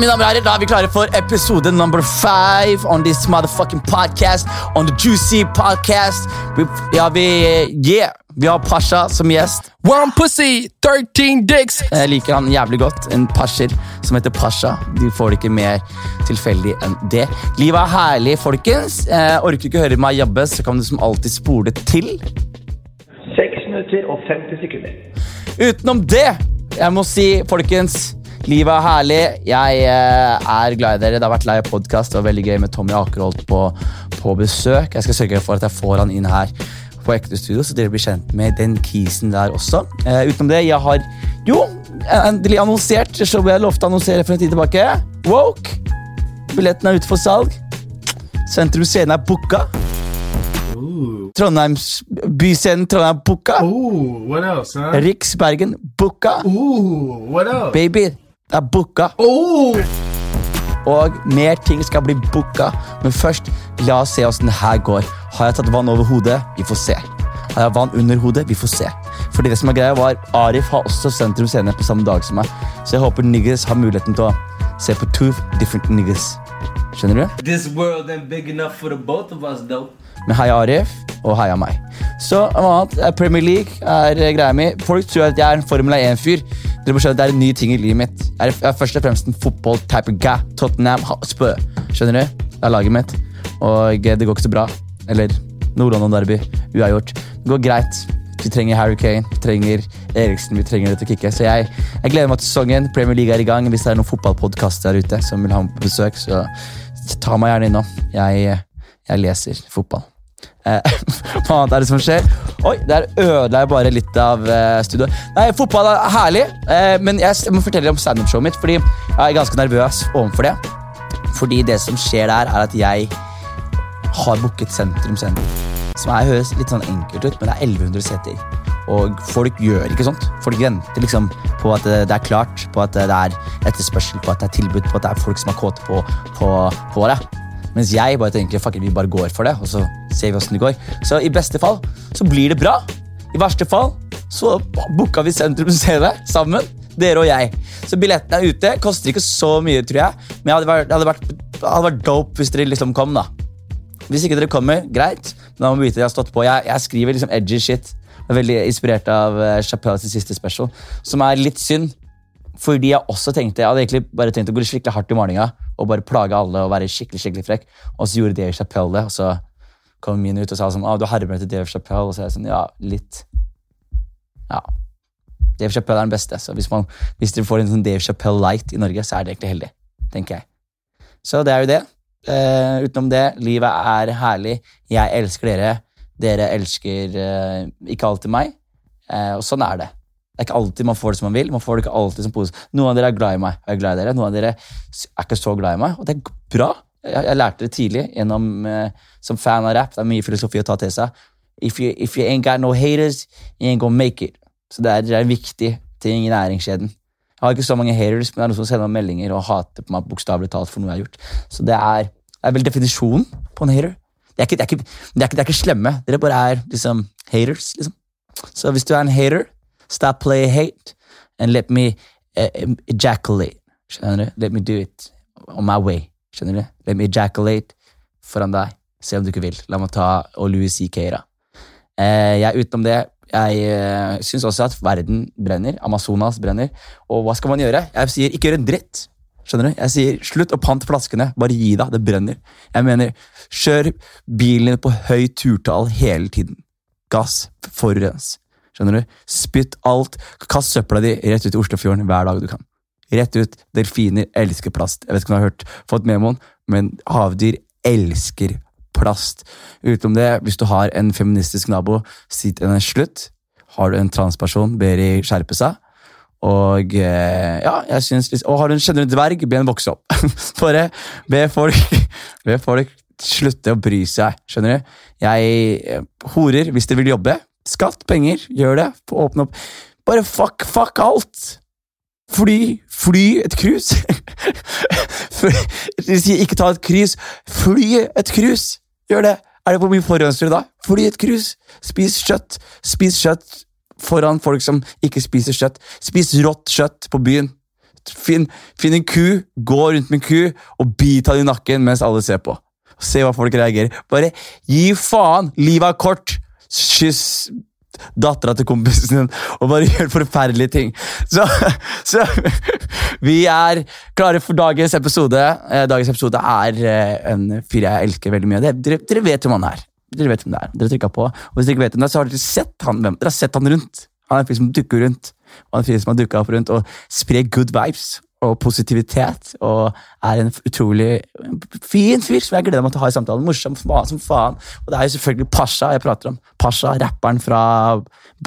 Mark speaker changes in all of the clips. Speaker 1: mine damer og herrer, da er vi klare for episode number five on this motherfucking podcast. On the juicy podcast. Vi, ja, vi, yeah. vi har Pasha som gjest.
Speaker 2: One pussy, 13 dicks.
Speaker 1: Jeg liker han jævlig godt. En pasher som heter Pasha. Du får det ikke mer tilfeldig enn det. Livet er herlig, folkens. Eh, orker du ikke høre meg jabbe, så kan du som alltid spole til.
Speaker 3: 6 minutter og 50 sekunder.
Speaker 1: Utenom det, jeg må si, folkens Livet er herlig. Jeg eh, er glad i dere. Det har vært lei av podkast. Det var veldig gøy med Tommy Akerholt på, på besøk. Jeg skal sørge for at jeg får han inn her på ekte studio, så dere blir kjent med den kisen der også. Eh, utenom det, jeg har jo endelig annonsert, som jeg lovte å annonsere for en tid tilbake. Woke. Billetten er ute for salg. Sentrum Scene er booka. Trondheims Byscenen Trondheim booka.
Speaker 4: Ooh, what else, huh?
Speaker 1: Riks Bergen booka.
Speaker 4: Ooh, what else?
Speaker 1: Baby, det er booka,
Speaker 4: Ooh!
Speaker 1: og mer ting skal bli booka. Men først, la oss se åssen det her går. Har jeg tatt vann over hodet? Vi får se. Har jeg vann under hodet? Vi får se. Fordi det som er greia var, Arif har også Sentrum Scene på samme dag som meg, så jeg håper niggas har muligheten til å se på two different niggas. Skjønner du?
Speaker 5: This world ain't big enough for the both of us, though.
Speaker 1: Men heia Arif, og heia meg. Så noe annet, eh, Premier League er eh, greia mi. Folk tror at jeg er en Formel 1-fyr. Dere må skjønne at Det er en ny ting i livet mitt. Jeg er, jeg er først og fremst en fotball-type guy. Tottenham, Hotspur. Skjønner du? Det er laget mitt. Og eh, det går ikke så bra. Eller Nord-London-derby. Uavgjort. Det går greit. Vi trenger Harry Kane, vi trenger Eriksen, vi trenger det til å kicke. Så jeg, jeg gleder meg til sesongen. Premier League er i gang. Hvis det er noen fotballpodkast der ute som vil ha meg på besøk, så ta meg gjerne innom. Jeg, eh, jeg leser fotball. Eh, Hva annet er det som skjer? Oi, der ødela jeg bare litt av eh, studioet. Nei, fotball er herlig, eh, men jeg s- må fortelle dere om standup-showet mitt, fordi jeg er ganske nervøs overfor det. Fordi det som skjer der, er at jeg har booket Sentrum Scene. Som er, høres litt sånn enkelt ut, men det er 1100 seter. Og folk gjør ikke sånt. Folk venter liksom på at eh, det er klart, på at eh, det er etterspørsel, på at det er tilbud, på at det er folk som er kåte på, på, på det. Mens jeg bare tenker fuck it, vi bare går for det, og så ser vi åssen det går. Så i beste fall så blir det bra. I verste fall så booka vi Sentrum Scene sammen. Dere og jeg. Så billetten er ute. Koster ikke så mye, tror jeg. Men det hadde vært, det hadde vært, det hadde vært dope hvis dere liksom kom, da. Hvis ikke dere kommer, greit. Men da må vi vite at jeg har stått på. Jeg, jeg skriver liksom edgy shit. Jeg er veldig inspirert av uh, Chappelle sin siste special, som er litt synd. Fordi jeg også tenkte, jeg hadde egentlig bare tenkt å gå skikkelig hardt i malinga og bare plage alle og være skikkelig skikkelig frekk. Og så gjorde Dave Chappelle det, og så kom min ut og sa sånn, ah, du hermer til Dave Chappelle. Og så er jeg sånn, ja, litt. Ja. Dave Chappelle er den beste, så hvis, man, hvis dere får en sånn Dave Chappelle light i Norge, så er det egentlig heldig, tenker jeg. Så det er jo det. Eh, utenom det, livet er herlig. Jeg elsker dere. Dere elsker eh, ikke alltid meg. Eh, og sånn er det. Det er ikke alltid man får det som man vil. man får det ikke alltid som pose. Noen av dere er glad i meg, og jeg er glad i dere. Noen av dere er ikke så glad i meg, og det er bra. Jeg, jeg lærte det tidlig gjennom, eh, som fan av rap. Det er mye filosofi å ta til seg. If you, if you ain't got no haters, you ain't gonna make it. Så det er, det er en viktig ting i næringskjeden. Jeg har ikke så mange haters, men det er noen som sender meg meldinger og hater på meg bokstavelig talt for noe jeg har gjort. Så det er, det er vel definisjonen på en hater. Det er ikke, det er ikke, det er ikke, det er ikke slemme. Dere bare er liksom haters, liksom. Så hvis du er en hater, stop play hate and let me eh, em- ejaculate. Skjønner du? Let me do it on my way. Skjønner du? Let me ejaculate foran deg. Se om du ikke vil. La meg ta og Louis C.K. da. Eh, jeg, utenom det, jeg eh, syns også at verden brenner. Amazonas brenner. Og hva skal man gjøre? Jeg sier ikke gjør en dritt. Skjønner du? Jeg sier slutt å pante flaskene. Bare gi deg. Det brenner. Jeg mener, kjør bilen din på høy turtall hele tiden. Gass. Forurens. Skjønner du? Spytt alt. Kast søpla di rett ut i Oslofjorden hver dag du kan. Rett ut. Delfiner elsker plast. Jeg vet ikke om du har hørt, fått memoen, men havdyr elsker plast. Utenom det, hvis du har en feministisk nabo, si til henne slutt. Har du en transperson, ber de skjerpe seg. Og eh, ja, jeg synes, liksom- og har du en, kjenner du en dverg, be henne vokse opp. Bare be folk, be folk slutte å bry seg, skjønner du? Jeg eh, horer hvis dere vil jobbe. Skatt, penger, gjør det. Få Åpne opp. Bare fuck, fuck alt! Fly, fly et cruise. Fly- De sier ikke ta et cruise, fly et cruise! Gjør det! Er det hvor mye forurensning da? Fly et cruise! Spis kjøtt. Spis kjøtt foran folk som ikke spiser kjøtt. Spis rått kjøtt på byen. Finn, finn en ku, gå rundt med en ku, og bit han i nakken mens alle ser på. Se hva folk reagerer. Bare gi faen! Livet er kort! Kyss dattera til kompisen din, og bare gjør forferdelige ting. Så, så vi er klare for dagens episode. Eh, Dagens episode er eh, en fyr jeg elsker veldig mye. Det- Dere, dere vet hvem han er. Dere vet hvem det er. Dere trykket på. Og hvis dere ikke vet hvem det er, så har dere sett han, hvem- dere har sett han rundt. Han er en fyr som dukker rundt, og han er en fyr som har dukket opp rundt og sprer good vibes og positivitet, og er en utrolig fin fyr som jeg gleder meg til å ha i samtalen. Morsom fa- som faen. Og det er jo selvfølgelig Pasha jeg prater om. Pasha, rapperen fra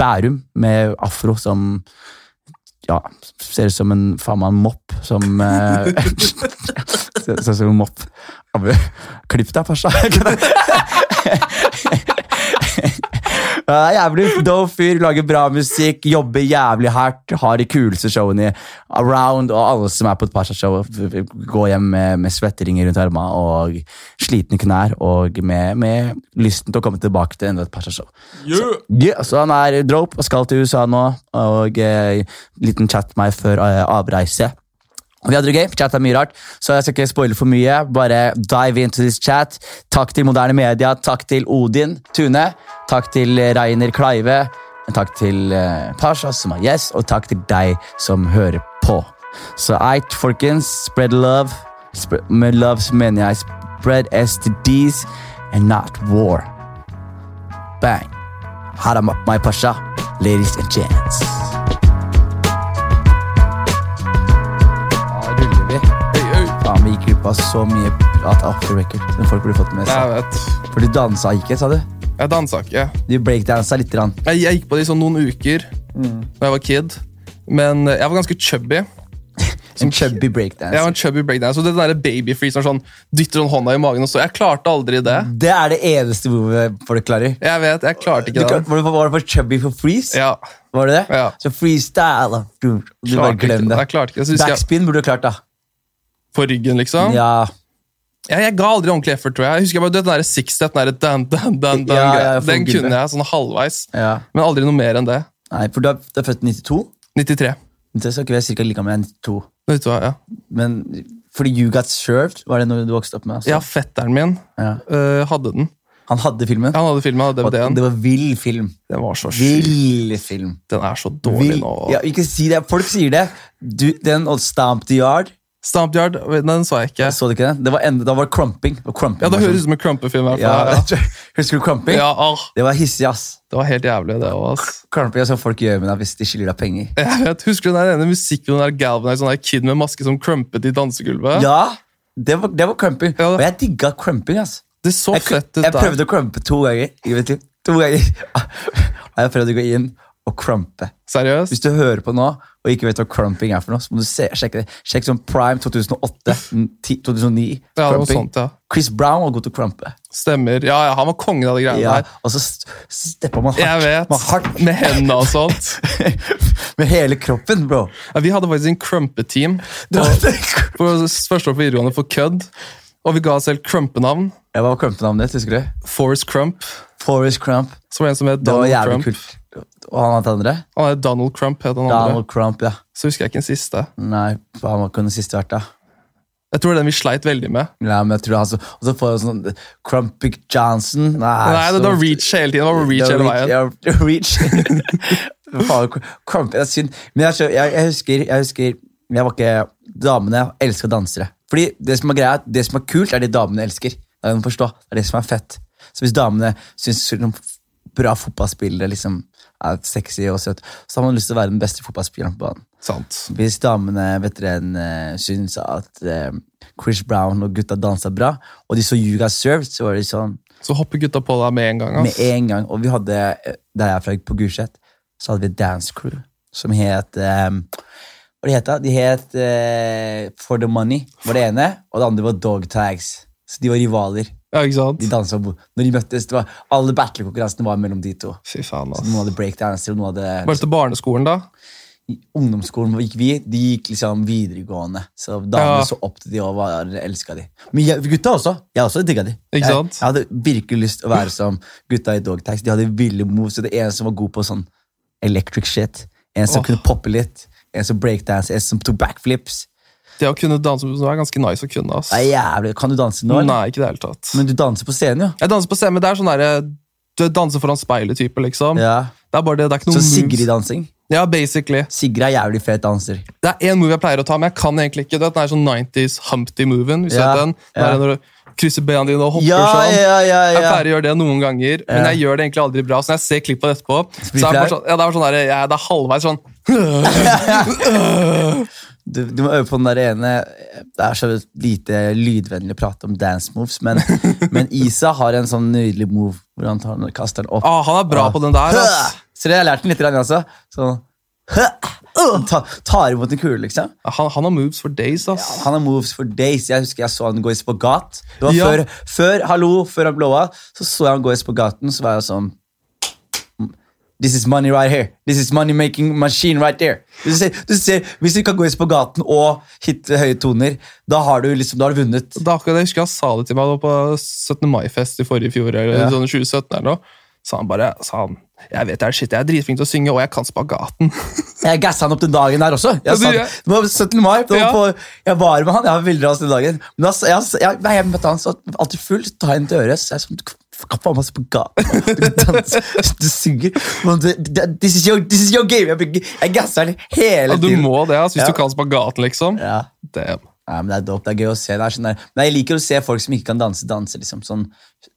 Speaker 1: Bærum med afro som ja, ser ut som en faen meg en mopp som eh, Ser ser ut som en mopp. Abu, Klipp deg, Pasha. Ja, jævlig dope fyr, lager bra musikk, jobber jævlig hardt, har de kuleste showene i Around, og alle som er på et Pasha-show, går hjem med, med svetteringer rundt armene og slitne knær, og med, med lysten til å komme tilbake til enda et Pasha-show. Ja, så han er dope og skal til USA nå, og eh, liten chat med meg før eh, avreise. Og Vi hadde det gøy, chat er mye rart, så jeg skal ikke spoile for mye. Bare dive into this chat. Takk til moderne media, takk til Odin Tune, takk til Reiner Kleive, takk til eh, Pasha som er gjest, og takk til deg som hører på. Så eit, folkens, spread love. Spread, med love så mener jeg spread STDs and not war. Bang. Had him up my pasha, ladies and gents. Da ruller vi. Faen, vi gikk glipp av så mye prat off the record som folk burde fått med
Speaker 6: Jeg
Speaker 1: seg.
Speaker 6: vet.
Speaker 1: For du dansa ikke, sa du?
Speaker 6: Jeg dansa ikke.
Speaker 1: Du breakdansa litt. Rann.
Speaker 6: Jeg, jeg gikk på det i sånn noen uker
Speaker 1: Mm.
Speaker 6: da jeg var kid. Men eh, jeg var ganske chubby.
Speaker 1: En chubby breakdance.
Speaker 6: Jeg var en chubby breakdance, og det der babyfreeze sånn, dytter sånn hånda i magen og så, Jeg klarte aldri det.
Speaker 1: Det er det eneste behovet folk klarer.
Speaker 6: Jeg vet, jeg klarte
Speaker 1: Du,
Speaker 6: ikke
Speaker 1: kan-
Speaker 6: det.
Speaker 1: var, du, var du for chubby for freeze?
Speaker 6: Ja,
Speaker 1: Var det det?
Speaker 6: Ja.
Speaker 1: Så freestyle Du, du
Speaker 6: Klarte
Speaker 1: bare
Speaker 6: ikke
Speaker 1: glem
Speaker 6: det.
Speaker 1: det.
Speaker 6: Jeg klarte ikke det. Så husker jeg-
Speaker 1: Backspin burde du klart, da.
Speaker 6: På ryggen, liksom.
Speaker 1: Ja.
Speaker 6: Jeg, jeg ga aldri ordentlig effort, tror jeg. Jeg husker jeg bare, du vet, Den der sixstep, den, der dan, dan, dan, dan,
Speaker 1: Ja,
Speaker 6: greia.
Speaker 1: ja, jeg får
Speaker 6: den
Speaker 1: gubbe.
Speaker 6: kunne jeg sånn halvveis.
Speaker 1: ja.
Speaker 6: Men aldri noe mer enn det.
Speaker 1: Nei, for du er, du er født i 92.
Speaker 6: 93.
Speaker 1: Det skal ikke være cirka like med 92.
Speaker 6: Vet du hva, ja.
Speaker 1: Men fordi You Got Served var det noe du vokste opp med? Altså.
Speaker 6: ja, fetteren min
Speaker 1: Ja.
Speaker 6: øh, hadde den.
Speaker 1: Han hadde filmen.
Speaker 6: Han hadde filmen, han hadde
Speaker 1: og
Speaker 6: DVD-en.
Speaker 1: det var vill film.
Speaker 6: Den var så sjuk.
Speaker 1: Vill film.
Speaker 6: Den er så dårlig
Speaker 1: Vill.
Speaker 6: nå.
Speaker 1: Ja, ikke si det. Folk sier det. Du, den og Stamp the Yard.
Speaker 6: Stamp Yard, den så jeg ikke.
Speaker 1: Så du ikke det? det var enda, da var det crumping. Det var crumping
Speaker 6: Ja, Det høres ut som en Crumper-film. i hvert
Speaker 1: ja,
Speaker 6: fall.
Speaker 1: Husker du
Speaker 6: Ja,
Speaker 1: crumping?
Speaker 6: ja ah,
Speaker 1: Det var hissig, ass.
Speaker 6: Det var helt jævlig, det òg, ass.
Speaker 1: Crumping er sånn folk gjør med deg hvis de skylder deg penger.
Speaker 6: Jeg vet, Husker du den der ene musikkvideoen der Galvanize, sånn der kid med maske som crumpet i dansegulvet?
Speaker 1: Ja, det var, det var crumping.
Speaker 6: Ja,
Speaker 1: Og
Speaker 6: det-
Speaker 1: jeg digga crumping, ass.
Speaker 6: Det så
Speaker 1: Jeg,
Speaker 6: fett ut
Speaker 1: jeg
Speaker 6: der.
Speaker 1: prøvde å crumpe to ganger. i mitt liv. To ganger. Og jeg prøvde å gå inn og crumpe. Hvis
Speaker 6: Seriøst?
Speaker 1: du hører på nå og ikke vet hva crumping er, for noe, så må du se, sjekke det. Sjekk sånn Prime 2008, 10, 2009.
Speaker 6: Ja, det var
Speaker 1: crumping.
Speaker 6: sånt, ja.
Speaker 1: Chris Brown var god til å crumpe.
Speaker 6: Stemmer. Ja, ja, han var kongen av de greiene
Speaker 1: Ja,
Speaker 6: der.
Speaker 1: og så s- steppa man
Speaker 6: Jeg
Speaker 1: hardt,
Speaker 6: vet.
Speaker 1: man hardt
Speaker 6: Med hendene og sånt.
Speaker 1: med hele kroppen, bro.
Speaker 6: Ja, vi hadde faktisk en crumpeteam
Speaker 1: Det var-
Speaker 6: på første år på videregående for kødd. Og vi ga oss selv crumpenavn.
Speaker 1: Ja, Hva var crumpenavnet ditt? Husker du?
Speaker 6: Forrest Crump.
Speaker 1: Forrest Crump.
Speaker 6: Som en som het
Speaker 1: Det var
Speaker 6: Donald
Speaker 1: jævlig
Speaker 6: Crump.
Speaker 1: kult. Og han het andre?
Speaker 6: Han het Donald Crump, het han andre.
Speaker 1: Donald Mm. Crump, ja.
Speaker 6: Så husker jeg ikke den siste.
Speaker 1: Nei, han var ikke den siste vært, da.
Speaker 6: Jeg tror det er den vi sleit veldig med.
Speaker 1: Nei, men jeg tror han så, Og så får jeg sånn Crumpig Johnson. Nei,
Speaker 6: Nei, det, det
Speaker 1: så-
Speaker 6: var reach hele tiden. Det var reach
Speaker 1: Det
Speaker 6: hele
Speaker 1: var
Speaker 6: veien.
Speaker 1: Reach. ja, reach. Faen, cr- crump, det er synd. Men jeg, skjø- jeg, jeg husker Jeg husker Jeg var ikke Damene elska dansere. Fordi det som er greia Det som er kult, er det damene elsker. Det er, forstå. Det er det som er fett. Så hvis damene syns sånn bra fotballspillere liksom er sexy og søt, så har man lyst til å være den beste fotballspilleren på banen.
Speaker 6: Sant.
Speaker 1: Hvis damene vet dere, en, eh, syns at eh, Chris Brown og gutta dansa bra, og de så You Got Served, så var de sånn
Speaker 6: Så hopper gutta på deg med en gang.
Speaker 1: med
Speaker 6: ass.
Speaker 1: en gang. Og vi hadde, eh, der jeg er fra, på Gulset, så hadde vi et dance crew som het eh, Hva de het da? De het eh, For the Money, var det ene. Og det andre var Dog Tags. Så de var rivaler.
Speaker 6: Ja, ikke sant?
Speaker 1: De dansa bo- Når de møttes, det var alle battlekonkurransene var mellom de to.
Speaker 6: Fy faen,
Speaker 1: Noen
Speaker 6: ass.
Speaker 1: hadde breakdanser, og noen
Speaker 6: Var
Speaker 1: hadde
Speaker 6: dette barneskolen, da?
Speaker 1: I ungdomsskolen gikk vi, de gikk liksom videregående. Så damene
Speaker 6: Ja.
Speaker 1: så opp til de og var elska de. Men jeg, gutta også. Jeg også digga de. jeg,
Speaker 6: Ikke sant?
Speaker 1: jeg hadde virkelig lyst til å være som gutta i Dogtax. De hadde ville moves, og det ene som var god på sånn electric shit. En som
Speaker 6: Åh.
Speaker 1: kunne poppe litt. en som breakdanser, en som tok backflips.
Speaker 6: Det å kunne danse på er ganske nice å kunne. ass.
Speaker 1: Det er jævlig. Kan du danse nå? eller?
Speaker 6: Nei, ikke i det hele tatt.
Speaker 1: Men du danser på scenen, jo.
Speaker 6: Jeg danser på scenen, men det er sånn der, du danser foran speilet-type, liksom.
Speaker 1: Ja.
Speaker 6: Det er bare det, det er ikke noe
Speaker 1: Så Sigrid-dansing.
Speaker 6: Ja, basically.
Speaker 1: Sigrid er jævlig fet danser.
Speaker 6: Det er én move jeg pleier å ta, men jeg kan egentlig ikke. Du vet, Den er sånn 90s Humpty-moven. hvis du
Speaker 1: Ja,
Speaker 6: vet den. Den
Speaker 1: ja.
Speaker 6: er Når du krysser bena dine og hopper
Speaker 1: Ja,
Speaker 6: sånn.
Speaker 1: ja, ja,
Speaker 6: Jeg
Speaker 1: ja.
Speaker 6: pleier å gjøre det noen ganger, men jeg gjør det egentlig aldri bra. Så når jeg ser klippet etterpå, så er
Speaker 1: blir
Speaker 6: det, bare
Speaker 1: flau?
Speaker 6: sånn, ja, det, er bare sånn der, jeg, det er halvveis sånn
Speaker 1: Du, du må øve på den der ene Det er så lite lydvennlig å prate om dance moves, men, men Isa har en sånn nydelig move hvor han tar den og kaster den opp.
Speaker 6: Å, «Ah, han er bra på den der, ass.
Speaker 1: Så det har jeg lært den litt, grann, altså. Sånn Han ta, Tar imot en kule, liksom.
Speaker 6: Han, han har moves for days, ass.
Speaker 1: Han har moves for days. Jeg husker jeg så han gå i spagat. Det var
Speaker 6: Ja.
Speaker 1: før, før hallo, før han blåa, så så jeg han gå i spagaten, så var jeg sånn This is money right here. This is money making machine right there. Du ser, du ser, hvis du kan gå i spagaten og hitte høye toner, da har du liksom, da har du vunnet.
Speaker 6: Det er akkurat det. Jeg husker han sa det til meg da på 17. mai-fest i forrige fjor, eller
Speaker 1: Ja.
Speaker 6: sånn 2017 eller noe. Så han bare sa han, jeg vet det er shit, jeg er dritflink til å synge, og jeg kan spagaten.
Speaker 1: Jeg gassa han opp den dagen der også. Jeg
Speaker 6: du
Speaker 1: sa,
Speaker 6: gjør.
Speaker 1: det var 17. mai. Det var
Speaker 6: Ja.
Speaker 1: på, jeg var med han. Jeg var veldig rart den dagen. Men da, sa- jeg, jeg, nei, jeg møtte han så alltid full, så tar jeg henne til øret. Så jeg sånn, du kan faen meg stå på gaten. Du danser, du synger. Men det- det- This is your, this is your game. Jeg, bygger- jeg gasser han hele
Speaker 6: Ja, du
Speaker 1: tiden.
Speaker 6: må det, ass, hvis
Speaker 1: Ja.
Speaker 6: du kan spagaten, liksom.
Speaker 1: Ja.
Speaker 6: Damn.
Speaker 1: Nei, men Det er dope, det er gøy å se. Det er sånn der. Men jeg liker å se folk som ikke kan danse, danse. liksom sånn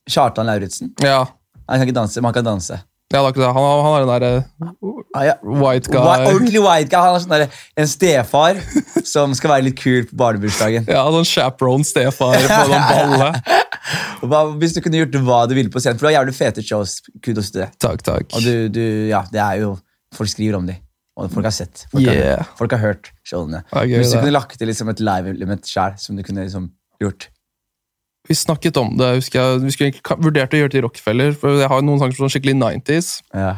Speaker 1: Kjartan Lauritzen.
Speaker 6: Ja,
Speaker 1: Han kan ikke danse, men han kan danse.
Speaker 6: ja det er akkurat det. Han, han er den der eh,
Speaker 1: Ah, ja.
Speaker 6: white guy.
Speaker 1: Whi- Ordentlig white guy. Han er sånn der, en stefar som skal være litt kul på barnebursdagen.
Speaker 6: Ja, sånn chaperone stefar på den ballen.
Speaker 1: Og Hva, hvis du kunne gjort hva du ville på scenen, for du har jævlig fete shows. Kudos til det.
Speaker 6: Takk, takk.
Speaker 1: Og du, du, ja, det er jo, Folk skriver om dem, og folk har sett. Folk,
Speaker 6: Yeah.
Speaker 1: har, folk har hørt showene.
Speaker 6: Ja, gøy
Speaker 1: hvis du
Speaker 6: det.
Speaker 1: kunne lagt til liksom et live-element sjæl, som du kunne liksom gjort
Speaker 6: Vi snakket om det, husker jeg. Vi skulle egentlig ka- vurdert å gjøre det i Rockefeller, for jeg har jo noen sanger som er skikkelig 90s.
Speaker 1: ja.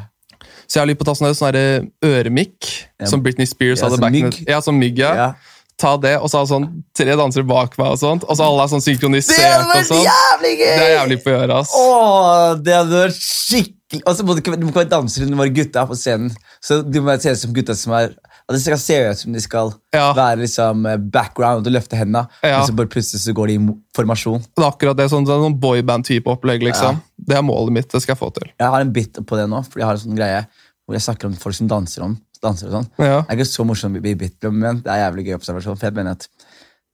Speaker 6: Så jeg har lyst på å ta sånn der- sånn der øremikk,
Speaker 1: Ja.
Speaker 6: som Britney Spears
Speaker 1: Ja,
Speaker 6: hadde
Speaker 1: som
Speaker 6: back in
Speaker 1: mygg.
Speaker 6: the- Ja, som mygg, ja.
Speaker 1: Ja.
Speaker 6: Ta det, og så ha sånn tre dansere bak meg, og sånt, og så alle er sånn
Speaker 1: Det
Speaker 6: synkronisert
Speaker 1: hadde
Speaker 6: og
Speaker 1: vært
Speaker 6: sånn.
Speaker 1: jævlig gøy!
Speaker 6: Det er jævlig på å gjøre, ass.
Speaker 1: Åh, det hadde vært skikkelig Og så må du ikke, du må ikke være danser du må være gutta på scenen. Så du må se ut som gutta som er at Det skal se ut som de skal
Speaker 6: Ja.
Speaker 1: være liksom eh, background og løfte henda,
Speaker 6: Ah. Ja.
Speaker 1: men så bare plutselig så går de i mo- formasjon.
Speaker 6: Det er akkurat det, sånn, det er sånn boyband-type opplegg, liksom. Det er målet mitt, det skal jeg få til.
Speaker 1: Jeg har en bit på det nå, fordi jeg har en sånn greie hvor jeg snakker om folk som danser om danser og sånn.
Speaker 6: Ja.
Speaker 1: Det er ikke så morsomt i bit, men det er jævlig gøy observasjon. For jeg mener at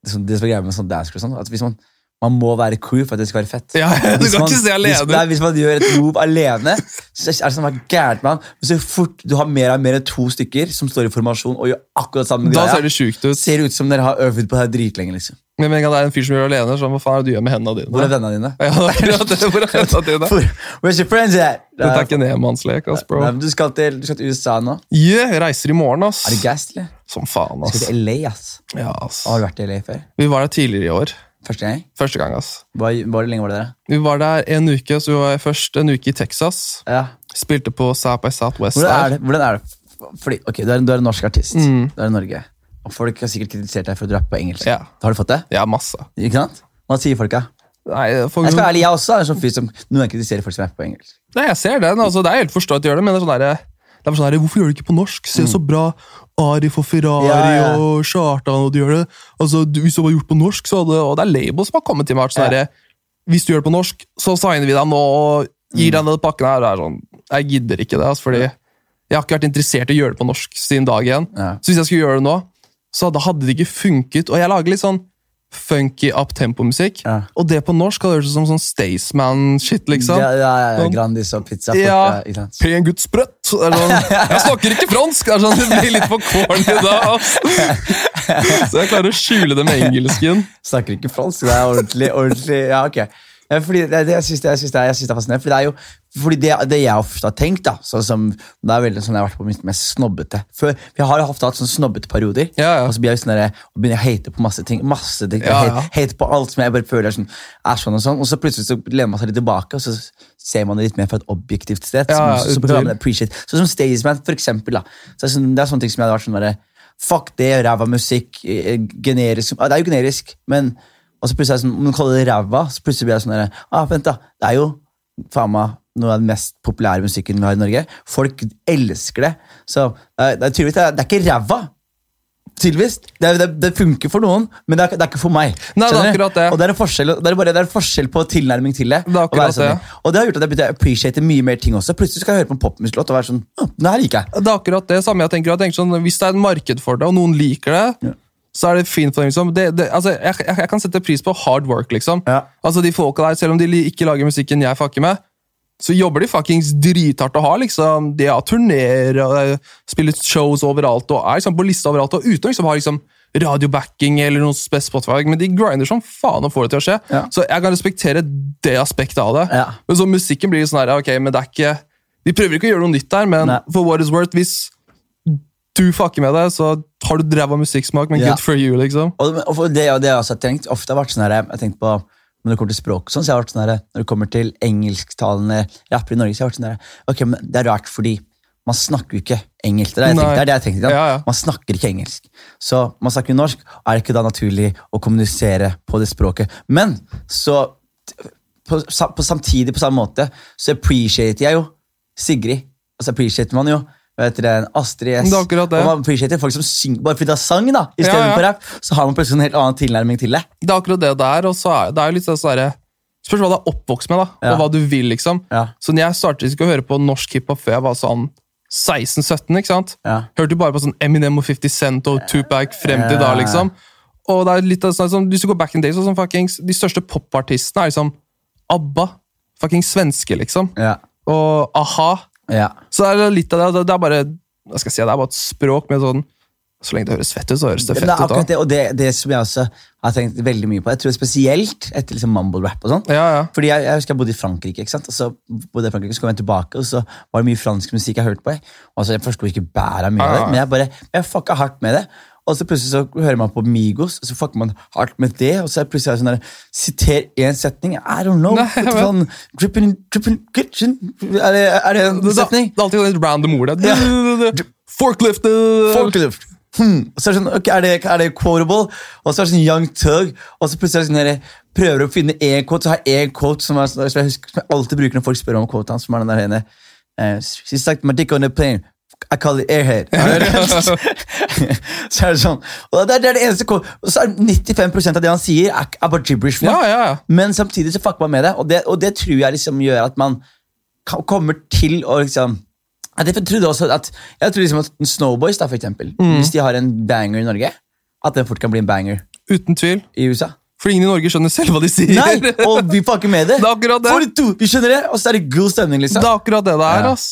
Speaker 1: det som, det som er greia med sånn dance crew og sånn, at hvis man, man må være crew for at det skal være fett.
Speaker 6: Ja, du
Speaker 1: Hvis
Speaker 6: kan
Speaker 1: man-
Speaker 6: ikke se
Speaker 1: Hvis, nei,
Speaker 6: alene.
Speaker 1: hvis man gjør et move alene, så er det sånn at det er gærent med han. Men så fort du har mer, mer enn to stykker som står i formasjon og gjør akkurat samme
Speaker 6: Da ser
Speaker 1: greia,
Speaker 6: det sjukt ut.
Speaker 1: ser det ut som dere har øvd på det her dritlenge. liksom.
Speaker 6: Men med en gang det er en fyr som gjør det alene, så hva faen er det du gjør med hendene dine?
Speaker 1: Hvor er vennene dine?
Speaker 6: Ja, akkurat det, hvor er hendene dine?
Speaker 1: Hvor, where's your friends at?
Speaker 6: Dette er ikke nedmannslek, ass, bro.
Speaker 1: Nei, men du, skal til, du skal til USA nå.
Speaker 6: Yeah, jeg reiser i morgen, ass.
Speaker 1: Er du gass, eller?
Speaker 6: Som faen,
Speaker 1: Du
Speaker 6: ass.
Speaker 1: skal til LA, ass.
Speaker 6: Ja, ass.
Speaker 1: Har du vært i LA før?
Speaker 6: Vi var der tidligere i år.
Speaker 1: Første gang?
Speaker 6: Første gang, ass.
Speaker 1: Hvor, hvor lenge var det der?
Speaker 6: Vi var der en uke, så vi var først en uke i Texas.
Speaker 1: Ja.
Speaker 6: Spilte på South by Southwest
Speaker 1: Hvordan er
Speaker 6: der.
Speaker 1: det? Hvordan er det? Fordi, ok, du er, en- du er en norsk artist. Du er i Norge. Og folk har sikkert kritisert deg for å rappe på engelsk.
Speaker 6: Mm. Ja.
Speaker 1: Har du fått det?
Speaker 6: Ja, masse.
Speaker 1: Ikke sant? Hva sier folka?
Speaker 6: Nei, for,
Speaker 1: Jeg skal være ærlig, jeg også er en sånn fyr som noen ganger kritiserer folk som rapper på engelsk.
Speaker 6: Nei, jeg ser den. altså Det er helt forstått at de gjør det, men det er sånn der, det er bare sånn der, hvorfor gjør du ikke på norsk? Se så bra Arif og
Speaker 1: Mm.
Speaker 6: Ferrari
Speaker 1: Ja, ja.
Speaker 6: og Kjartan og de gjør det. altså du- Hvis det var gjort på norsk, så hadde Og det er labels som har kommet til meg. vært Sånn
Speaker 1: Ja.
Speaker 6: der, hvis du gjør det på norsk, så signer vi deg nå og
Speaker 1: Mm.
Speaker 6: gir deg den pakken her. og Det er sånn, Jeg gidder ikke det, altså, fordi jeg har ikke vært interessert i å gjøre det på norsk siden dag én.
Speaker 1: Ja.
Speaker 6: Så hvis jeg skulle gjøre det nå, så da hadde det ikke funket. Og jeg lager litt sånn funky up-tempo-musikk,
Speaker 1: Ja.
Speaker 6: og det på norsk hadde hørt ut som sånn Staysman-shit, liksom.
Speaker 1: Ja, ja, ja, ja,
Speaker 6: Sånn.
Speaker 1: Grandis og pizza.
Speaker 6: Ja.
Speaker 1: Ikke sant?
Speaker 6: Pen gutt sprøtt. Det er sånn, jeg snakker ikke fransk! Det, er sånn, det blir litt for corny da. ass. Så jeg klarer å skjule det med engelsken.
Speaker 1: Snakker ikke fransk. Det er ordentlig, ordentlig Ja, ok. Ja, fordi det, det, jeg syns det, jeg synes det, er- jeg synes det er fascinerende. For det er jo fordi det, det jeg ofte har tenkt, da sånn som, Det er veldig sånn jeg har vært på mitt mest snobbete. Før, for jeg har jo ofte hatt sånne snobbete perioder.
Speaker 6: Ja, ja.
Speaker 1: Og så blir jeg sånn der, og begynner jeg å hate på masse ting. Masse ting
Speaker 6: Ja,
Speaker 1: jeg
Speaker 6: ja.
Speaker 1: hate, hate på alt som jeg bare føler er sånn, er sånn og sånn. Og så plutselig så lener man seg litt tilbake, og så ser man det litt mer fra et objektivt sted.
Speaker 6: Ja, ja,
Speaker 1: som, så
Speaker 6: uten
Speaker 1: prøver
Speaker 6: tvil.
Speaker 1: man å appreciate. Sånn som Staysman, for eksempel. Da. Så det, er sånn, det er sånne ting som jeg hadde vært sånn derre Fuck det, ræva musikk. eh, Generisk. Ja, Det er jo generisk, men og så plutselig er det sånn, om du kaller det ræva, så plutselig blir jeg sånn derre ah, Vent, da. Det er jo faen meg noe av den mest populære musikken vi har i Norge. Folk elsker det. Så eh, det er tydeligvis det er, det er ikke ræva. tydeligvis, det, er- det, det funker for noen, men det er, det er ikke for meg.
Speaker 6: Nei, det er
Speaker 1: Skjønner du?
Speaker 6: akkurat det.
Speaker 1: Og det er en forskjell, det er bare, det er en forskjell på tilnærming til det.
Speaker 6: Det er
Speaker 1: å være
Speaker 6: akkurat
Speaker 1: sånn.
Speaker 6: det.
Speaker 1: Og det har gjort at jeg begynte å appreciate mye mer ting også. Plutselig skal jeg høre på en popmusikklåt og være sånn «Å, Det her liker jeg.
Speaker 6: Det er akkurat det samme jeg tenker. Jeg tenker sånn, hvis det er et marked for det, og noen liker det, så er det fint for dem. Liksom. Det, det, altså, jeg, jeg, jeg kan sette pris på hard work, liksom.
Speaker 1: Ja.
Speaker 6: Altså, de folka der, Selv om de li- ikke lager musikken jeg fucker med, så jobber de fuckings drithardt og har liksom De har turnerer og eh, spiller shows overalt og er liksom på lista overalt og uten å liksom, ha liksom radiobacking eller noe spes Spotify, men de grinder som faen og får det til å skje.
Speaker 1: Ja.
Speaker 6: Så jeg kan respektere det aspektet av det.
Speaker 1: Ja.
Speaker 6: Men så musikken blir sånn her, ok, men det er ikke De prøver ikke å gjøre noe nytt der, men
Speaker 1: Nei.
Speaker 6: for what is worth, hvis du fucker med det, så har du drev av musikksmak, men
Speaker 1: Ja.
Speaker 6: good for you, liksom.
Speaker 1: Og, og for det, og det har jeg også tenkt. Ofte har jeg vært sånn her, jeg har tenkt på når det kommer til språk, og sånn, så jeg har vært sånn her, når det kommer til engelsktalende rappere i Norge, så jeg har vært sånn her, ok, men det er rart fordi man snakker jo ikke engelsk. Det er det jeg tenkte.
Speaker 6: Nei.
Speaker 1: Det er det jeg tenkte ikke sant?
Speaker 6: Ja, ja.
Speaker 1: Man snakker ikke engelsk. Så man snakker jo norsk. Er det ikke da naturlig å kommunisere på det språket? Men så på, sa- på samtidig, på samme måte, så appreciater jeg jo Sigrid. Og så appreciater man jo vet dere, Astrid S.
Speaker 6: Det er akkurat det.
Speaker 1: Og man appreciater folk som synger bare fordi det er sang, da, i stedet
Speaker 6: Ja, ja.
Speaker 1: for rap. Så har man plutselig en helt annen tilnærming til det.
Speaker 6: Det er akkurat det det er, og så er det er jo litt sånn derre Spørs hva du er oppvokst med, da,
Speaker 1: Ja.
Speaker 6: og hva du vil, liksom.
Speaker 1: Ja.
Speaker 6: Så når jeg startet ikke å høre på norsk hiphop før jeg var sånn 16-17, ikke sant?
Speaker 1: Ja.
Speaker 6: Hørte jo bare på sånn Eminem og 50 Cent og Tupac frem til da,
Speaker 1: Ja.
Speaker 6: liksom. Og det er litt av sånn, som- Hvis du går back in days, sånn fuckings De største popartistene er liksom ABBA. Fuckings svenske, liksom.
Speaker 1: Ja,
Speaker 6: Og a-ha.
Speaker 1: ja,
Speaker 6: Så er det litt av det. Det er bare hva skal jeg si, det er bare et språk med sånn Så lenge det høres fett ut, så høres det
Speaker 1: Men
Speaker 6: fett
Speaker 1: det er
Speaker 6: ut. da.
Speaker 1: akkurat det, og det, det som jeg også har tenkt veldig mye på. Jeg tror spesielt etter liksom mumble rap og sånn.
Speaker 6: Ja, ja.
Speaker 1: Fordi jeg, jeg husker jeg bodde i Frankrike, ikke sant? og så bodde jeg i Frankrike, så kom jeg tilbake, og så var det mye fransk musikk jeg hørte på. jeg. Og så Jeg forsto ikke bæret av mye av
Speaker 6: Ja,
Speaker 1: det,
Speaker 6: ja.
Speaker 1: men jeg bare, jeg fucka hardt med det. Og så plutselig så hører man på Migos, og så fucker man hardt med det. Og så er det plutselig sånn der, siter én setning. I don't know.
Speaker 6: Nei,
Speaker 1: vet du sånn, drippin, drippin, kitchen. Er det, er det en
Speaker 6: Det, det,
Speaker 1: setning?
Speaker 6: det er alltid sånn et random ord. det.
Speaker 1: Ja.
Speaker 6: Forklift! det-
Speaker 1: Folkeluft. Hmm. Og så er det sånn, ok, er det, er det quotable? Og så er det sånn Young Tug. Og så plutselig er det sånn der, prøver å finne én quote, så har jeg én quote som, er, sånn- som jeg husker, som jeg alltid bruker når folk spør om quote hans. som er den der ene, eh, She stuck my dick on a plane. I call it airhead. så er det sånn. Og det er det, er det eneste quote. Og så er 95 av det han sier, er, er bare gibberish. for
Speaker 6: Ja,
Speaker 1: meg.
Speaker 6: ja, ja.
Speaker 1: Men samtidig så fucker man med det, og det, og det tror jeg liksom gjør at man ka- kommer til å liksom at jeg trodde også at, jeg tror liksom at Snowboys, da, for eksempel,
Speaker 6: Mm.
Speaker 1: hvis de har en banger i Norge, at den fort kan bli en banger
Speaker 6: Uten tvil.
Speaker 1: i USA.
Speaker 6: For ingen i Norge skjønner selv hva de sier.
Speaker 1: Nei, og vi fucker med det!
Speaker 6: Det er akkurat det.
Speaker 1: For to, vi skjønner det, Og så er det god stemning,
Speaker 6: Det
Speaker 1: liksom.
Speaker 6: er akkurat det det er.
Speaker 1: Ja.
Speaker 6: ass.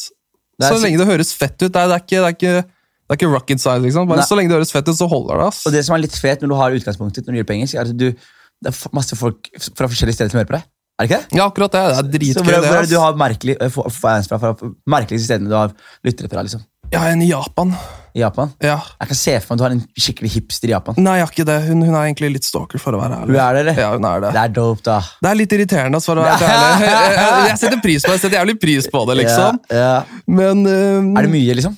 Speaker 1: Det er
Speaker 6: så
Speaker 1: sikkert-
Speaker 6: lenge det høres fett ut. Det er, det er, ikke, det er, ikke, det er ikke rocket science. liksom. Bare
Speaker 1: Nei.
Speaker 6: så lenge det høres fett ut, så holder det. ass.
Speaker 1: Og det som er litt fet når du har utgangspunktet ditt når du gjør på engelsk, er at du, det er f- masse folk f- fra forskjellige steder som hører på deg. Er det ikke det?
Speaker 6: Ja, akkurat det. Det er
Speaker 1: Så
Speaker 6: dritgøy.
Speaker 1: hvor,
Speaker 6: det,
Speaker 1: hvor er
Speaker 6: ass.
Speaker 1: det du har merkelig, eh, får- får jeg fra, fra merkeligste stedene du har lyttere fra, liksom?
Speaker 6: Ja, en i Japan.
Speaker 1: I Japan?
Speaker 6: Ja.
Speaker 1: Jeg kan se for meg at du har en skikkelig hipster i Japan.
Speaker 6: Nei, jeg har ikke det. Hun, hun er egentlig litt stalker, for å være ærlig.
Speaker 1: Hun er det, eller?
Speaker 6: Ja, hun er det.
Speaker 1: Det er dope, da.
Speaker 6: Det er litt irriterende, altså, for å være helt ærlig. Jeg- jeg- Jeg setter pris på det, jeg setter jævlig pris på det, liksom.
Speaker 1: Ja, ja.
Speaker 6: Men eh, øhm,
Speaker 1: Er det mye, liksom?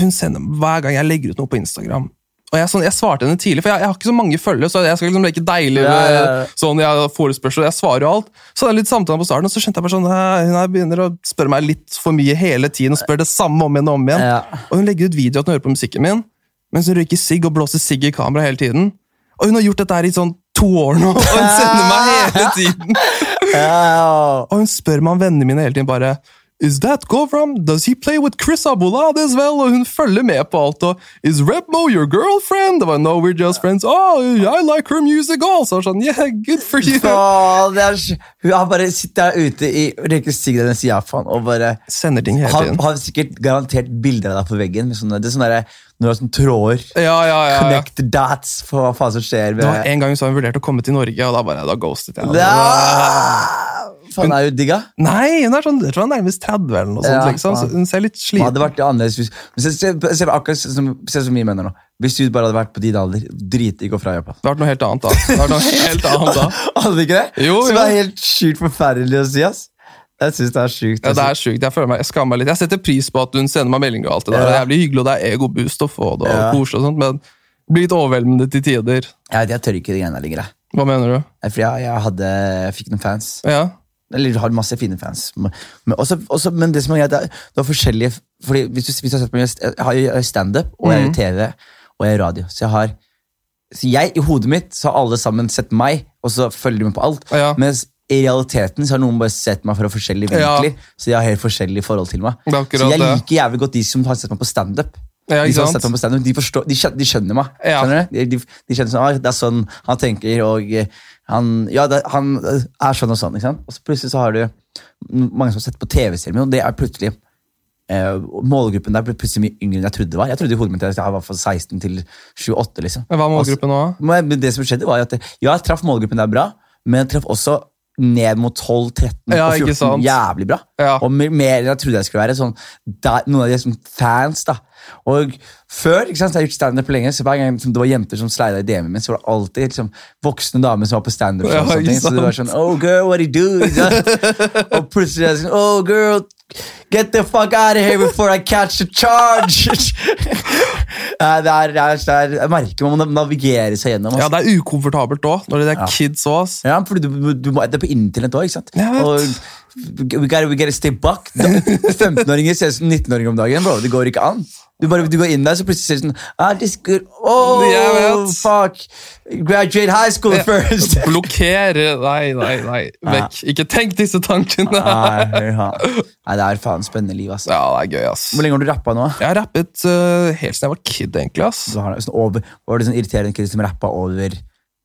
Speaker 6: hun sender hver gang jeg legger ut noe på Instagram. Og jeg, er sånn, jeg svarte henne tidlig, for jeg, jeg har ikke så mange følgere, så jeg skal liksom leke deilig
Speaker 1: Ja, ja, ja.
Speaker 6: med sånn jeg forespørsel, jeg svarer jo alt. Så hadde jeg litt samtale på starten, og så skjønte jeg bare sånn, «Hæ, hun her begynner å spørre meg litt for mye hele tiden, og spør det samme om igjen og om igjen.
Speaker 1: Ja.
Speaker 6: Og hun legger ut video at hun hører på musikken min, mens hun røyker sigg og blåser sigg i kamera hele tiden. Og hun har gjort dette her i sånn to år nå, og hun sender meg hele tiden.
Speaker 1: Ja,
Speaker 6: Og hun spør meg om vennene mine hele tiden bare Is that Govram? Does he play with Chris Abulad as well? Og hun følger med på alt. Og Is Repmo your girlfriend? Det var No, we're just friends. Oh, I like her music also. Sånn, yeah, good for you.
Speaker 1: Å, det er, så- hun har bare sittet der ute i røyker sigaret hennes i Japan og bare
Speaker 6: Sender ting hele
Speaker 1: har,
Speaker 6: tiden.
Speaker 1: har sikkert garantert bilder av deg på veggen. Med sånne, det er sånne der, når du har sånne tråder.
Speaker 6: Ja, ja, ja. ja.
Speaker 1: Connect dots for hva faen som skjer.
Speaker 6: Det var
Speaker 1: Med,
Speaker 6: en gang hun sa hun vurderte å komme til Norge, og da bare, da ghostet jeg.
Speaker 1: ja. Faen, det er jo digga.
Speaker 6: Nei, hun er sånn, jeg tror hun er nærmest 30 eller noe sånt.
Speaker 1: Ja,
Speaker 6: liksom. Så
Speaker 1: faen.
Speaker 6: hun ser litt
Speaker 1: Det
Speaker 6: sliten
Speaker 1: hadde vært annerledes hvis, men se, se, se, akkurat sånn som, se som vi mener nå. Hvis du bare hadde vært på din alder, dritdigg og fra Japan.
Speaker 6: Det har vært noe helt annet da. Det har vært noe helt annet da.
Speaker 1: Hadde det ikke det?
Speaker 6: Jo,
Speaker 1: Som
Speaker 6: jo.
Speaker 1: er helt sjukt forferdelig å si, ass. Jeg synes det er sjukt. altså.
Speaker 6: Ja, det
Speaker 1: ass.
Speaker 6: er sjukt. Jeg føler meg, jeg skammer meg litt. Jeg setter pris på at hun sender meg meldinger, og alt det der.
Speaker 1: Ja.
Speaker 6: Det er jævlig hyggelig, og det er ego-boost å få det, og
Speaker 1: Ja.
Speaker 6: koselig og sånt, men det blir litt overveldende til tider.
Speaker 1: Jeg vet, jeg tør ikke de greiene der lenger. jeg.
Speaker 6: Hva mener du?
Speaker 1: For jeg, jeg, hadde, jeg fikk noen fans.
Speaker 6: Ja,
Speaker 1: Eller har masse fine fans. Men, men også, også, men
Speaker 6: Mm.
Speaker 1: det som er greit, er, det var forskjellige fordi hvis du, hvis du har sett på meg, jeg har jo standup og jeg er i TV. og jeg gjør radio. Så jeg har så jeg, I hodet mitt så har alle sammen sett meg, og så følger de med på alt.
Speaker 6: Ja.
Speaker 1: Mens i realiteten så har noen bare sett meg fra forskjellige
Speaker 6: Ja.
Speaker 1: vinkler. Så de har helt forskjellige forhold til meg.
Speaker 6: Det er akkurat
Speaker 1: Så jeg
Speaker 6: det.
Speaker 1: liker jævlig godt de som har sett meg på standup.
Speaker 6: Ja,
Speaker 1: de
Speaker 6: ikke
Speaker 1: som har
Speaker 6: sant?
Speaker 1: sett meg på stand-up, de, forstår, de, skjønner, de skjønner meg.
Speaker 6: Ja.
Speaker 1: Skjønner du? De, de, de skjønner sånn, ah, Det er sånn han tenker, og eh, han, ja, det, han eh, er sånn og sånn. ikke sant? Og så plutselig så har du m- mange som har sett på TV-serien min, og det er plutselig eh, Målgruppen der ble plutselig mye yngre enn jeg trodde det var. Jeg trodde i hodet mitt at jeg var fra 16 til 28. liksom.
Speaker 6: Men Hva er
Speaker 1: Altså-
Speaker 6: målgruppen nå? da?
Speaker 1: men men det som skjedde var jo at det- ja, jeg traff målgruppen der bra, men jeg traff også ned mot 12, 13
Speaker 6: Ja,
Speaker 1: og 14
Speaker 6: ikke sant.
Speaker 1: jævlig bra.
Speaker 6: Ja.
Speaker 1: Og mer mer enn jeg trodde jeg skulle være. Sånn, der, noen av de som fans, da. Og før ikke sant, så har jeg gjort standup lenge, så hver gang liksom, det var jenter som slida i DM-en min, så var det alltid liksom, voksne damer som var på standup.
Speaker 6: Ja,
Speaker 1: og sånne
Speaker 6: ikke
Speaker 1: ting. så det var
Speaker 6: sant.
Speaker 1: sånn Oh, girl, what do you do? Ikke sant? og plutselig er det sånn Oh, girl, get the fuck out of here before I catch a charge! Nei, det er, det er, det er, jeg merker man må navigere seg gjennom.
Speaker 6: Ja,
Speaker 1: altså.
Speaker 6: det er ukomfortabelt òg, når det er kids òg. ass.
Speaker 1: Ja, fordi du, du må, det er på internett òg, ikke sant?
Speaker 6: Jeg vet.
Speaker 1: Og we gotta, we gotta stay back. Da- 15-åringer ser ut som 19-åringer om dagen. Bro, det går ikke an. Du, bare, du går inn der, så plutselig ser du sånn ah, this good. Oh,
Speaker 6: Jeg vet.
Speaker 1: fuck! Graduate high school first!
Speaker 6: Blokkere Nei, nei, nei. Vekk. Ikke tenk disse tankene!
Speaker 1: Nei, ja. Nei, det er faen spennende liv, ass.
Speaker 6: Ja, det er gøy, ass.
Speaker 1: Hvor lenge har du rappa nå?
Speaker 6: Jeg har rappet eh, helt siden jeg var kid, egentlig. ass.
Speaker 1: Du har, sånn over, var det sånn irriterende kid som rappa over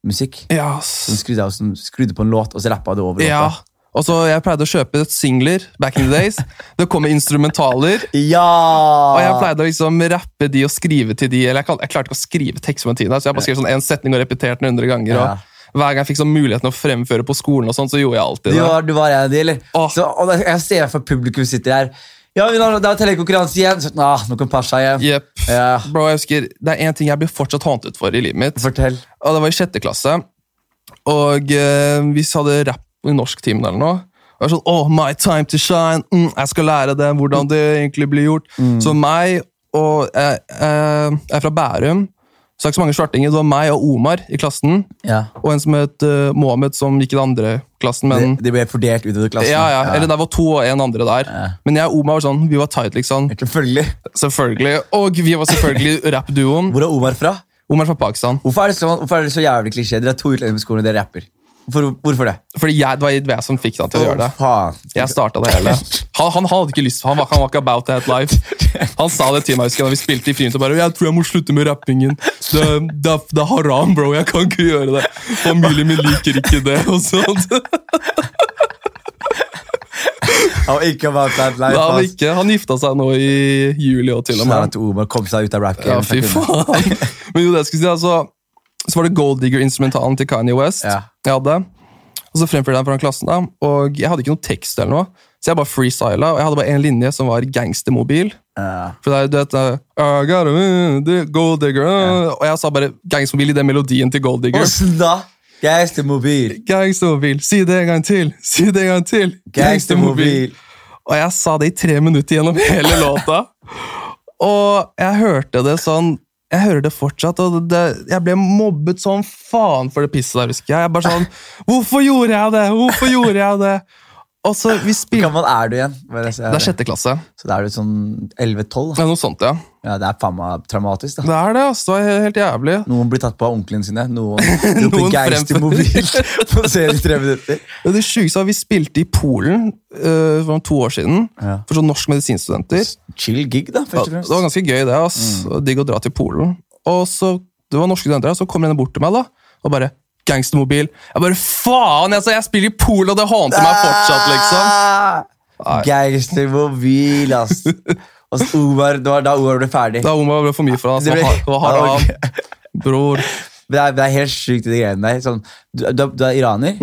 Speaker 1: musikk?
Speaker 6: Ja,
Speaker 1: Som
Speaker 6: ass.
Speaker 1: skrudde, av, som skrudde på en låt, og så rappa du over
Speaker 6: ja.
Speaker 1: låta?
Speaker 6: Og så Jeg pleide å kjøpe singler back in the days. Det kom med instrumentaler.
Speaker 1: Ja!
Speaker 6: Og
Speaker 1: Ah.
Speaker 6: jeg pleide å liksom rappe de og skrive til de. Eller jeg, kan, jeg klarte ikke å skrive tekst som en tid, så jeg bare skrev sånn en setning og repeterte den 100 ganger.
Speaker 1: Ja.
Speaker 6: Og hver gang jeg fikk sånn muligheten å fremføre på skolen, og sånn, så gjorde jeg alltid
Speaker 1: Du
Speaker 6: det.
Speaker 1: var, du var en av de, eller?
Speaker 6: Åh.
Speaker 1: Så, og da- jeg ser for publikum sitter her. Ja, vi har, det er telekonkurranse igjen. Så, ah, nå kan Pasha hjem.
Speaker 6: Jepp.
Speaker 1: Ja.
Speaker 6: Bro, jeg husker, Det er én ting jeg blir fortsatt håntet for i livet mitt.
Speaker 1: Fortell.
Speaker 6: Og det var i sjette klasse. Og eh, vi hadde rapp i norsktimen eller noe. Og jeg var sånn, oh, my time to shine. Mm, jeg skal lære det, hvordan det egentlig blir gjort.
Speaker 1: Mm.
Speaker 6: Så meg og eh, eh, Jeg er fra Bærum. Så det er ikke så mange svartinger. Det var meg og Omar i klassen.
Speaker 1: Ja.
Speaker 6: Og en som het eh, Mohammed, som gikk i den andre klassen. Men,
Speaker 1: Det, sånn, det ble fordelt utover klassen.
Speaker 6: ja, ja, Eller det var to og en andre der. Men jeg og Omar var sånn, vi var tight, liksom.
Speaker 1: Selvfølgelig.
Speaker 6: Selvfølgelig. Og vi var selvfølgelig rappduoen.
Speaker 1: Hvor er Omar fra?
Speaker 6: Omar fra Pakistan.
Speaker 1: Hvorfor er det så, hvorfor er det så jævlig klisjé? Dere er to utlendinger på skolen, og dere rapper. Hvorfor, hvorfor det?
Speaker 6: Fordi jeg, det var jeg som fikk han til å gjøre det.
Speaker 1: Å, faen.
Speaker 6: Jeg starta det hele. Han, han hadde ikke lyst Han var, han var ikke about that life. Han sa det til meg husker jeg, da vi spilte i friminutt. og bare, 'Jeg tror jeg må slutte med rappingen. Det, det, er- det er haram, bro. Jeg kan ikke gjøre det. Familien min liker ikke det.' og sånt.
Speaker 1: Han var ikke about that life.
Speaker 6: Nei, han,
Speaker 1: ass.
Speaker 6: ikke, han gifta seg nå i juli òg, til og
Speaker 1: Snarere
Speaker 6: med.
Speaker 1: at Omar kom seg ut av rap
Speaker 6: Ja, fy faen. Men jo, det jeg skulle si, altså, så var det Gold Digger-instrumentalen til Kanye West.
Speaker 1: Ja.
Speaker 6: Jeg hadde. Og så fremførte jeg den foran klassen, da, og jeg hadde ikke noe tekst, eller noe, så jeg bare freestyla. Og jeg hadde bare én linje, som var gangstermobil.
Speaker 1: Ja.
Speaker 6: For det er jo det at, uh, gotta, uh, the Gold Digger uh, Og jeg sa bare gangstermobil i den melodien til Gold Digger.
Speaker 1: Åssen da? Gangstermobil.
Speaker 6: Gangstermobil, si det en gang til! Si det en gang til!
Speaker 1: Gangstermobil.
Speaker 6: Og jeg sa det i tre minutter gjennom hele låta. Og jeg hørte det sånn Jeg hører det fortsatt, og det, jeg ble mobbet som faen for det pisset der, husker jeg. Jeg bare sånn Hvorfor gjorde jeg det?! Hvorfor gjorde jeg det?! Og så vi
Speaker 1: Hvor
Speaker 6: spilte
Speaker 1: gammel er du igjen? Bare så jeg-
Speaker 6: Det er sjette klasse.
Speaker 1: Så da er du sånn 11-12? da.
Speaker 6: Det er noe sånt, ja.
Speaker 1: Ja, det er faen meg traumatisk, da.
Speaker 6: Det er det, altså. Det er helt jævlig.
Speaker 1: Noen blir tatt på av onklene sine. Noen roper
Speaker 6: Noen
Speaker 1: geistermobil på serien i tre minutter.
Speaker 6: Det, er det sjukeste var at vi spilte i Polen eh, for to år siden
Speaker 1: Ja.
Speaker 6: for sånn norsk medisinstudenter.
Speaker 1: Chill gig, da.
Speaker 6: Ja,
Speaker 1: først og Mm.
Speaker 6: Det
Speaker 1: fremst.
Speaker 6: var ganske gøy, det. ass. Og Digg å dra til Polen. Og så, Det var norske studenter, og så kom henne bort til meg da, og bare 'Gangstermobil'. Jeg bare faen! Altså, jeg spiller i Polen, og det hånter meg fortsatt, liksom.
Speaker 1: Ah! Geistermobil, ass. Og så Omar, det var da Omar ble ferdig.
Speaker 6: Da Omar ble for mye for
Speaker 1: Det
Speaker 6: deg.
Speaker 1: ble-
Speaker 6: Altså, det var haram. Bror.
Speaker 1: Det er, det er helt sjukt, de greiene der. Sånn, du, du, er- du er iraner?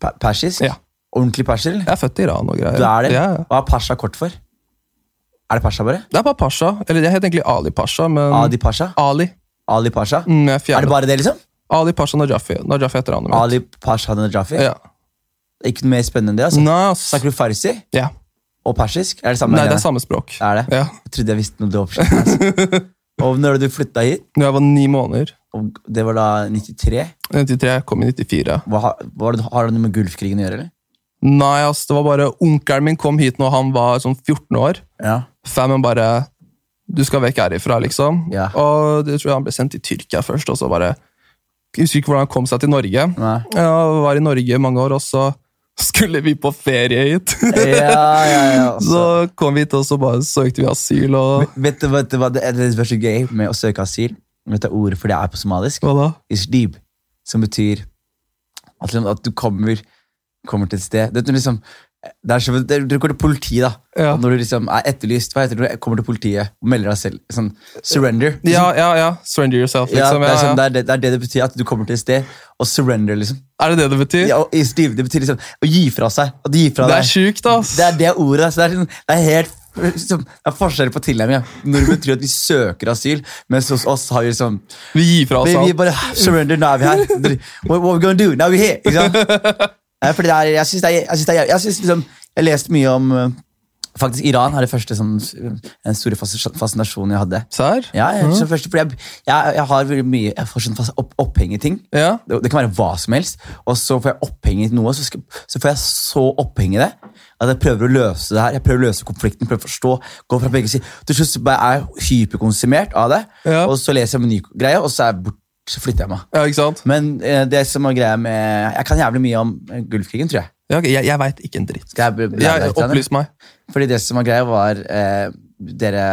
Speaker 1: Pa- Persisk?
Speaker 6: Mm. Ja.
Speaker 1: Ordentlig perser? eller?
Speaker 6: Jeg er født i Iran og greier.
Speaker 1: Du er det?
Speaker 6: Ja, ja.
Speaker 1: Hva er Pasha kort for? Er det Pasha bare?
Speaker 6: Det er bare Pasha. Eller jeg heter egentlig Ali Pasha, men
Speaker 1: Adi Pasha?
Speaker 6: Ali.
Speaker 1: Ali Pasha?
Speaker 6: Mm, jeg
Speaker 1: Er
Speaker 6: fjernet.
Speaker 1: det bare det, liksom?
Speaker 6: Ali Pasha Najafi. Najafi heter han.
Speaker 1: Ali Pasha Najafi?
Speaker 6: Ja.
Speaker 1: Ikke noe mer spennende enn det? altså.
Speaker 6: Nei, ass.
Speaker 1: Snakker du farsi
Speaker 6: Ja.
Speaker 1: og persisk? Er det samme?
Speaker 6: Nei, det
Speaker 1: greiene?
Speaker 6: er samme språk.
Speaker 1: Er det?
Speaker 6: Ja.
Speaker 1: Jeg trodde jeg visste noe om det oppskjønnet. Altså. og når du flytta hit,
Speaker 6: Når jeg var ni måneder.
Speaker 1: og det var da 93
Speaker 6: 93, jeg kom i 94.
Speaker 1: hva, har- var det, Har det noe med Gulfkrigen å gjøre, eller?
Speaker 6: Nei, ass, det var bare Onkelen min kom hit når han var sånn 14 år.
Speaker 1: Ja.
Speaker 6: Famen bare du skal vekk herifra, liksom.
Speaker 1: Ja.
Speaker 6: Og det tror jeg han ble sendt til Tyrkia først, og så bare Jeg husker ikke hvordan han kom seg til Norge.
Speaker 1: Nei.
Speaker 6: Ja, var i Norge i mange år, og så skulle vi på ferie hit.
Speaker 1: Ja, ja, ja. altså.
Speaker 6: så kom vi hit, og så bare søkte vi asyl, og
Speaker 1: Vet du, vet du hva det er det som er så gøy med å søke asyl? Vet du ordet for det er på somalisk?
Speaker 6: hva da?
Speaker 1: Ishdib, som betyr at, liksom, at du kommer, kommer til et sted. Det, er liksom, det er som, det, du kommer til politiet, da.
Speaker 6: Ja.
Speaker 1: Og Når du liksom er etterlyst, hva heter det? når du kommer til politiet og melder deg selv. Sånn, surrender.
Speaker 6: Ja, ja, ja. Surrender yourself,
Speaker 1: Ja,
Speaker 6: liksom.
Speaker 1: det, er
Speaker 6: Ja,
Speaker 1: sånn,
Speaker 6: ja.
Speaker 1: det, er det, det er det det betyr, at du kommer til et sted og surrender, liksom.
Speaker 6: Er det det det betyr?
Speaker 1: Ja, og ishdib, det betyr liksom å gi fra seg. At du gir fra
Speaker 6: Det er
Speaker 1: deg.
Speaker 6: sjukt, ass.
Speaker 1: Det er det ordet. altså. Det er, sånn, det er helt liksom, det er forskjell på tilnærmingen. Nordmenn tror at vi søker asyl, mens hos oss har vi liksom
Speaker 6: Vi gir fra oss
Speaker 1: vi, vi
Speaker 6: alt.
Speaker 1: bare surrender, nå er vi her. What, what we gonna do? Now we here. Ikke sant? Nei, fordi det er, jeg syns det er Jeg synes det er, jeg, synes liksom, jeg leste mye om eh, Faktisk Iran har det første sånn, den store fas- fascinasjonen jeg hadde.
Speaker 6: Serr?
Speaker 1: Ja, jeg, som første, fordi jeg, jeg, jeg har veldig mye Jeg får sånn fas- opp, oppheng i ting.
Speaker 6: Ja.
Speaker 1: Det, det kan være hva som helst. Og så får jeg oppheng i noe, så, skal, så får jeg så oppheng i det at jeg prøver å løse det her. Jeg prøver å løse konflikten, prøver å forstå. gå fra begge sider. Til slutt så bare er jeg hyperkonsumert av det,
Speaker 6: Ja.
Speaker 1: og så leser jeg om en ny greie, og så, er jeg bort, så flytter jeg meg.
Speaker 6: Ja, ikke sant?
Speaker 1: Men eh, det som er greia med Jeg kan jævlig mye om eh, Gulfkrigen, tror jeg.
Speaker 6: Ja, ok, jeg jeg veit ikke en dritt.
Speaker 1: Skal jeg bl- blære deg
Speaker 6: Jeg
Speaker 1: litt av det?
Speaker 6: Opplys meg.
Speaker 1: Fordi det som var greia, var eh, Dere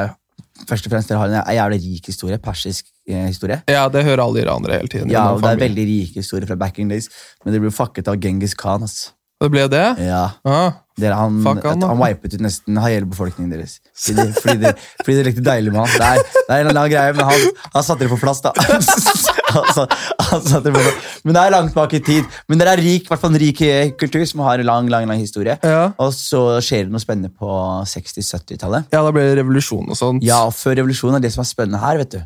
Speaker 1: først og fremst dere har en jævlig rik historie. Persisk eh, historie.
Speaker 6: Ja, det hører alle iranere hele tiden.
Speaker 1: Ja,
Speaker 6: Gjennom
Speaker 1: og Det er
Speaker 6: familien.
Speaker 1: veldig rike historier fra back in days, men det ble fucket av Genghis Khan. ass.
Speaker 6: Det ble det?
Speaker 1: Ja,
Speaker 6: Ah,
Speaker 1: dere, han,
Speaker 6: Fuck han,
Speaker 1: han,
Speaker 6: da.
Speaker 1: han wipet ut nesten hele befolkningen deres. Fordi de, fordi de, fordi de lekte deilig med han. Det er, det er en eller annen greie, men han, han satte det på plass, da. Han, sa- han satte det på plass. Men det er langt bak i tid. Men dere er rik, i hvert fall en rik eh, kultur som har en lang, lang, lang historie.
Speaker 6: Ja.
Speaker 1: Og så skjer det noe spennende på 60-70-tallet.
Speaker 6: ja, da ble det revolusjon og sånt.
Speaker 1: Ja, og før revolusjonen er det som er spennende her, vet du,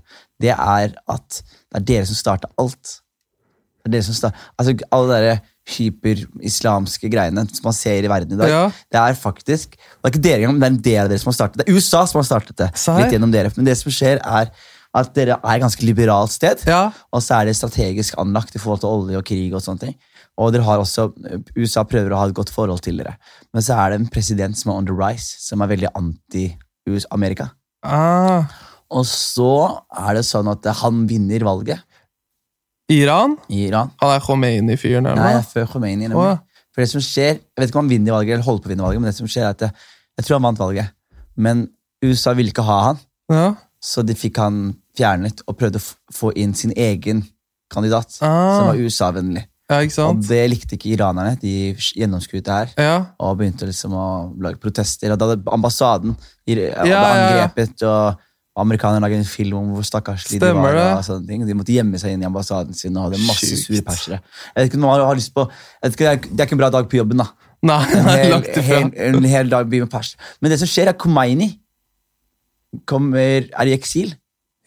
Speaker 1: det er at det er dere som starter alt. Det er dere som starter, altså alle de der hyperislamske greiene som man ser i verden i dag,
Speaker 6: Ja.
Speaker 1: det er faktisk, det er ikke dere engang, men det er en del av dere som har startet det. Det er USA som har startet det,
Speaker 6: Serr?
Speaker 1: litt gjennom dere. Men det som skjer er at dere er et ganske liberalt sted,
Speaker 6: Ja.
Speaker 1: og så er det strategisk anlagt i forhold til olje og krig og sånne ting. Og dere har også, USA prøver å ha et godt forhold til dere. Men så er det en president som er on the rise, som er veldig anti-Amerika.
Speaker 6: Ah,
Speaker 1: Og så er det sånn at han vinner valget
Speaker 6: Iran?
Speaker 1: i Iran.
Speaker 6: Han er Khomeini-fyren der
Speaker 1: Nei,
Speaker 6: nå?
Speaker 1: det er før Khomeini.
Speaker 6: Å,
Speaker 1: nemlig.
Speaker 6: ja.
Speaker 1: For det som skjer, Jeg vet ikke om han vinner valget, eller holder på å vinne valget, men det som skjer er at det, jeg tror han vant valget. Men USA ville ikke ha han,
Speaker 6: Ja.
Speaker 1: så de fikk han fjernet og prøvde å f- få inn sin egen kandidat,
Speaker 6: Ah.
Speaker 1: som var USA-vennlig.
Speaker 6: ja, ikke
Speaker 1: Og
Speaker 6: sant?
Speaker 1: det likte ikke iranerne. De gjennomskuet det her.
Speaker 6: Ja.
Speaker 1: og begynte liksom å lage protester. Og da hadde ambassaden i- hadde
Speaker 6: ja, ja.
Speaker 1: angrepet, og amerikanerne laget en film om hvor stakkarslige de var.
Speaker 6: Stemmer det.
Speaker 1: og sånne ting. De måtte gjemme seg inn i ambassaden sin og hadde masse
Speaker 6: Sjukt.
Speaker 1: sure persere. Jeg vet ikke om man har lyst på, jeg vet ikke, det er- det er ikke en bra dag på jobben, da.
Speaker 6: Nei,
Speaker 1: En
Speaker 6: nei,
Speaker 1: hel,
Speaker 6: lagt det
Speaker 1: hel,
Speaker 6: frem.
Speaker 1: en hel dag by med pers. Men det som skjer, er Khomeini kommer, er i eksil.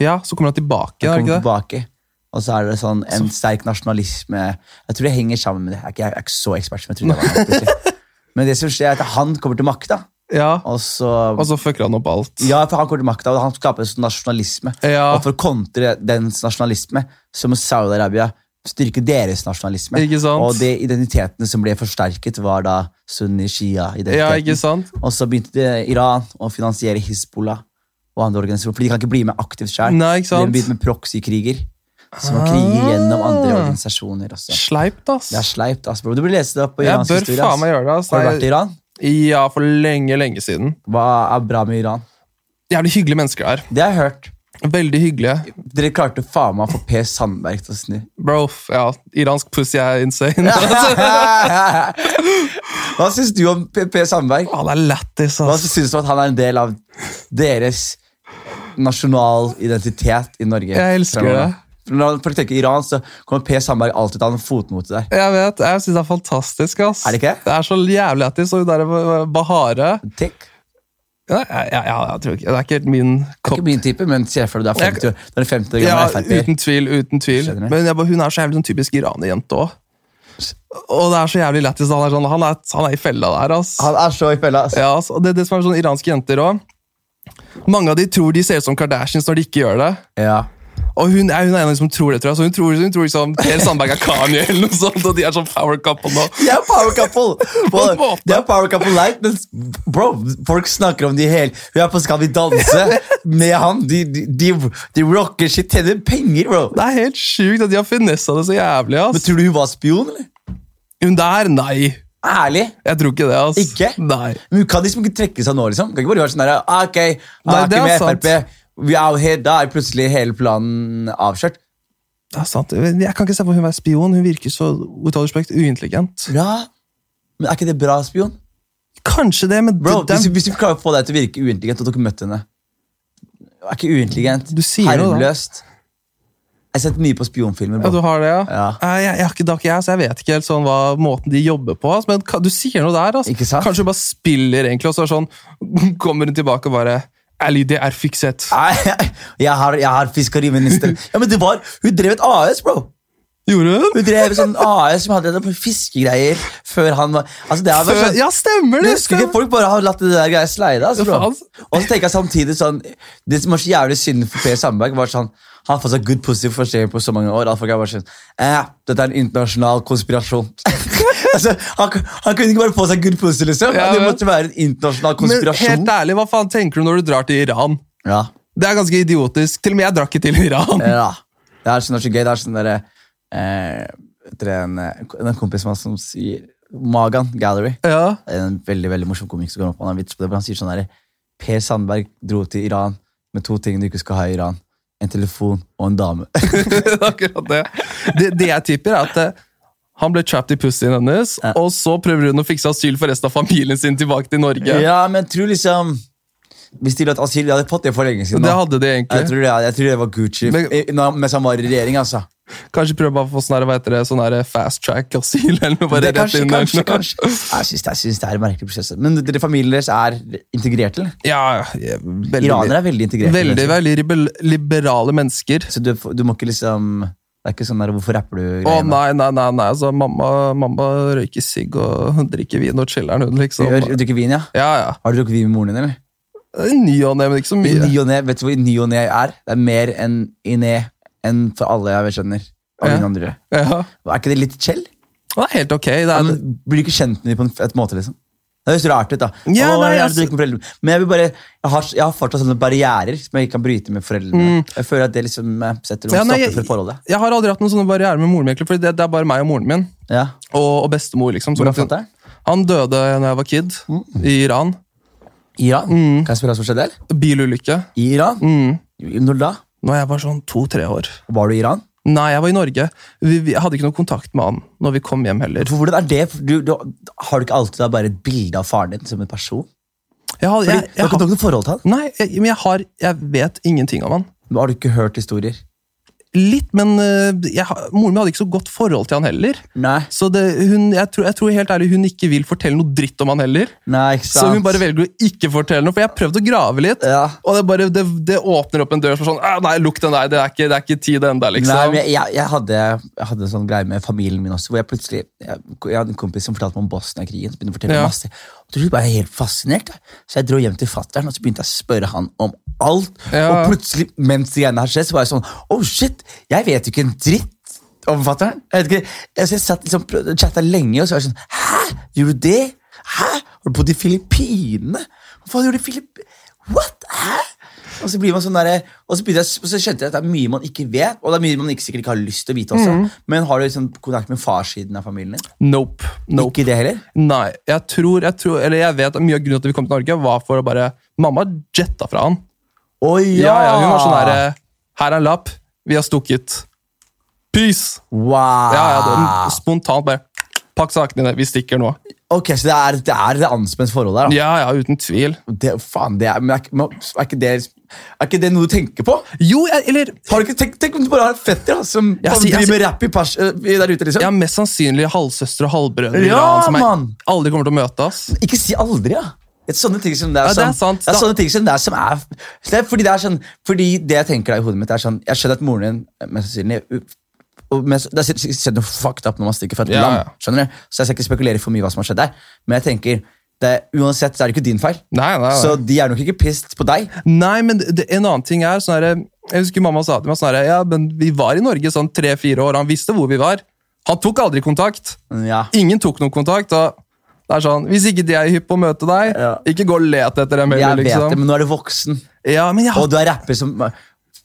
Speaker 6: Ja, så kommer han tilbake, er
Speaker 1: Han kommer
Speaker 6: det ikke det?
Speaker 1: tilbake. Og så er det sånn en sterk nasjonalisme. Jeg tror det henger sammen med det. Jeg er ikke, jeg er ikke så ekspert som jeg trodde. jeg var. plutselig. Men det som skjer, er at han kommer til makta.
Speaker 6: Ja,
Speaker 1: Og så,
Speaker 6: og så fucker han opp alt.
Speaker 1: ja, for han kommer til makta, og han skaper en sånn nasjonalisme.
Speaker 6: Ja.
Speaker 1: Og for å kontre dens nasjonalisme, så må Saudi-Arabia styrke deres nasjonalisme.
Speaker 6: Ikke sant?
Speaker 1: Og de identitetene som ble forsterket, var da
Speaker 6: Ja, ikke
Speaker 1: sunni-shia-identiteten.
Speaker 6: sant?
Speaker 1: og så begynte det Iran å finansiere Hizbollah og andre organisasjoner, for de kan ikke bli med aktivt sjøl.
Speaker 6: Nei, ikke
Speaker 1: De har
Speaker 6: sant? Ah.
Speaker 1: begynt med proxykriger, som kriger gjennom andre organisasjoner også.
Speaker 6: Sleipt, ass.
Speaker 1: Det er sleipt, ass, bro. Du burde lese det opp på
Speaker 6: Jeg
Speaker 1: Irans
Speaker 6: bør
Speaker 1: historie.
Speaker 6: faen meg gjøre det, ass.
Speaker 1: Har du vært i
Speaker 6: Nei,
Speaker 1: Iran?
Speaker 6: Ja, for lenge, lenge siden.
Speaker 1: Hva er bra med Iran?
Speaker 6: Jævlig hyggelige mennesker der.
Speaker 1: Det har jeg hørt.
Speaker 6: Veldig hyggelige.
Speaker 1: Dere klarte faen meg å få Per Sandberg til å snu.
Speaker 6: Bro, f- ja, iransk pussy er insane.
Speaker 1: Hva syns du om P- Per Sandberg?
Speaker 6: Han er lættis,
Speaker 1: Hva
Speaker 6: ass.
Speaker 1: syns du om at han er en del av deres nasjonal identitet i Norge?
Speaker 6: Jeg elsker
Speaker 1: fremover?
Speaker 6: det.
Speaker 1: For Når folk tenker Iran, så kommer Per Sandberg alltid til å ha en fotnote der.
Speaker 6: Jeg vet, jeg synes det er fantastisk, ass.
Speaker 1: Er det ikke det?
Speaker 6: Det er så jævlig lættis, og hun der Bahare.
Speaker 1: Tikk.
Speaker 6: Ja, jeg, jeg, jeg, jeg tror ikke, det er ikke helt min kopp.
Speaker 1: Ikke min type, men ser for deg du er 50 år, du er 50 år
Speaker 6: Ja,
Speaker 1: gammel Frp.
Speaker 6: uten tvil, uten tvil.
Speaker 1: Skjønner.
Speaker 6: Men jeg, bare- hun er så jævlig sånn typisk iranerjente òg. Og det er så jævlig lættis. Han, er sånn, han, er- han er i fella der, ass.
Speaker 1: Han er så i fella. altså. ass.
Speaker 6: Ja, ass. Og det, det som er sånn iranske jenter òg Mange av de tror de ser ut som Kardashians når de ikke gjør det.
Speaker 1: Ja.
Speaker 6: Og hun er, hun er en av de som tror det, tror jeg. Så hun tror, hun tror liksom Per Sandberg er Kanye, eller noe sånt, og de er sånn power couple nå.
Speaker 1: De er power couple!
Speaker 6: en
Speaker 1: Well,
Speaker 6: måte.
Speaker 1: de er power couple light, men bro, folk snakker om de hele Hun er på Skal vi danse med han. De, de, de, de rocker shit, tjener penger, bro.
Speaker 6: Det er helt sjukt at de har finessa det så jævlig.
Speaker 1: Men
Speaker 6: ass.
Speaker 1: tror du hun var spion, eller?
Speaker 6: Hun der, nei.
Speaker 1: Ærlig?
Speaker 6: Jeg tror ikke det. ass.
Speaker 1: Ikke?
Speaker 6: Nei.
Speaker 1: Men hun kan liksom ikke trekke seg nå, liksom. Hun Kan ikke bare være sånn der, ah, ok,
Speaker 6: Nei,
Speaker 1: ah, ikke
Speaker 6: det er
Speaker 1: med
Speaker 6: sant.
Speaker 1: FRP. Vi er out here, da er plutselig hele planen avskjørt.
Speaker 6: Det er sant. Jeg kan ikke se på hun er spion. Hun virker så ut av respekt uintelligent.
Speaker 1: Bra. Men er ikke det bra, spion?
Speaker 6: Kanskje det, men
Speaker 1: Bro,
Speaker 6: det- det er-
Speaker 1: hvis, hvis du klarer å få deg til å virke uintelligent, og du ikke møtte henne Er ikke uintelligent.
Speaker 6: Du sier jo det.
Speaker 1: Harmløst. Jeg har sett mye på spionfilmer.
Speaker 6: ja,
Speaker 1: bro.
Speaker 6: du har det, ja?
Speaker 1: Ja.
Speaker 6: Nei, Jeg, jeg har ikke, det har ikke jeg, så jeg vet ikke helt sånn hva måten de jobber på. ass, Men ka- du sier noe der. ass.
Speaker 1: Ikke sant?
Speaker 6: Kanskje hun bare spiller, egentlig, og så er sånn, kommer hun tilbake og bare Ali, det er fikset.
Speaker 1: Nei, jeg har, jeg har fiskeriminister. Ja, men det var, Hun drev et AS, bro!
Speaker 6: Gjorde hun?
Speaker 1: Hun drev et sånn AS som hadde noen fiskegreier før han var altså, det har vært
Speaker 6: Før,
Speaker 1: sånn-
Speaker 6: ja, stemmer
Speaker 1: Du
Speaker 6: det!
Speaker 1: husker ikke
Speaker 6: stemmer.
Speaker 1: Folk bare har latt det der greia slide. Altså,
Speaker 6: Ja,
Speaker 1: bro.
Speaker 6: faen.
Speaker 1: og så tenker jeg samtidig sånn Det som var så jævlig synd for Per Sandberg, var sånn han har fått seg good positive forståelse på så mange år. Alle folk er bare sånn, eh, Dette er en internasjonal konspirasjon. altså, han, han kunne ikke bare få seg good positive, liksom.
Speaker 6: Ja,
Speaker 1: det
Speaker 6: men-
Speaker 1: måtte være en internasjonal
Speaker 6: Men
Speaker 1: konspirasjon.
Speaker 6: helt ærlig, hva faen tenker du når du drar til Iran?
Speaker 1: ja,
Speaker 6: Det er ganske idiotisk. Til og med jeg drar ikke til Iran.
Speaker 1: ja. Det er sånn det er så gøy. Det er sånn derre eh, Det er en, eh, en kompis av meg som sier Magan Gallery.
Speaker 6: Ja.
Speaker 1: Det er en veldig veldig morsom komiker som kommer opp, han har en vits på det, men han sier sånn der, Per Sandberg dro til Iran med to ting du ikke skal ha i Iran. En telefon og en dame.
Speaker 6: Det er akkurat det. det. Det jeg tipper, er at eh, han ble trapped i pussyen hennes, og så prøver hun å fikse asyl for resten av familien sin tilbake til Norge.
Speaker 1: Ja, men jeg tror liksom Hvis de lot asyl, de hadde fått det for lenge siden. nå.
Speaker 6: Det hadde de egentlig.
Speaker 1: Jeg tror det, jeg tror det var Gucci
Speaker 6: Men-
Speaker 1: i- når han- mens han var i regjering, altså.
Speaker 6: Kanskje prøve bare å få sånn her, hva heter det, sånn her fast track asyl eller
Speaker 1: Det
Speaker 6: noe. bare
Speaker 1: er
Speaker 6: rett
Speaker 1: kanskje,
Speaker 6: inn der.
Speaker 1: kanskje, kanskje. Jeg syns det, jeg synes det er en merkelig prosess. altså. Men dere familien deres er integrert, eller?
Speaker 6: Ja, ja, veldig,
Speaker 1: Iranere er veldig integrerte.
Speaker 6: Veldig,
Speaker 1: mennesker.
Speaker 6: veldig liber- liberale mennesker.
Speaker 1: Så du, du må ikke liksom Det er ikke sånn der 'hvorfor rapper du?'
Speaker 6: Å
Speaker 1: greiene.
Speaker 6: nei, nei, nei, nei. Altså, mamma, mamma røyker sigg og drikker vin og chiller'n, hun,
Speaker 1: Du
Speaker 6: liksom.
Speaker 1: gjør- du drikker vin, ja?
Speaker 6: Ja, ja.
Speaker 1: Har du drukket vin med moren din, eller?
Speaker 6: I Ny og ne, men ikke så
Speaker 1: I
Speaker 6: mye.
Speaker 1: Ny og ne, vet du hvor ny og ne er? Det er mer enn i ne enn for alle jeg skjønner. Av
Speaker 6: Ja.
Speaker 1: dine andre.
Speaker 6: Ja.
Speaker 1: Er ikke det litt chill?
Speaker 6: Det er helt ok. Det
Speaker 1: Ja,
Speaker 6: er,
Speaker 1: men Blir du ikke kjent med dem på en et måte, liksom? Det høres rart ut, da.
Speaker 6: Ja,
Speaker 1: Å,
Speaker 6: nei,
Speaker 1: jeg er
Speaker 6: altså-
Speaker 1: drukket med foreldrene. mine. Men jeg vil bare, jeg har, jeg har fortsatt sånne barrierer som jeg ikke kan bryte med foreldrene. Jeg føler at det liksom eh, setter noen
Speaker 6: Mm. Ja, nei,
Speaker 1: stopper for forholdet.
Speaker 6: jeg har aldri hatt noen sånne barrierer med moren min, egentlig, for det, det er bare meg og moren min.
Speaker 1: Ja.
Speaker 6: Og, og bestemor, liksom.
Speaker 1: Hvordan
Speaker 6: at-
Speaker 1: fant jeg? Mm.
Speaker 6: han døde da jeg var kid, i Iran.
Speaker 1: Iran?
Speaker 6: Mm.
Speaker 1: Kan jeg spørre hva som skjedde der?
Speaker 6: Bilulykke.
Speaker 1: I Iran?
Speaker 6: Mm.
Speaker 1: Når da?
Speaker 6: Når jeg var sånn to-tre år.
Speaker 1: Var du i Iran?
Speaker 6: Nei, jeg var i Norge. Vi, vi jeg hadde ikke noe kontakt med han når vi kom hjem heller.
Speaker 1: For hvordan er det? For Du, du, har du ikke alltid da bare et bilde av faren din som en person?
Speaker 6: Jeg har,
Speaker 1: Fordi,
Speaker 6: jeg,
Speaker 1: du har
Speaker 6: jeg
Speaker 1: ikke
Speaker 6: har,
Speaker 1: noe forhold til han?
Speaker 6: nei, jeg, men jeg har Jeg vet ingenting om han.
Speaker 1: Har du ikke hørt historier?
Speaker 6: Litt, men øh, jeg, har- moren min hadde ikke så godt forhold til han heller.
Speaker 1: Nei.
Speaker 6: Så det, hun, jeg, tror, jeg tror helt ærlig hun ikke vil fortelle noe dritt om han heller.
Speaker 1: Nei, ikke sant?
Speaker 6: Så hun bare velger å ikke fortelle noe, for jeg har prøvd å grave litt.
Speaker 1: Ja.
Speaker 6: Og det, bare, det, det åpner opp en dør som er sånn «Ah, Nei, lukk den der, det er ikke, det er ikke tid ennå,
Speaker 1: Nei,
Speaker 6: liksom.
Speaker 1: men jeg, jeg, jeg, hadde, jeg hadde en sånn greie med familien min også, hvor jeg plutselig Jeg, jeg hadde en kompis som fortalte meg om Bosnia-krigen. som begynte å fortelle
Speaker 6: Ja.
Speaker 1: meg masse. Og til slutt ble jeg helt fascinert. jeg. Så jeg dro hjem til fatter'n og så begynte jeg å spørre han om alt.
Speaker 6: Ja.
Speaker 1: Og plutselig, mens de greiene her skjedde, så var jeg sånn Oh shit, jeg vet jo ikke en dritt om fatter'n. Jeg vet ikke, jeg, så jeg satt liksom, prøvde- chatta lenge, og så var jeg sånn Hæ, gjorde du det? Hæ? Har du bodd i Filippinene? Hva faen gjorde du i Filipp... What? Hæ? Og så, blir man sånn der, og, så begynte jeg, og så skjønte jeg at det er mye man ikke vet, og det er mye man ikke, sikkert ikke har lyst til å vite
Speaker 6: Mm.
Speaker 1: også. Men har du liksom kontakt med farssiden av familien din?
Speaker 6: Nope. nope.
Speaker 1: Ikke det heller?
Speaker 6: Nei. Jeg tror, jeg tror, eller jeg vet at mye av grunnen til at vi kom til Norge, var for å bare Mamma jetta fra han.
Speaker 1: Å ja!
Speaker 6: Ja, ja, hun var sånn herre Her er en lapp. Vi har stukket. Peace!
Speaker 1: Wow!
Speaker 6: Ja, ja, det, spontant bare Pakk sakene dine. Vi stikker nå.
Speaker 1: Ok, Så det er det, er det anspent forholdet her, da.
Speaker 6: Ja, ja, uten tvil.
Speaker 1: Det, faen, det er, men er, ikke- men er, ikke det, er ikke det noe du tenker på?
Speaker 6: Jo, jeg, eller
Speaker 1: Har du ikke, tenk, tenk om du bare har en fetter da, som
Speaker 6: Jeg
Speaker 1: som
Speaker 6: sier- jeg
Speaker 1: driver med rap i pers, eh, der ute, liksom.
Speaker 6: Ja, mest sannsynlig halvsøstre og halvbrødre i
Speaker 1: Ja,
Speaker 6: Iran som jeg
Speaker 1: mann!
Speaker 6: aldri kommer til å møte. ass.
Speaker 1: Ikke si aldri, ja. Det er sånne ting som det er,
Speaker 6: Ja, det er
Speaker 1: sånn-
Speaker 6: sant.
Speaker 1: Det er
Speaker 6: Da-
Speaker 1: sånne ting som det er som er, det er, fordi, det er sånn, fordi det jeg tenker da i hodet mitt, er sånn Jeg skjønner at moren din eh, mest sannsynlig u- og mest, Det er sikkert- sikkert sikkert noe fucked up når man stikker fra et
Speaker 6: Ja,
Speaker 1: land,
Speaker 6: ja.
Speaker 1: skjønner du? Så jeg skal ikke spekulere for mye hva som har skjedd der. Men jeg tenker, det, er- uansett så er det ikke din feil.
Speaker 6: Nei, nei, nei.
Speaker 1: Så de er nok ikke pissed på deg.
Speaker 6: Nei, men det, en annen ting er sånn herre Jeg husker mamma sa til meg sånn her, ja, men vi var i Norge sånn tre-fire år, han visste hvor vi var. Han tok aldri kontakt.
Speaker 1: Ja.
Speaker 6: Ingen tok noen kontakt. og det er sånn, Hvis ikke de er hypp på å møte deg,
Speaker 1: Ja.
Speaker 6: ikke gå og let etter dem
Speaker 1: Jeg
Speaker 6: heller.
Speaker 1: vet det,
Speaker 6: liksom.
Speaker 1: men nå er du voksen.
Speaker 6: Ja, men jeg
Speaker 1: Og du er rapper som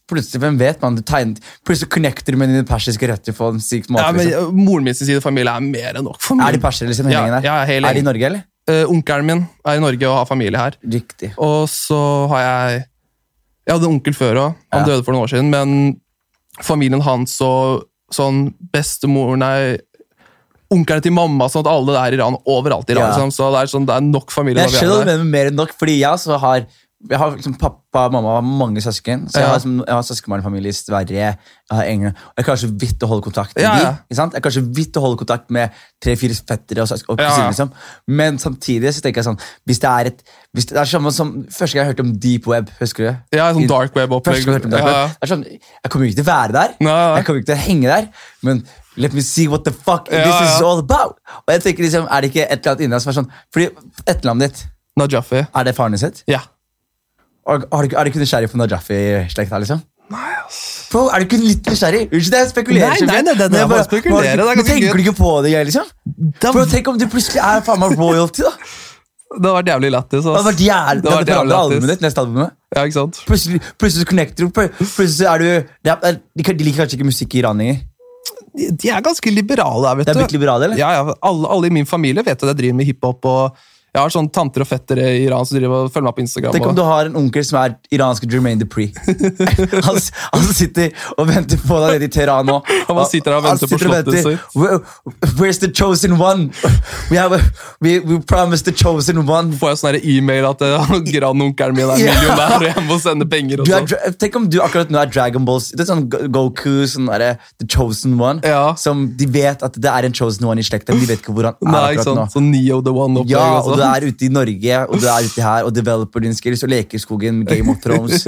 Speaker 1: Plutselig hvem vet man, du tegnet, plutselig connecter du med dine persiske røtter. på en syk måte.
Speaker 6: Ja, men
Speaker 1: liksom.
Speaker 6: ø, Moren min sin side av familie er mer enn nok for meg.
Speaker 1: Er de persere? Liksom, hele
Speaker 6: Ja,
Speaker 1: gjengen der?
Speaker 6: ja, hele
Speaker 1: er de i
Speaker 6: gjengen.
Speaker 1: Norge, eller?
Speaker 6: Eh, onkelen min er i Norge og har familie her.
Speaker 1: Riktig.
Speaker 6: Og så har jeg Jeg hadde en onkel før òg. Han
Speaker 1: Ja.
Speaker 6: døde for noen år siden. Men familien hans og sånn bestemoren Nei, onkelen til mamma sånn at alle er i Iran. Overalt i Iran.
Speaker 1: Ja.
Speaker 6: Liksom. Så det er, sånn, det er nok familie.
Speaker 1: Men jeg
Speaker 6: når vi er
Speaker 1: skjønner hva du
Speaker 6: der.
Speaker 1: mener med mer enn nok, fordi jeg også har jeg har liksom Pappa og mamma har mange søsken. Så jeg
Speaker 6: Ja.
Speaker 1: har, liksom, jeg har søskenbarnfamilie i Sverige. Jeg har England, og jeg klarer så vidt å holde kontakt med
Speaker 6: Ja, ja.
Speaker 1: de, ikke sant? Jeg klarer så vidt å holde kontakt med tre-fire fettere. og, søs- og
Speaker 6: Ja, ja.
Speaker 1: kusiner, liksom. Men samtidig så tenker jeg sånn hvis det er et, hvis det, det er samme som Første gang jeg hørte om deep web, husker du? det?
Speaker 6: Ja,
Speaker 1: I-
Speaker 6: sånn dark web-opplegg.
Speaker 1: Første gang jeg hørte om dark
Speaker 6: Ja, ja.
Speaker 1: web. Det er sånn, jeg kommer jo ikke til å være der,
Speaker 6: Nei.
Speaker 1: jeg kommer jo ikke til å henge der, men let me see what the fuck
Speaker 6: Ja,
Speaker 1: this is
Speaker 6: ja.
Speaker 1: all about. Og jeg tenker liksom, Er det ikke et eller annet inni deg som er sånn Fordi etternavnet ditt
Speaker 6: Najafi.
Speaker 1: er det faren din sitt?
Speaker 6: Ja.
Speaker 1: Og Har du, er du ikke nysgjerrig på Najafi-slekta? liksom? Bro, er du ikke litt nysgjerrig? Unnskyld, jeg spekulerer.
Speaker 6: Nei,
Speaker 1: så mye,
Speaker 6: nei, nei, det er
Speaker 1: men jeg
Speaker 6: bare å spekulere,
Speaker 1: har du ikke-
Speaker 6: det er
Speaker 1: men
Speaker 6: ganske
Speaker 1: Tenker du ikke på det, jeg, liksom?
Speaker 6: Det
Speaker 1: Bro,
Speaker 6: har
Speaker 1: Tenk om du plutselig er faen meg royalty, da. Det
Speaker 6: det har vært jævlig lættis. ass.
Speaker 1: hadde vært jævlig, det
Speaker 6: Det hadde vært
Speaker 1: hadde forandret
Speaker 6: jævlig
Speaker 1: albumet
Speaker 6: lættis.
Speaker 1: ditt, neste albumet.
Speaker 6: Ja, ikke sant?
Speaker 1: Plutselig, plutselig så connecter du, pl- plutselig så er du det er- De kan- de liker kanskje ikke musikk i Iran lenger.
Speaker 6: De de er ganske liberale her, vet
Speaker 1: Det
Speaker 6: du.
Speaker 1: er blitt liberale, eller?
Speaker 6: Ja, ja. Alle, alle i min familie vet at jeg driver med hiphop. og Jeg har sånne tanter og fettere i Iran som driver og følger meg på Instagram.
Speaker 1: Tenk om du
Speaker 6: og...
Speaker 1: har en onkel som er iranske Jermaine Dupree. han, s- han sitter og venter på deg nede i Teheran nå.
Speaker 6: Han bare sitter der og
Speaker 1: Han
Speaker 6: venter på
Speaker 1: sitter og
Speaker 6: slottet
Speaker 1: venter.
Speaker 6: sitt.
Speaker 1: Where, Where's the chosen one? We, have a, we, we promised the chosen one.
Speaker 6: Får jeg sånn her e-mail at eh, grandonkelen min er
Speaker 1: Ja.
Speaker 6: millionær og jeg må sende penger? og
Speaker 1: Du er,
Speaker 6: sånn.
Speaker 1: dra- tenk om du akkurat nå er Dragon Balls Det er sånn Go- Goku, sånn derre The Chosen One.
Speaker 6: Ja.
Speaker 1: Som de vet at det er en Chosen One i slekta, men de vet ikke hvor han er
Speaker 6: Nei, ikke
Speaker 1: akkurat nå.
Speaker 6: sant? Sånn Neo the One-opplegg.
Speaker 1: Ja,
Speaker 6: altså.
Speaker 1: og du er ute i Norge, og du er ute her og developer din skills og leker i skogen, Game of Thrones.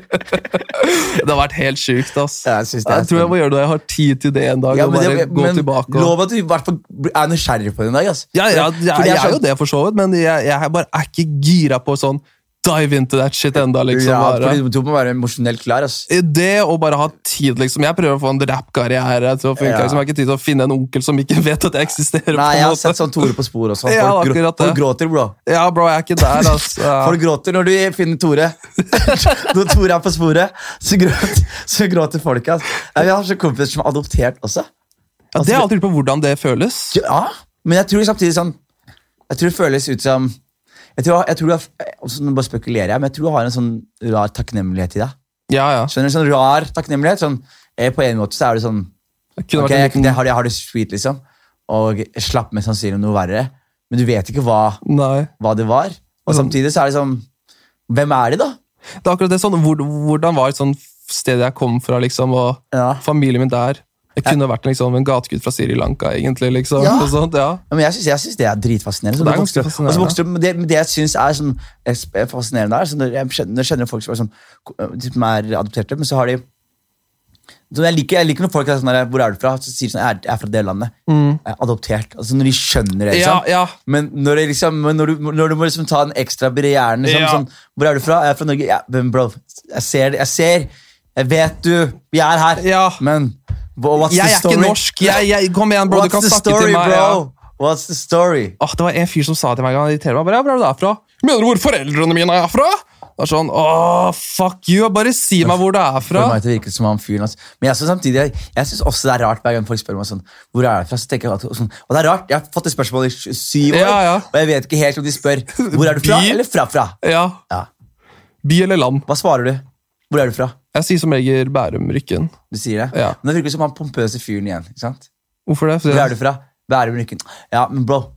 Speaker 6: Det har vært helt sjukt. ass.
Speaker 1: Ja, jeg synes det er sånn-
Speaker 6: jeg tror jeg må gjøre det. Jeg har tid til det en dag.
Speaker 1: Ja,
Speaker 6: og
Speaker 1: men
Speaker 6: bare
Speaker 1: det,
Speaker 6: gå
Speaker 1: men
Speaker 6: tilbake og...
Speaker 1: lov at du i hvert fall er nysgjerrig på det en dag. ass.
Speaker 6: Ja, ja,
Speaker 1: Fordi-
Speaker 6: jeg,
Speaker 1: fordi
Speaker 6: jeg
Speaker 1: sånn-
Speaker 6: er jo det for så vidt, men jeg, jeg er bare er ikke gira på sånn dive into that shit enda, liksom.
Speaker 1: ja,
Speaker 6: bare.
Speaker 1: fordi du må være emosjonelt klar. ass.
Speaker 6: det å bare ha tid, liksom. Jeg prøver å få en rappkarriere til å funke.
Speaker 1: Ja.
Speaker 6: Liksom. Jeg har ikke tid til å finne en onkel som ikke vet at jeg eksisterer.
Speaker 1: Nei, jeg
Speaker 6: på en
Speaker 1: har
Speaker 6: måte.
Speaker 1: sett sånn Tore på sporet også. Folk,
Speaker 6: Ja,
Speaker 1: grå-
Speaker 6: akkurat det.
Speaker 1: folk gråter, bro.
Speaker 6: Ja, bro, jeg er ikke der, altså.
Speaker 1: Folk gråter når du finner Tore. når Tore er på sporet, så gråter, så gråter folk. ass. Ja, vi har så kompiser som er adoptert også. Altså,
Speaker 6: Ja, det har jeg alltid lurt på hvordan det føles.
Speaker 1: Ja, men jeg tror samtidig sånn Jeg tror det føles ut som jeg tror, jeg tror du har, også, Nå bare spekulerer jeg, men jeg tror du har en sånn rar takknemlighet i deg.
Speaker 6: Ja, ja.
Speaker 1: Skjønner du, sånn rar takknemlighet. Sånn, eh, på en måte så er det sånn
Speaker 6: Det kunne
Speaker 1: Ok,
Speaker 6: vært en
Speaker 1: jeg,
Speaker 6: liten...
Speaker 1: jeg, har, jeg har det sweet, liksom. Og slapp med sannsynlig noe verre. Men du vet ikke hva,
Speaker 6: Nei.
Speaker 1: hva det var.
Speaker 6: Mm.
Speaker 1: Og samtidig så er det sånn Hvem er de, da?
Speaker 6: Det er akkurat det sånn, hvor, hvordan var et sånn sted jeg kom fra, liksom, og
Speaker 1: Ja.
Speaker 6: familien min der. Jeg kunne vært liksom, en gategutt fra Sri Lanka, egentlig, liksom.
Speaker 1: Ja.
Speaker 6: Og sånt, ja.
Speaker 1: Ja, Men jeg synes- jeg syns det er dritfascinerende. Så
Speaker 6: Det er
Speaker 1: vokste-
Speaker 6: ganske fascinerende.
Speaker 1: og så vokste- men det, men det jeg syns er sånn, eh, sp- eh, fascinerende, er sånn, når jeg kjenner, når jeg kjenner folk som er, sånn, ko- eh, de som er adopterte, men så har de så jeg, liker, jeg liker når folk er sånn der, 'Hvor er du fra?' Så sier de sånn 'Jeg er- jeg er fra det landet'. Jeg er adoptert. Altså Når de skjønner det.
Speaker 6: Mm. Ja,
Speaker 1: Liksom.
Speaker 6: ja.
Speaker 1: Men når, det liksom, men når, du, når du må liksom ta den ekstra barrieren liksom,
Speaker 6: Ja.
Speaker 1: sånn, 'Hvor er du fra?' 'Jeg er fra Norge.' Ja, men bro, jeg ser det. Jeg ser. Jeg vet du. Vi er her.
Speaker 6: Ja.
Speaker 1: Men what's
Speaker 6: Jeg
Speaker 1: the
Speaker 6: er
Speaker 1: story?
Speaker 6: ikke norsk. Jeg, jeg, kom igjen, bro,
Speaker 1: What's
Speaker 6: du kan
Speaker 1: the
Speaker 6: snakke
Speaker 1: story,
Speaker 6: til meg. ja.
Speaker 1: bro? What's the story?
Speaker 6: Åh, det var en fyr som sa til meg Han irriterer meg bare, ja, hvor er du derfra? Mener du hvor foreldrene mine er fra? Det er sånn, åh, fuck you, bare si meg hvor du er fra
Speaker 1: For meg til å virke som han fyren altså. Men jeg synes samtidig Jeg, jeg synes også det er rart hver gang folk spør meg sånn Hvor er du fra? Så tenker jeg alltid sånn Og det er rart Jeg har fått det spørsmålet i sju- syv år
Speaker 6: Ja, ja.
Speaker 1: Og jeg vet ikke helt om de spør Hvor er du fra?
Speaker 6: By?
Speaker 1: Eller fra fra?
Speaker 6: Ja,
Speaker 1: Ja
Speaker 6: by eller land
Speaker 1: Hva svarer du? Hvor er du fra?
Speaker 6: Jeg sier som regel Bærum Rykken
Speaker 1: Du sier det
Speaker 6: Ja.
Speaker 1: Men det virker som han pompøse fyren igjen Ikke sant?
Speaker 6: Hvorfor det?
Speaker 1: Hvor er du fra? Bærum rykken Ja, men bro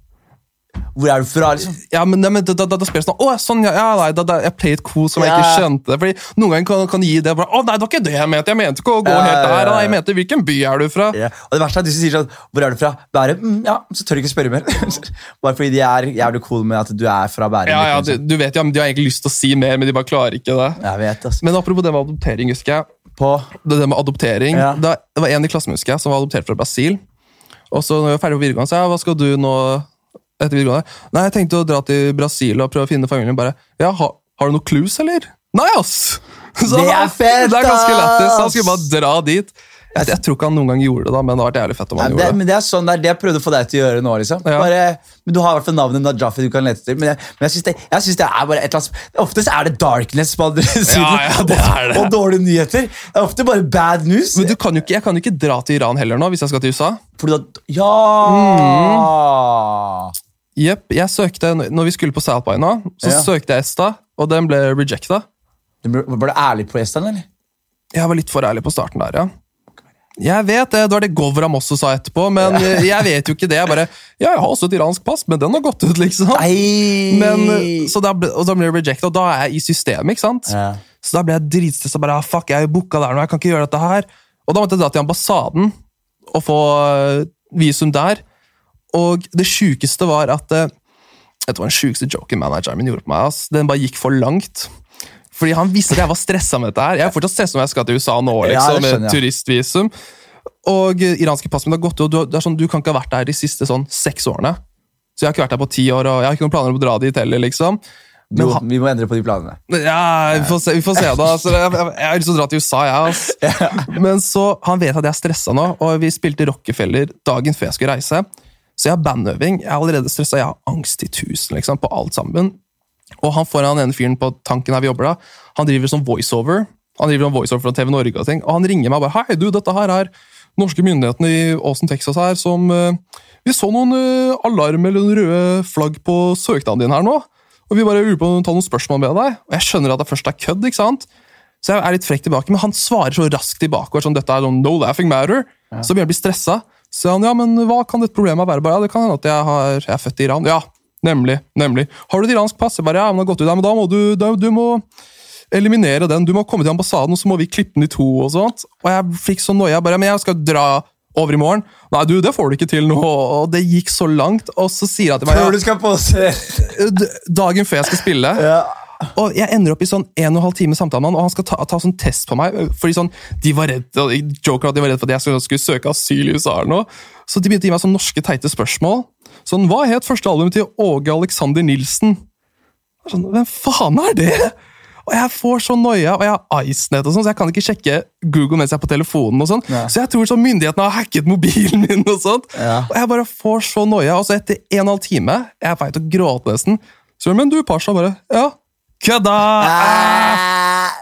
Speaker 1: Hvor er du fra liksom?
Speaker 6: Ja, men, nei, men da, da, da spiller jeg sånn, åh, sånn, ja, ja nei, da, da, jeg played cool som jeg
Speaker 1: Ja.
Speaker 6: ikke skjønte Fordi noen ganger kan, kan gi det bare, åh, nei, det var ikke det jeg mente Jeg mente ikke å gå
Speaker 1: Ja,
Speaker 6: helt
Speaker 1: ja,
Speaker 6: der
Speaker 1: ja,
Speaker 6: Nei,
Speaker 1: ja.
Speaker 6: jeg mente, hvilken by er du fra?
Speaker 1: Ja. Og det verste er at hvis du sier sånn Hvor er du fra? Bærum? Mm, ja, så tør du ikke spørre mer Bare fordi de er jævlig cool med at du er fra Bærum
Speaker 6: Ja, ja,
Speaker 1: liksom,
Speaker 6: du,
Speaker 1: sånn.
Speaker 6: du vet, ja, men de har egentlig lyst til å si mer Men de bare klarer ikke det
Speaker 1: Jeg vet altså
Speaker 6: Men apropos det med adoptering, husker jeg
Speaker 1: På
Speaker 6: det der med adoptering
Speaker 1: Ja.
Speaker 6: da, Det var en i klassen husker jeg, som var adoptert fra Brasil. Og så når jeg var ferdig på videregående, sa jeg hva skal du nå etter videregående? Nei, jeg tenkte å dra til Brasil og prøve å finne familien. Bare, ja, ha, har du noen clues, eller? Nei, ass! Så
Speaker 1: Det er
Speaker 6: han-
Speaker 1: fett,
Speaker 6: Det er ganske lættis. Han
Speaker 1: ass!
Speaker 6: skulle bare dra dit. Jeg, jeg tror ikke han noen gang gjorde det, da, men det hadde vært jævlig fett om
Speaker 1: Nei,
Speaker 6: han
Speaker 1: det,
Speaker 6: gjorde det.
Speaker 1: men det er sånn det er det jeg prøvde å få deg til å gjøre nå. liksom
Speaker 6: Ja.
Speaker 1: bare, men Du har i hvert fall navnet Najafi du kan lete til. Men jeg, men jeg syns det, jeg synes det er bare et eller annet Oftest er det darkness på andre siden
Speaker 6: ja, det er det.
Speaker 1: Og, og dårlige nyheter. Det er ofte bare bad news.
Speaker 6: Men du kan jo ikke, jeg kan jo ikke dra til Iran heller nå, hvis jeg skal til USA.
Speaker 1: Fordi da, ja
Speaker 6: Jepp, jeg søkte, Når vi skulle på South by nå, så
Speaker 1: Ja.
Speaker 6: søkte jeg ESTA, og den ble rejecta.
Speaker 1: Du ble- Var du ærlig på gjestene, eller?
Speaker 6: Jeg var litt for ærlig på starten der, ja. Jeg vet det, det var det Govram også sa etterpå, men eh, jeg vet jo ikke det. Jeg bare, ja, jeg har også et iransk pass, men den har gått ut, liksom.
Speaker 1: Nei!
Speaker 6: Men, eh, så da ble, og da ble jeg rejecta, og da er jeg i systemet, ikke sant?
Speaker 1: Ja.
Speaker 6: Så da ble jeg dritstressa. Bare, ah, fuck, jeg er jo booka der nå, jeg kan ikke gjøre dette her. Og da måtte jeg dra til ambassaden og få eh, visum der. Og det sjukeste var at eh, Dette var den sjukeste joken manageren min gjorde på meg. ass. Den bare gikk for langt. Fordi han visste at jeg var stressa med dette her. Jeg er fortsatt stressa når jeg skal til USA nå,
Speaker 1: Ja, det
Speaker 6: liksom,
Speaker 1: skjønner
Speaker 6: med
Speaker 1: jeg.
Speaker 6: turistvisum. Og eh, iranske pass mitt har gått, og du, det er sånn, du kan ikke ha vært der de siste sånn seks årene. Så jeg har ikke vært der på ti år, og jeg har ikke noen planer om å dra dit heller, liksom. Men
Speaker 1: Jo,
Speaker 6: han-
Speaker 1: vi må endre på de planene.
Speaker 6: ja, vi får se, vi får se da. Altså, jeg, jeg, jeg har lyst til å dra til USA, jeg. ass. Men så, han vet at jeg er stressa nå, og vi spilte Rockefeller dagen før jeg skulle reise. Så jeg har bandøving. Jeg er allerede stressa. Jeg har angst i tusen liksom, på alt sammen. Og han foran den ene fyren på tanken her vi jobber da, han driver som voiceover. Han driver som voiceover fra TV Norge og ting. Og han ringer meg og bare Hei, du, dette her er norske myndighetene i Austin, Texas her som eh, Vi så noen eh, alarm eller noen røde flagg på søknaden din her nå. Og vi bare lurer på om vi tar noen spørsmål med deg. Og jeg skjønner at det først er kødd, ikke sant? Så jeg er litt frekk tilbake, men han svarer så raskt tilbake. og er Sånn, dette er sånn, no laughing matter. Så begynner jeg å bli stressa. Så sier han, ja, men hva kan dette problemet være? Jeg Bare, ja, det kan hende at jeg, har, jeg er født i Iran. Ja, nemlig. nemlig. Har du et iransk pass? Jeg bare, ja, men det har gått ut. Ja, men da må du, da, du må eliminere den. Du må komme til ambassaden, og så må vi klippe den i to. Og sånt. Og jeg fikk så noia. bare, men jeg skal dra over i morgen. Nei, du, det får du ikke til nå. Og det gikk så langt. Og så sier han til meg
Speaker 1: Før
Speaker 6: ja,
Speaker 1: du skal påse
Speaker 6: d- dagen før jeg skal spille. Og jeg ender opp i sånn en og en halv time samtale med han, og han skal ta, ta sånn test på meg. Fordi sånn, de var redd, og jeg joker at de var redd for at jeg skulle, skulle søke asyl i USA eller noe. Så de begynte å gi meg sånn norske teite spørsmål. Sånn, hva het første albumet til Åge Alexander Nilsen? Jeg er Sånn, Hvem faen er det?! Og jeg får så noia, og jeg har Icenet, og sånn, så jeg kan ikke sjekke Google mens jeg er på telefonen. og sånn.
Speaker 1: Ja.
Speaker 6: Så jeg tror sånn myndighetene har hacket mobilen min. Og sånt.
Speaker 1: Ja.
Speaker 6: Og jeg bare får så noia. Og så etter en og en halv time, jeg er på vei til å gråte nesten, så sier de, men du, Pasha, bare ja, kødda!
Speaker 1: Ah.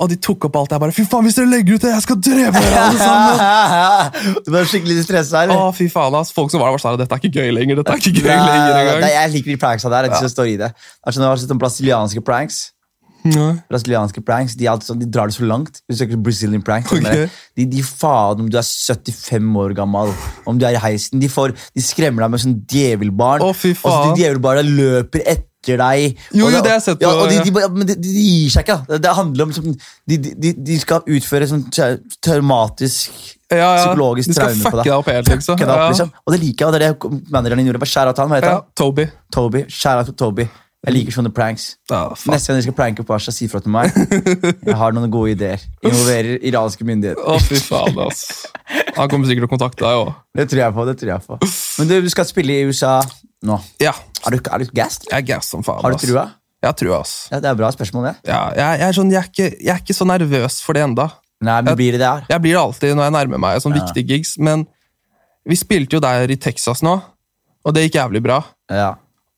Speaker 6: Og de tok opp alt. Jeg bare fy faen, hvis dere legger ut det, jeg skal drepe dere alle sammen!
Speaker 1: Du var skikkelig stressa,
Speaker 6: Å,
Speaker 1: eller?
Speaker 6: fy faen, ass. Folk som var der, var sånn dette er ikke gøy lenger. dette er ikke gøy lenger
Speaker 1: Nei,
Speaker 6: engang.
Speaker 1: jeg liker de pranksa der. Jeg synes det står i det. Altså, når jeg har sett om brasilianske pranks.
Speaker 6: Nei.
Speaker 1: Brasilianske pranks, De, er alltid sånn, de drar det så langt. Hvis du søker Brazilian pranks. sånn
Speaker 6: Ok.
Speaker 1: der. De, de faen om du er 75 år gammel, om du er i heisen. De, får, de skremmer deg med sånn djevelbarn.
Speaker 6: Å, fy faen.
Speaker 1: Og så de djevelbarna løper etter deg.
Speaker 6: Jo,
Speaker 1: Og
Speaker 6: jo, det har jeg sett på,
Speaker 1: Ja, og de,
Speaker 6: ja.
Speaker 1: de, bare- men de, de gir seg ikke. da. Det, det handler om sånn, de, de, de skal utføre sånn tra- traumatisk
Speaker 6: Ja, ja.
Speaker 1: psykologisk
Speaker 6: De skal
Speaker 1: traume på
Speaker 6: fucke
Speaker 1: deg.
Speaker 6: deg opp helt, liksom.
Speaker 1: Fucke deg opp,
Speaker 6: Ja.
Speaker 1: liksom. Og det liker jeg. og det er det manageren din gjorde. Bare skjær av til han, hva heter
Speaker 6: Ja,
Speaker 1: han?
Speaker 6: Toby.
Speaker 1: Toby. Skjær av til Toby. Jeg liker sånne pranks.
Speaker 6: Ja, faen.
Speaker 1: Neste gang dere skal pranke Pasha, si fra til meg. Jeg har noen gode ideer. Involverer iranske myndigheter.
Speaker 6: Å, fy faen, ass. Han kommer sikkert til å kontakte deg òg.
Speaker 1: Det tror jeg på. det tror jeg på. Men du, du skal spille i USA nå.
Speaker 6: Ja.
Speaker 1: Er du, er du gassed?
Speaker 6: Jeg er gass som faen.
Speaker 1: Har du
Speaker 6: ass.
Speaker 1: trua?
Speaker 6: Jeg har trua, ass.
Speaker 1: Ja, det er bra spørsmål, det.
Speaker 6: Ja, jeg, jeg, er sånn, jeg, er ikke, jeg er ikke så nervøs for det enda.
Speaker 1: Nei, men blir det det her?
Speaker 6: Jeg blir det alltid når jeg nærmer meg sånn viktige gigs, men vi spilte jo der i Texas nå, og det gikk jævlig bra.
Speaker 1: Ja.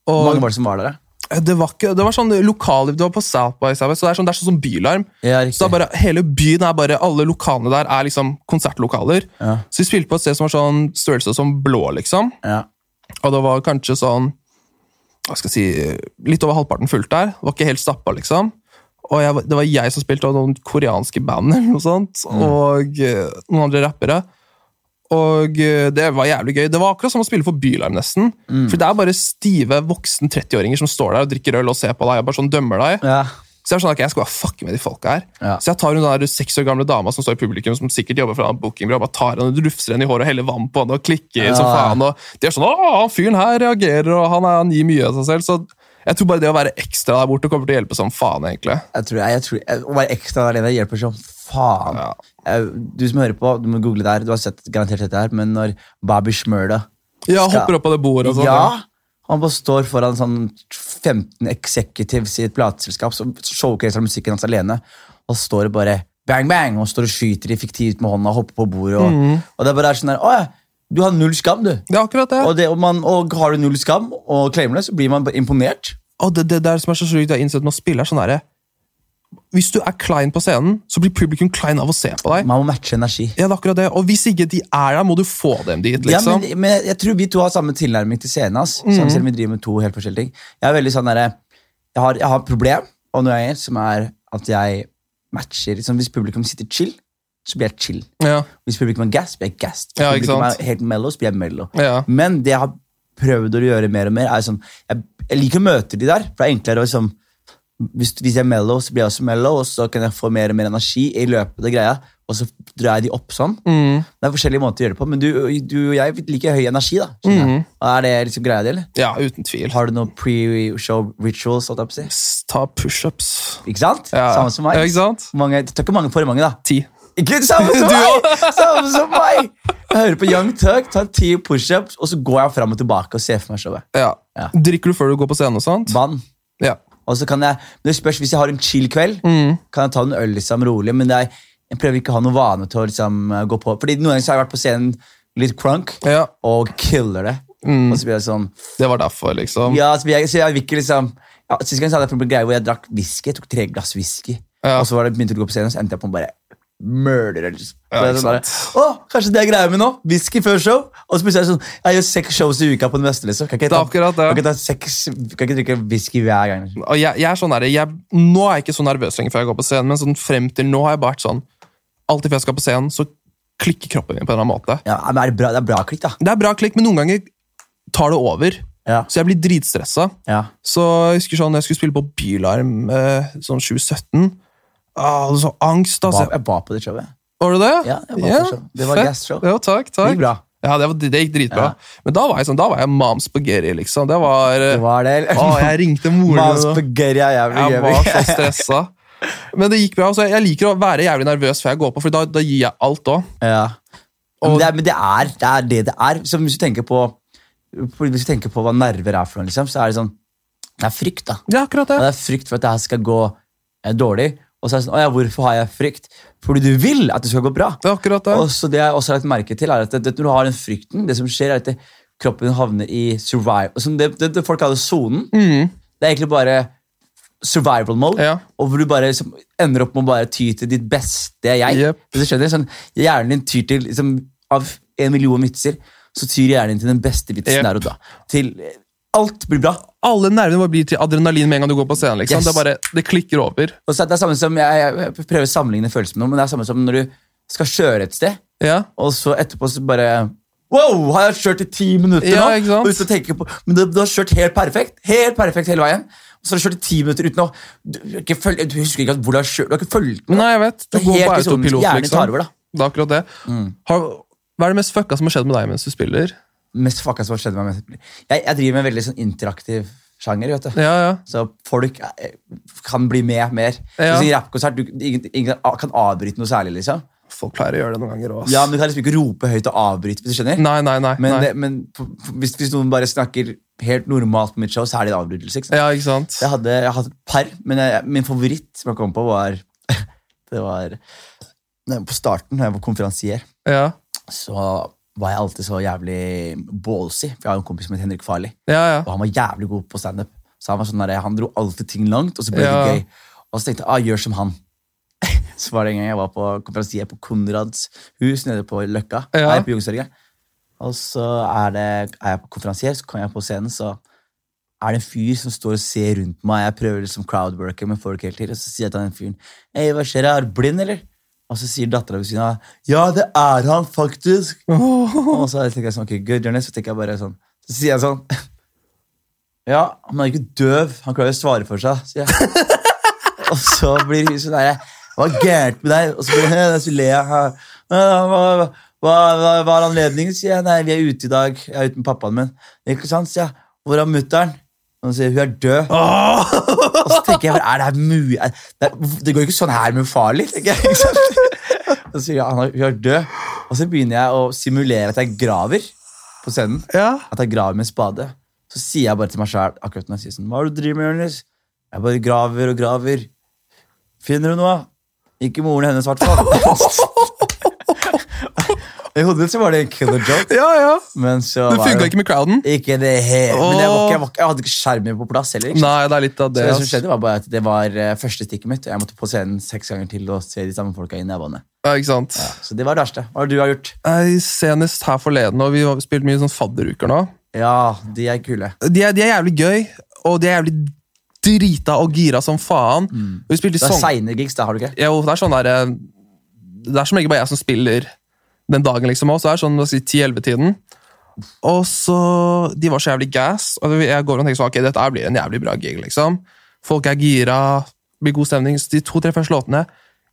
Speaker 1: Hvor mange
Speaker 6: Og
Speaker 1: var det som var der, da?
Speaker 6: det var, ikke, det var sånn lokale, det var på South by Southwest, så det er sånn, det er sånn som bylarm.
Speaker 1: Ja, riktig.
Speaker 6: Så da bare, hele byen er bare, alle lokalene der er liksom konsertlokaler.
Speaker 1: Ja.
Speaker 6: Så vi spilte på et sted som var sånn størrelse som blå, liksom.
Speaker 1: Ja.
Speaker 6: Og det var kanskje sånn hva skal jeg si, Litt over halvparten fullt der. Det var ikke helt stappa, liksom. Og jeg, var- det var jeg som spilte, og noen koreanske band eller noe sånt. Og eh, noen andre rappere. Og eh, det var jævlig gøy. Det var akkurat som å spille for Bylarm, nesten. For det er bare stive voksen 30-åringer som står der og drikker øl og ser på deg og bare sånn dømmer deg.
Speaker 1: ja.
Speaker 6: Så jeg er sånn, ok, jeg skal bare fucke med de folka her.
Speaker 1: Ja.
Speaker 6: Så jeg tar hun den der seks år gamle dama som står i publikum, som sikkert jobber for en bookingbyrå, bare tar henne, rufser henne i håret og heller vann på henne og klikker som
Speaker 1: Ja.
Speaker 6: faen. Og de er sånn, åh, han fyren her reagerer, og han, er, han gir mye av seg selv. Så jeg tror bare det å være ekstra der borte kommer til å hjelpe som faen, egentlig.
Speaker 1: Jeg tror, jeg, jeg tror, jeg, å være ekstra alene hjelper som faen.
Speaker 6: Ja.
Speaker 1: Jeg- Du som hører på, du må google det her. Du har sett, garantert dette her, men når Babi Shmurda
Speaker 6: Jeg
Speaker 1: Skal-
Speaker 6: hopper opp på det bordet og sånn.
Speaker 1: Ja, Han bare står foran sånn 15 executives i et plateselskap som showcaser musikken hans alene, og står og bare bang, bang, og står og skyter i fiktivt med hånda og hopper på bordet. Og, og det er bare sånn der, «Å ja, du har null skam, du.
Speaker 6: Det er akkurat det.
Speaker 1: Og, det, og, man, og har du null skam og claimer det, så blir man bare imponert.
Speaker 6: Og det, det der som er så sjukt, jeg har innsett med å spille, er sånn derre Hvis du er klein på scenen, så blir publikum klein av å se på deg.
Speaker 1: Man må matche energi.
Speaker 6: Ja, det er akkurat det. Og hvis ikke de er der, må du få dem dit,
Speaker 1: Ja,
Speaker 6: liksom. Mm.
Speaker 1: men, men jeg tror vi to har samme tilnærming til scenen. ass. Sånn, selv om vi driver med to helt forskjellige ting. Jeg er veldig sånn derre jeg, har- jeg har et problem, og noe jeg gjør, som er at jeg matcher liksom, Hvis publikum sitter chill, så blir jeg chill.
Speaker 6: Ja,
Speaker 1: Hvis publikum er gassed, blir jeg gassed. Hvis
Speaker 6: Ja, ikke
Speaker 1: publikum
Speaker 6: sant?
Speaker 1: er helt mellow, så blir jeg mellow.
Speaker 6: Ja.
Speaker 1: Men det jeg har prøvd å gjøre mer og mer, er sånn Jeg, jeg liker å møte de der, for det er enklere å liksom hvis, hvis jeg er mellow, så blir jeg også mellow, og så kan jeg få mer og mer energi i løpet av greia, og så drar jeg de opp sånn.
Speaker 6: Mm.
Speaker 1: Det er forskjellige måter å gjøre det på, men du, du og jeg liker høy energi, da. skjønner
Speaker 6: Mm.
Speaker 1: jeg. Og Er det liksom greia di, eller?
Speaker 6: ja uten tvil.
Speaker 1: Har du noen pre-show rituals, holdt jeg på å si?
Speaker 6: S- Ta pushups.
Speaker 1: Ikke sant?
Speaker 6: Ja.
Speaker 1: Samme som meg.
Speaker 6: Ja, ikke sant?
Speaker 1: Mange, det tar ikke mange for mange, da.
Speaker 6: Ti.
Speaker 1: Ikke samme som
Speaker 6: Du
Speaker 1: meg! Samme som meg! Jeg hører på Young Tuck, tar ti pushups, og så går jeg fram og tilbake og ser for meg showet.
Speaker 6: Ja.
Speaker 1: Ja.
Speaker 6: Drikker du før du går på scenen og sånt?
Speaker 1: Vann.
Speaker 6: Ja.
Speaker 1: Og så kan jeg, men det spørs Hvis jeg har en chill kveld,
Speaker 6: Mm.
Speaker 1: kan jeg ta en øl liksom rolig. Men det er, jeg prøver ikke å ha noen vane til å liksom, gå på. Fordi noen ganger så har jeg vært på scenen litt crunk
Speaker 6: Ja.
Speaker 1: og killer det.
Speaker 6: Mm.
Speaker 1: Og så blir jeg sånn
Speaker 6: Det var derfor, liksom.
Speaker 1: Ja, så blir jeg, så jeg vil ikke liksom ja, Sist gang så hadde jeg en greie hvor jeg drakk whisky. Jeg tok tre glass whisky.
Speaker 6: Ja.
Speaker 1: Og så var det, begynte jeg å gå på scenen, så endte jeg på å bare murder. Liksom. Så
Speaker 6: Ja, ikke
Speaker 1: jeg sånn
Speaker 6: sant.
Speaker 1: bare, Å, kanskje det er greia mi nå? Whisky før show. Og så plutselig er det sånn Jeg gjør seks shows i uka på det meste. Liksom. Kan ikke jeg
Speaker 6: Det
Speaker 1: ta,
Speaker 6: er akkurat det.
Speaker 1: Kan ikke, ta seks, kan ikke drikke whisky hver gang. Liksom.
Speaker 6: Og jeg, jeg er sånn der, jeg, nå er jeg ikke så nervøs lenger før jeg går på scenen, men sånn frem til nå har jeg bare vært sånn Alltid før jeg skal på scenen, så klikker kroppen min på en eller annen måte.
Speaker 1: Ja, men er det, bra, det er bra klikk, da.
Speaker 6: Det er bra klikk, men noen ganger tar det over.
Speaker 1: Ja.
Speaker 6: Så jeg blir dritstressa.
Speaker 1: Ja.
Speaker 6: Så jeg husker sånn, jeg skulle spille på Bylarm eh, sånn 2017. Ah, det var så angst,
Speaker 1: Var,
Speaker 6: altså.
Speaker 1: jeg var på det showet.
Speaker 6: Var du det?
Speaker 1: Ja, jeg var på det show. Det var
Speaker 6: fett.
Speaker 1: guest show.
Speaker 6: Jo, takk, takk.
Speaker 1: Det gikk bra.
Speaker 6: Ja, det, var, det gikk dritbra. Men da var jeg sånn, da var jeg mom spaghetti, liksom. Det var, eh,
Speaker 1: Det var det.
Speaker 6: Å, jeg ringte moren
Speaker 1: Mas
Speaker 6: min. og-
Speaker 1: spaghetti er jævlig
Speaker 6: Jeg var så
Speaker 1: gøy.
Speaker 6: stressa. Men det gikk bra. Altså, jeg liker å være jævlig nervøs før jeg går på, for da, da gir jeg alt òg.
Speaker 1: Ja. Men, det er, men det, er, det er det det er. Så hvis du tenker på Hvis du tenker på hva nerver er for noe, liksom, så er det sånn Det er frykt, da.
Speaker 6: Ja, akkurat
Speaker 1: Og
Speaker 6: det.
Speaker 1: det er frykt for at det her skal gå eh, dårlig. Og så er det sånn, «Å ja, hvorfor har jeg frykt? Fordi du vil at det skal gå bra.
Speaker 6: Det er akkurat det.
Speaker 1: Og så det jeg også har lagt merke til, er at det, det, når du har den frykten, det som skjer, er at det, kroppen havner i survive. og sånn, Det, det, det folk kaller sonen. Det er egentlig bare survival mode,
Speaker 6: Mm. Ja.
Speaker 1: og hvor du bare liksom, ender opp med å bare ty til ditt beste jeg.
Speaker 6: Jep.
Speaker 1: Hvis Du skjønner, sånn, hjernen din tyr til liksom, Av en million vitser, så tyr hjernen din til den beste vitsen
Speaker 6: Jep.
Speaker 1: der og da. Til eh, alt blir bra.
Speaker 6: Alle nervene våre blir til adrenalin med en gang du går på scenen. liksom.
Speaker 1: Yes.
Speaker 6: Det, er bare, det klikker over.
Speaker 1: Og så er det det samme som, jeg, jeg prøver å sammenligne følelsen med noe, men det er samme som når du skal kjøre et sted,
Speaker 6: Ja.
Speaker 1: og så etterpå så bare Wow, har jeg kjørt i ti minutter
Speaker 6: Ja,
Speaker 1: nå?
Speaker 6: ikke sant?
Speaker 1: Og uten å tenke på, men du, du har kjørt helt perfekt helt perfekt hele veien. Og så har du kjørt i ti minutter uten å Du, du, har ikke føl- du husker ikke at hvor du har kjørt. Du har ikke følt med.
Speaker 6: Nei, jeg vet. Du
Speaker 1: Det er
Speaker 6: går
Speaker 1: helt
Speaker 6: på
Speaker 1: i sonen,
Speaker 6: autopilot,
Speaker 1: hjernen
Speaker 6: liksom.
Speaker 1: tar over, da. Mm.
Speaker 6: Det er akkurat det. Har, hva er det mest fucka som har skjedd med deg mens du spiller?
Speaker 1: Mest fucka som har skjedd meg. Jeg, jeg driver med en veldig sånn interaktiv sjanger. vet du.
Speaker 6: Ja, ja.
Speaker 1: Så folk eh, kan bli med mer.
Speaker 6: Ja.
Speaker 1: Hvis i rappkonsert, du, ingen, ingen kan avbryte noe særlig. liksom.
Speaker 6: Folk pleier å gjøre det noen ganger òg.
Speaker 1: Ja, men Du kan liksom ikke rope høyt og avbryte. hvis du skjønner.
Speaker 6: Nei, nei, nei.
Speaker 1: Men,
Speaker 6: nei.
Speaker 1: det, men på, på, hvis, hvis noen bare snakker helt normalt på mitt show, så er det en avbrytelse. ikke sant?
Speaker 6: Ja, ikke sant?
Speaker 1: Jeg hadde, jeg hadde et par, men jeg, min favoritt som jeg kom på, var Det var nei, På starten, da jeg var konferansier,
Speaker 6: Ja,
Speaker 1: så var jeg alltid så jævlig ballsy. For jeg har en kompis som heter Henrik Farley,
Speaker 6: ja. ja.
Speaker 1: og han var jævlig god på standup. Så han var sånn der, han dro alltid ting langt, og så ble
Speaker 6: Ja.
Speaker 1: det gøy. Og så tenkte jeg ah, gjør som han. Så var det en gang jeg var på konferansier på Konrads hus nede på Løkka.
Speaker 6: Ja.
Speaker 1: Nei, på Youngstorget. Og så er, det, er jeg på konferansier, så kommer jeg på scenen, så er det en fyr som står og ser rundt meg. Jeg prøver liksom crowdworker med folk hele tiden, og så sier jeg til den fyren Hei, hva skjer, er du blind, eller? Og så sier dattera ved siden av Ja, det er han, faktisk! Og så tenker jeg sånn, ok, good Jonas, så tenker jeg bare sånn Så sier jeg sånn Ja, han er jo ikke døv, han klarer jo å svare for seg, sier jeg. Og så blir hun sånn der Hva er gærent med deg? Og så blir hun så ler jeg. «Hæ? Hva, hva, hva, hva er anledningen? sier jeg. Nei, vi er ute i dag. Jeg er ute med pappaen min. Ikke sant, sier jeg. Hvor er mutter'n? Og hun sier hun er død. Og så tenker jeg, er det her mulig? Er- Det, er- det går jo ikke sånn her med farlig, tenker jeg. Ikke sant? Og så sier jeg, han er- hun er død. Og så begynner jeg å simulere at jeg graver på scenen.
Speaker 6: Ja.
Speaker 1: At jeg graver med spade. Så sier jeg bare til meg sjæl akkurat når jeg sier sånn Hva er det du driver med, Jonis? Jeg bare graver og graver. Finner du noe? Ikke moren hennes, i hvert fall. I hodet så var det en killer joke,
Speaker 6: Ja, ja.
Speaker 1: men så
Speaker 6: Det
Speaker 1: var
Speaker 6: funka ikke med crowden.
Speaker 1: Ikke det hele. Men jeg, var
Speaker 6: Åh.
Speaker 1: ikke, jeg, var ikke, jeg hadde ikke skjermen på plass heller. ikke sant?
Speaker 6: Nei, det er litt av
Speaker 1: Så
Speaker 6: det.
Speaker 1: det som
Speaker 6: ass.
Speaker 1: skjedde var bare at det var eh, første stikket mitt, og jeg måtte på scenen seks ganger til og se de samme folka inn i øynene.
Speaker 6: Ja, ikke sant?
Speaker 1: Så det var det verste. Hva har du har gjort?
Speaker 6: Nei, Senest her forleden, og vi har spilt mye sånn fadderuker nå.
Speaker 1: Ja, de er kule.
Speaker 6: De er, de er jævlig gøy, og de er jævlig drita og gira som faen. Og vi spilte
Speaker 1: Mm. Det er
Speaker 6: sånn...
Speaker 1: seine gigs, da, har du ikke?
Speaker 6: Jo, det er sånn der eh, Det er som regel bare jeg som spiller den dagen, liksom. Også. Det er sånn hva skal jeg si, 10-11-tiden. Og så De var så jævlig gass. Og jeg går og tenker sånn Ok, dette her blir en jævlig bra gig, liksom. Folk er gira, blir god stemning. Så de to-tre første låtene,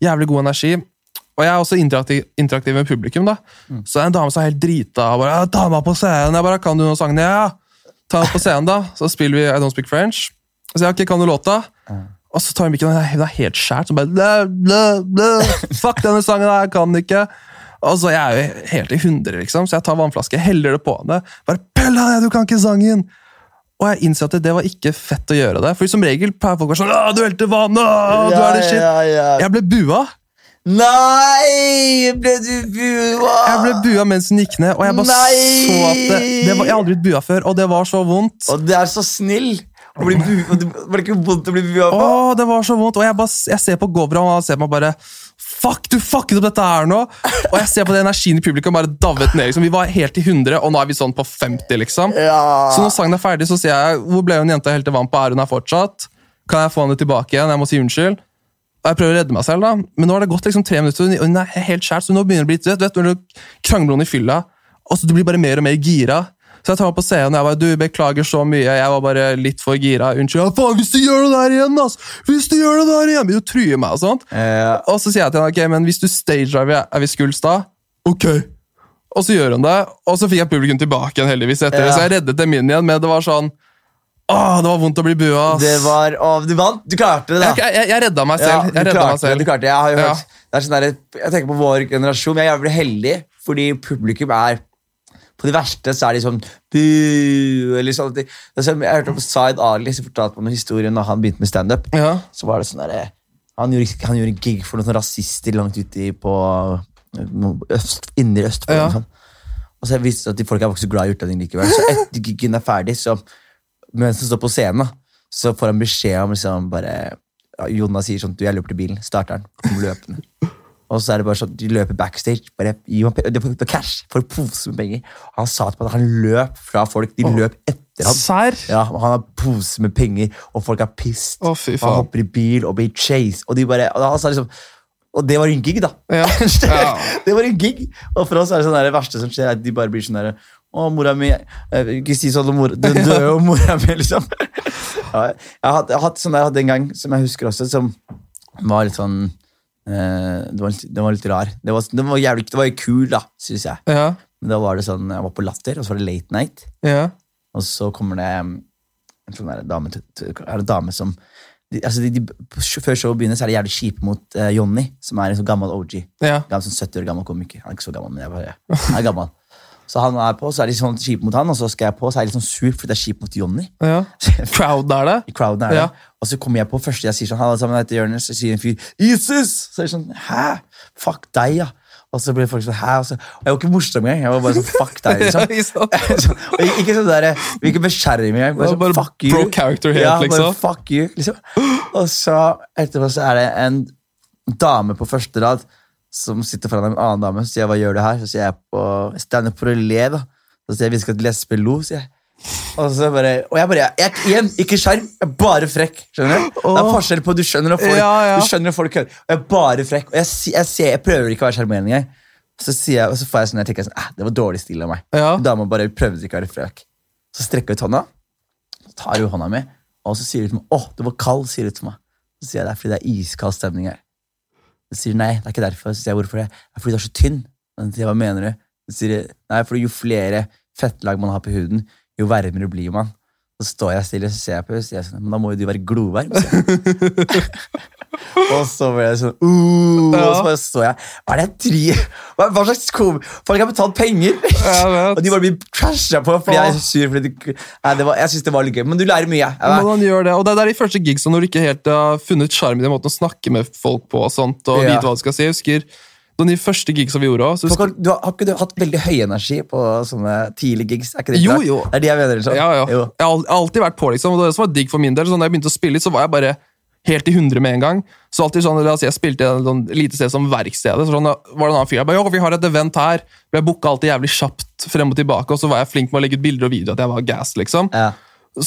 Speaker 6: jævlig god energi. Og jeg er også interaktiv, interaktiv med publikum, da. Så det er en dame som er helt drita og bare «Ja, 'Ta meg på scenen!' Jeg bare 'Kan du noen sangene?' Ja! Ta meg på scenen, da. Så spiller vi I Don't Speak French. Og så jeg, ok, kan du låta? Og så tar hun mikken, og hun er helt skjært. Så bare, blø, blø, blø. Fuck denne sangen, her, jeg kan den ikke. Og så Jeg er jo helt i hundre, liksom, så jeg tar vannflaske, heller det på henne. Bare, Pelle, du kan ikke sangen! Og jeg innså at det var ikke fett å gjøre det. For som regel pleier folk å være sånn «Åh, 'Du helte vannet! åh, Du er det shit!'
Speaker 1: Ja, ja, ja.
Speaker 6: Jeg ble bua.
Speaker 1: Nei! Ble du bua?
Speaker 6: Jeg ble bua mens hun gikk ned, og jeg bare
Speaker 1: Nei!
Speaker 6: så at det, det var, Jeg har aldri blitt bua før, og det var så vondt.
Speaker 1: Og det er så snill! Å bli bu- og det- Var det ikke vondt å bli bua på?
Speaker 6: Åh, det var så vondt. Og jeg, bare, jeg ser på Gobra, og han ser på meg bare Fuck, du fucket opp dette her nå! Og jeg ser på den energien i publikum bare davet ned. liksom. Vi var helt i 100, og nå er vi sånn på 50, liksom.
Speaker 1: Ja.
Speaker 6: Så når sangen er ferdig, så sier jeg Hvor ble hun jenta jeg helte vann på? Er hun her fortsatt? Kan jeg få henne tilbake igjen? Jeg må si unnskyld. Og jeg prøver å redde meg selv, da. Men nå har det gått liksom tre minutter, og hun er helt skjært, så nå begynner det å bli Du vet, vet når du krangler noen i fylla, og så du blir bare mer og mer gira. Så jeg tar meg på scenen og jeg bare, du beklager så mye, jeg var bare litt for gira. Unnskyld. Ja, faen, hvis du gjør det der igjen, ass! Hvis du gjør det der igjen! Begynner å true meg og sånt.
Speaker 1: Ja.
Speaker 6: Og så sier jeg til henne, ok, men hvis du stagediver, er vi skuls da? Ok. Og så gjør hun det, og så fikk jeg publikum tilbake igjen heldigvis etter det,
Speaker 1: Ja.
Speaker 6: så jeg reddet dem inn igjen, men det var sånn, åh, det var vondt å bli bua, ass.
Speaker 1: Det var å, Du vant! Du klarte det, da.
Speaker 6: Jeg, jeg, jeg redda meg
Speaker 1: Ja,
Speaker 6: selv.
Speaker 1: du
Speaker 6: jeg redda
Speaker 1: klarte
Speaker 6: meg
Speaker 1: det,
Speaker 6: selv.
Speaker 1: du klarte det. Jeg har jo
Speaker 6: Ja.
Speaker 1: hørt det er sånn der, Jeg tenker på vår generasjon. Jeg er jævlig heldig, fordi publikum er På de verste så er de sånn bu, eller sånn. Det er som- Jeg hørte om Zaid Ali som fortalte meg om historien da han begynte med standup.
Speaker 6: Ja.
Speaker 1: Så var det sånn derre han, gjorde- han gjorde en gig for noen sånne rasister langt ute i- på øst, Indre Østfold.
Speaker 6: Ja.
Speaker 1: og sånn. Og så viste det seg at de folk er ikke så glad i utlendinger likevel. Så etter gigen er ferdig, så mens han står på scenen, da, så får han beskjed om liksom bare ja, Jonas sier sånn Du, jeg løper til bilen. Starter han. Kommer løpende. Og så er det bare sånn, de løper backstage. bare gi meg pe- Det var det var cash for en pose med penger. Han sa til meg at han løp fra folk. De løp etter ham.
Speaker 6: Serr?
Speaker 1: Ja, og han har pose med penger, og folk er pissed.
Speaker 6: Å, fy
Speaker 1: Og han
Speaker 6: faen.
Speaker 1: hopper i bil og blir chased. Og, de bare, og, han sa liksom, og det var en gig, da.
Speaker 6: Ja. Ja.
Speaker 1: det var en gig. Og for oss er det sånn der, det verste som skjer, er at de bare blir sånn der Å, mora mi eh, Ikke si sånn om mora Du dør jo, mora mi, liksom. ja, jeg, har hatt- jeg har hatt sånn der jeg hadde en gang, som jeg husker også, som var litt sånn eh, det, var litt, det var litt rar. Det var, det var jævlig, det var jo kul, da, syns jeg.
Speaker 6: Ja.
Speaker 1: Men da var det sånn, jeg var på Latter, og så var det Late Night.
Speaker 6: Ja.
Speaker 1: Og så kommer det um, en sånn der dame, til- til- er det dame som de, altså de, de, Før showet begynner, så er de jævlig kjipe mot eh, Jonny, som er en sånn gammel OG.
Speaker 6: Ja.
Speaker 1: Gammel, sånn 70 år gammel komiker. Han er ikke så gammel, men jeg bare, han er gammel. Så han er på, så er de sånn kjipe mot han, og så skal jeg på, så er jeg litt sånn sur fordi det er kjipt mot Jonny.
Speaker 6: ja. Crowden er det?
Speaker 1: I crowden er det.
Speaker 6: Ja.
Speaker 1: Og så kommer jeg på første jeg sier sånn, «Halla sammen, jeg heter Jonis», så sier en fyr, Jesus! Så er jeg sånn, hæ? Fuck deg, ja. Og så blir folk sånn, hæ? Og, så, og jeg var ikke morsom engang, jeg var bare sånn, fuck deg, liksom.
Speaker 6: Ja, ikke sant?
Speaker 1: Sånn, og ikke- ikke sånn der, vi ikke beskjærer meg, bare
Speaker 6: Ja,
Speaker 1: sånn,
Speaker 6: bare
Speaker 1: fuck you.
Speaker 6: bro character helt,
Speaker 1: ja, bare,
Speaker 6: liksom.
Speaker 1: fuck you, liksom. Og så, etterpå så er det en dame på første rad, som sitter foran en annen dame, så sier jeg, hva gjør du her? Så sier jeg på, stand up for å le, da. Så sier jeg, vi skal til lesbe lo, sier jeg. Og så bare, og jeg bare, jeg, igjen, ikke skjerm, jeg er bare frekk, skjønner du? Det er forskjell på, du skjønner at folk,
Speaker 6: Ja, ja.
Speaker 1: du skjønner at folk hører, og jeg er bare frekk, og jeg, si- jeg, ser, jeg prøver ikke å være skjermerende engang. Så sier jeg, og så får jeg sånn, jeg tenker sånn, eh, det var dårlig stil av meg.
Speaker 6: Ja.
Speaker 1: Dama bare prøvde ikke å være frekk. Så strekker jeg ut hånda, så tar hun hånda mi, og så sier hun til meg, åh, du var kald, sier hun til meg. Så sier jeg, det er fordi det er iskald stemning her. Så sier hun, nei, det er ikke derfor. Så sier jeg, hvorfor det? Det er fordi du er så tynn. Og så sier jeg, hva mener du? Så sier jeg, nei, fordi jo flere fettlag man har på huden, jo varmere blir man. Så står jeg stille, så ser jeg på henne, så sier jeg sånn, men da må jo du være glovarm. sier jeg. Og så ble jeg sånn uh, Og så bare så jeg Hva er det jeg driver Hva, hva slags kom Folk har betalt penger!
Speaker 6: Jeg vet.
Speaker 1: og de bare blir trasha på fordi jeg er så sur. Fordi de, nei, det var, jeg synes det var litt gøy, men du lærer mye. Jeg,
Speaker 6: Men han gjør det, og det er der de første gigsa når du ikke helt har funnet sjarmen i den måten å snakke med folk på og sånt, og
Speaker 1: Ja.
Speaker 6: vite hva du skal si. Jeg husker da de første gigsa vi gjorde også, så
Speaker 1: Folk har,
Speaker 6: husker,
Speaker 1: du har, har ikke du hatt veldig høy energi på sånne tidlige gigs? Er ikke det
Speaker 6: Jo,
Speaker 1: rart?
Speaker 6: jo.
Speaker 1: Det er de jeg mener. Liksom.
Speaker 6: ja, ja.
Speaker 1: Jo.
Speaker 6: Jeg har al- alltid vært på, liksom. Og det var det som var digg for min del. Sånn, da jeg begynte å spille, så var jeg bare helt i hundre med en gang. Så alltid sånn, altså, Jeg spilte i et sånn lite sted som Verkstedet. Så sånn, da var det en annen fyr jeg bare, jo, vi har et event her. Ble booka alltid jævlig kjapt frem og tilbake, og så var jeg flink med å legge ut bilder og videoer at jeg var gassed, liksom.
Speaker 1: Ja.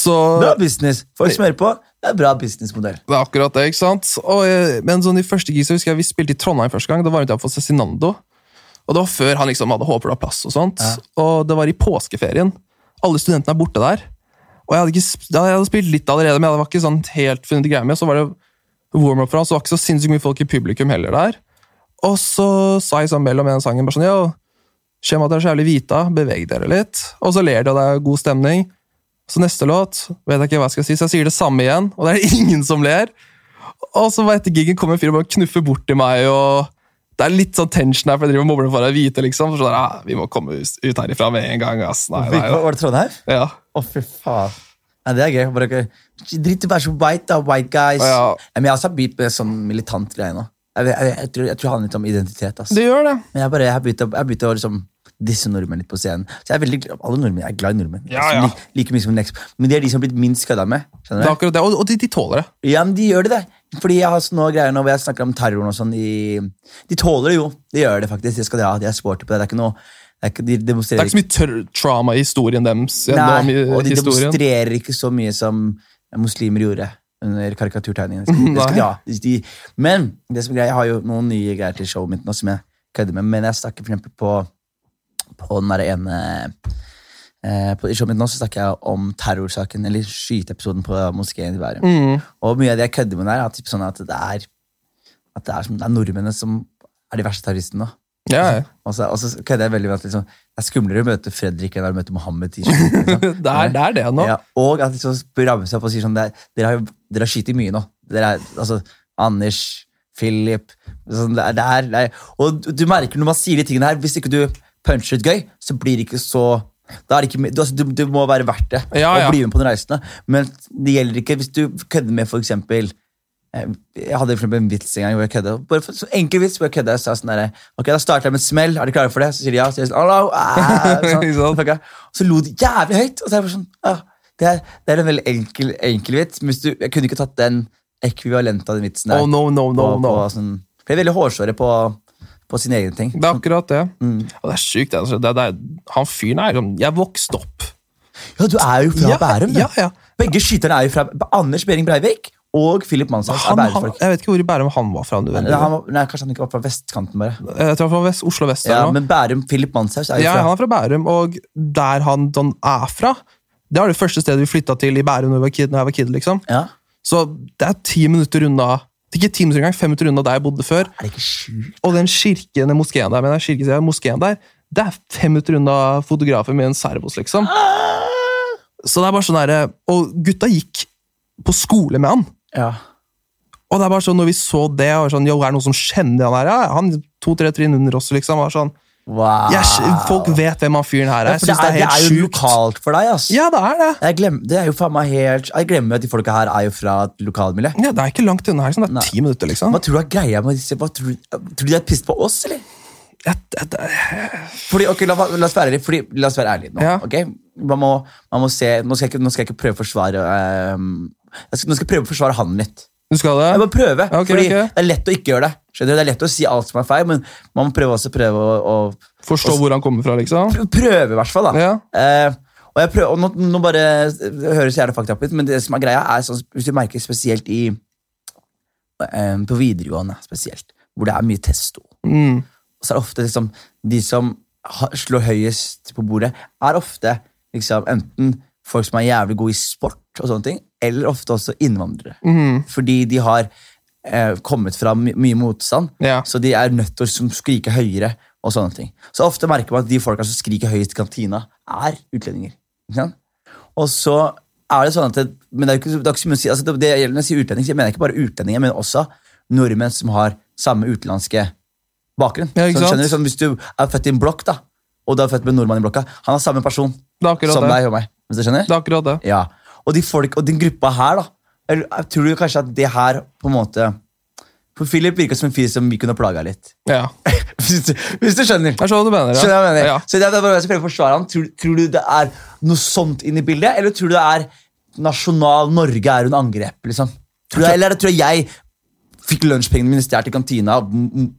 Speaker 6: Så
Speaker 1: Bra business. Folk som hører på, det er bra businessmodell.
Speaker 6: Det er akkurat det, ikke sant? Og, eh, men sånn de første gisa husker jeg vi spilte i Trondheim første gang. Da varmet jeg opp for Cezinando. Og det var før han liksom hadde håpet av plass og sånt. Og det var i påskeferien. Alle studentene er borte der. Og jeg hadde, ikke, sp- ja, jeg hadde spilt litt allerede, men jeg var ikke sånn helt funnet greia med. Så var det warm-up for han, så det var ikke så sinnssykt mye folk i publikum heller der. Og så sa Isabel om en sang bare sånn, jo, skjer med at dere er så jævlig hvita, beveg dere litt. Og så ler de, og det er god stemning. Så neste låt vet jeg ikke hva jeg skal si, så jeg sier det samme igjen, og det er ingen som ler. Og så bare etter giggen kommer en fyr og bare knuffer bort til meg, og det er litt sånn tension her, for jeg driver og mobler for å være hvite, liksom. Så sånn, ah, vi må komme us- ut herifra med en gang, ass. Nei, nei,
Speaker 1: Var det Trondheim?
Speaker 6: nei. Ja.
Speaker 1: Å, fy faen. Nei, det er gøy. Bare ikke Drit i å være så white, da, white guys.
Speaker 6: Ja.
Speaker 1: Nei, Men jeg har også begynt med sånn militant greie nå. Jeg, jeg, jeg, tror, jeg tror det handler litt om identitet. ass.
Speaker 6: Det gjør det.
Speaker 1: Men jeg, bare, jeg har begynt å, jeg har begynt å liksom, disse nordmenn litt på scenen. Så jeg er veldig, gl- Alle nordmenn jeg er glad i nordmenn.
Speaker 6: Ja,
Speaker 1: Altså,
Speaker 6: ja.
Speaker 1: Like, like mye som Lex. Men de er de som har blitt minst kødda med.
Speaker 6: Det
Speaker 1: skjønner
Speaker 6: er
Speaker 1: du?
Speaker 6: akkurat det, og, og de, de tåler det.
Speaker 1: Ja, men de gjør det, det. Fordi jeg har sånne greier nå hvor jeg snakker om terroren og sånn. i- De tåler det jo. De gjør det faktisk. Det skal de ha. De er sporty på det. Det er ikke noe... Det er ikke, de
Speaker 6: Det
Speaker 1: demonstrerer
Speaker 6: er ikke så mye tr- trauma i historien deres. gjennom
Speaker 1: Nei,
Speaker 6: i-
Speaker 1: og de
Speaker 6: historien.
Speaker 1: demonstrerer ikke så mye som muslimer gjorde under karikaturtegningene. Det skal- det skal de ha. De- de- Men det som er greia, jeg har jo noen nye greier til showet mitt nå som jeg kødder med, men jeg snakker for eksempel på, på den derre ene eh, på, I showet mitt nå så snakker jeg om terrorsaken, eller skyteepisoden på moskeen i Bærum. Og mye av det jeg kødder med der, er typ sånn at det er at det er, som, det er nordmennene som er de verste terroristene. da.
Speaker 6: Ja, ja.
Speaker 1: Og så, og så kødder jeg veldig med at liksom, det er skumlere å møte Fredrik enn å møte Mohammed. i skyting, liksom.
Speaker 6: Det er det, er det nå.
Speaker 1: Ja, og at de så rammer seg opp og sier sånn det er- Dere har, jo- dere har skytt i mye nå. Dere er, altså, Anders, Philip sånn, det er, det er, det er. Og du, du merker når man sier de tingene her, hvis ikke du puncher ut gøy, så blir det ikke så da er det ikke, me- du, altså, du, du må være verdt det
Speaker 6: Ja, ja.
Speaker 1: å bli med på den reisen. da. Men det gjelder ikke hvis du kødder med for eksempel eh, jeg hadde for eksempel en vits en gang hvor jeg kødda. Bare for, så enkel vits hvor jeg kødda. Jeg sa sånn der, ok, da starter jeg med et smell. Er de klare for det? Så sier de ja. Så sier jeg sånn, «Hallo, ah, sånn,
Speaker 6: Ikke sant?
Speaker 1: fuck ja. Og så lo de jævlig høyt. Og så er jeg bare sånn, ja, det, er, det er en veldig enkel, enkel vits. Men hvis du, jeg kunne ikke tatt den ekvivalent av den vitsen der.
Speaker 6: Oh, no, no, no,
Speaker 1: på,
Speaker 6: no.
Speaker 1: På, sånn, for de er veldig hårsåre på, på sine egne ting.
Speaker 6: Det er akkurat det.
Speaker 1: Mm.
Speaker 6: Og det er sykt. Det, altså. det, det er, han fyren er liksom Jeg vokste opp.
Speaker 1: Ja, du er jo fra
Speaker 6: Ja,
Speaker 1: Bærum. du.
Speaker 6: ja, ja.
Speaker 1: Begge skyterne er jo fra Anders Behring Breivik og Philip Manshaus er
Speaker 6: Han, han,
Speaker 1: Bærumsfolk.
Speaker 6: jeg vet ikke hvor i Bærum han var fra.
Speaker 1: Nei,
Speaker 6: nødvendigvis.
Speaker 1: han var- nei, kanskje han ikke var fra vestkanten, bare.
Speaker 6: Jeg tror han var fra vest, Oslo vest.
Speaker 1: Ja,
Speaker 6: eller noe.
Speaker 1: men Bærum, Philip Manshaus er jo
Speaker 6: ja,
Speaker 1: fra
Speaker 6: han er fra Bærum, og der han, han er fra Det er det første stedet vi flytta til i Bærum da jeg var kid. Når jeg var kid liksom.
Speaker 1: Ja.
Speaker 6: Så det er ti minutter unna det er ikke ti minutter engang, fem minutter unna der jeg bodde før.
Speaker 1: Er det ikke sjukt?
Speaker 6: Og den kirken, den moskeen der, men den kirken, den moskeen der, det er fem minutter unna fotografen med en servos, liksom. Så det er bare sånn der, Og gutta gikk på skole med han.
Speaker 1: Ja.
Speaker 6: Og det er bare sånn, når vi så det, og sånn, jo, er det noen som kjenner han her? Ja, han to-tre trinn under oss, liksom. Var sånn,
Speaker 1: Wow.
Speaker 6: jeg, folk vet hvem han fyren her
Speaker 1: Ja,
Speaker 6: er.
Speaker 1: for
Speaker 6: Jeg synes
Speaker 1: det, er, det er
Speaker 6: helt
Speaker 1: jo
Speaker 6: sjukt.
Speaker 1: lokalt for deg, ass.
Speaker 6: Ja, det er det.
Speaker 1: Jeg glemmer, det er jo faen meg helt Jeg glemmer at de folka her er jo fra et lokalmiljø.
Speaker 6: Ja, det er ikke langt unna her. Liksom. Det er ti minutter, liksom.
Speaker 1: Hva tror du er greia med disse hva tror, du- tror du de er pissed på oss, eller?
Speaker 6: Jeg, jeg, jeg,
Speaker 1: Fordi, ok, la, la, oss være ærlig, fordi, la oss være ærlige nå.
Speaker 6: Ja.
Speaker 1: ok? Man må, man må se, nå skal, jeg ikke, nå skal jeg ikke prøve å forsvare ehm, jeg skal, Nå skal jeg prøve å forsvare han litt.
Speaker 6: du skal
Speaker 1: Jeg
Speaker 6: det?
Speaker 1: må prøve,
Speaker 6: Ok,
Speaker 1: fordi
Speaker 6: ok.
Speaker 1: det er lett å ikke gjøre det. Skjønner du? Det er lett å si alt som er feil, men man må prøve også prøve å, å
Speaker 6: Forstå hvor han kommer fra, liksom?
Speaker 1: pr- prøve, i hvert fall. da.
Speaker 6: Ja.
Speaker 1: Eh, og jeg prøver, og nå, nå bare det høres jævlig fakta ut, men det som er greia er sånn, hvis du merker spesielt i eh, på videregående, spesielt, hvor det er mye testo,
Speaker 6: Mm.
Speaker 1: så er det ofte liksom de som har- slår høyest på bordet, er ofte liksom enten folk som er jævlig gode i sport og sånne ting, eller ofte også innvandrere. Fordi de har eh, kommet fra my mye motstand,
Speaker 6: Ja.
Speaker 1: så de er nødt til å som skrike høyere og sånne ting. Så ofte merker man at de folka som skriker høyest i kantina, er utlendinger. Ikke sant? Og så er det sånn at det, Men det er jo ikke, det er ikke så mye å si altså det, det gjelder når jeg sier utlending, så mener jeg ikke bare utlendinger, men også nordmenn som har samme utenlandske bakgrunn.
Speaker 6: Ja, ikke
Speaker 1: så skjønner du, sånn,
Speaker 6: sant?
Speaker 1: Hvis du er født i en blokk, da, og du er født med en nordmann i blokka, han er samme person
Speaker 6: Det er akkurat
Speaker 1: som
Speaker 6: det.
Speaker 1: deg og meg. Hvis du skjønner?
Speaker 6: Det er akkurat det.
Speaker 1: Ja. Og de folk, og den gruppa her, da. eller, jeg Tror du kanskje at det her på en måte For Philip virka som en fyr som vi kunne plaga litt.
Speaker 6: Ja. Jeg
Speaker 1: Hvis du, hvis du skjønner.
Speaker 6: skjønner hva du mener. ja.
Speaker 1: Skjønner du hva jeg mener?
Speaker 6: Ja.
Speaker 1: Så det er bare jeg som prøver å forsvare ham. Tror, tror du det er noe sånt inn i bildet, eller tror du det er nasjonal Norge er under angrep? liksom? Tror du, eller tror du jeg fikk lunsjpengene mine stjålet i kantina av,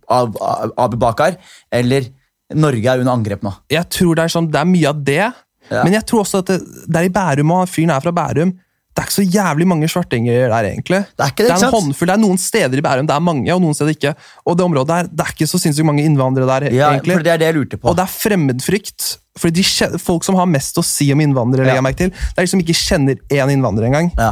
Speaker 1: av, av Abu Bakar? Eller Norge er under angrep nå?
Speaker 6: jeg tror det er sånn, det er mye av det.
Speaker 1: Ja.
Speaker 6: Men jeg tror også at det, det er i Bærum, og han fyren er fra Bærum. Det er ikke så jævlig mange svartinger der, egentlig.
Speaker 1: Det er ikke det, ikke
Speaker 6: en
Speaker 1: sant?
Speaker 6: håndfull, det er noen steder i Bærum, det er mange, og noen steder ikke. Og det området der, det er ikke så sinnssykt mange innvandrere der,
Speaker 1: Ja,
Speaker 6: egentlig.
Speaker 1: for Det er det jeg lurte på.
Speaker 6: Og det er fremmedfrykt. For de kje- folk som har mest å si om innvandrere,
Speaker 1: Ja.
Speaker 6: legger jeg merke til, det er de som ikke kjenner én innvandrer engang.
Speaker 1: Ja.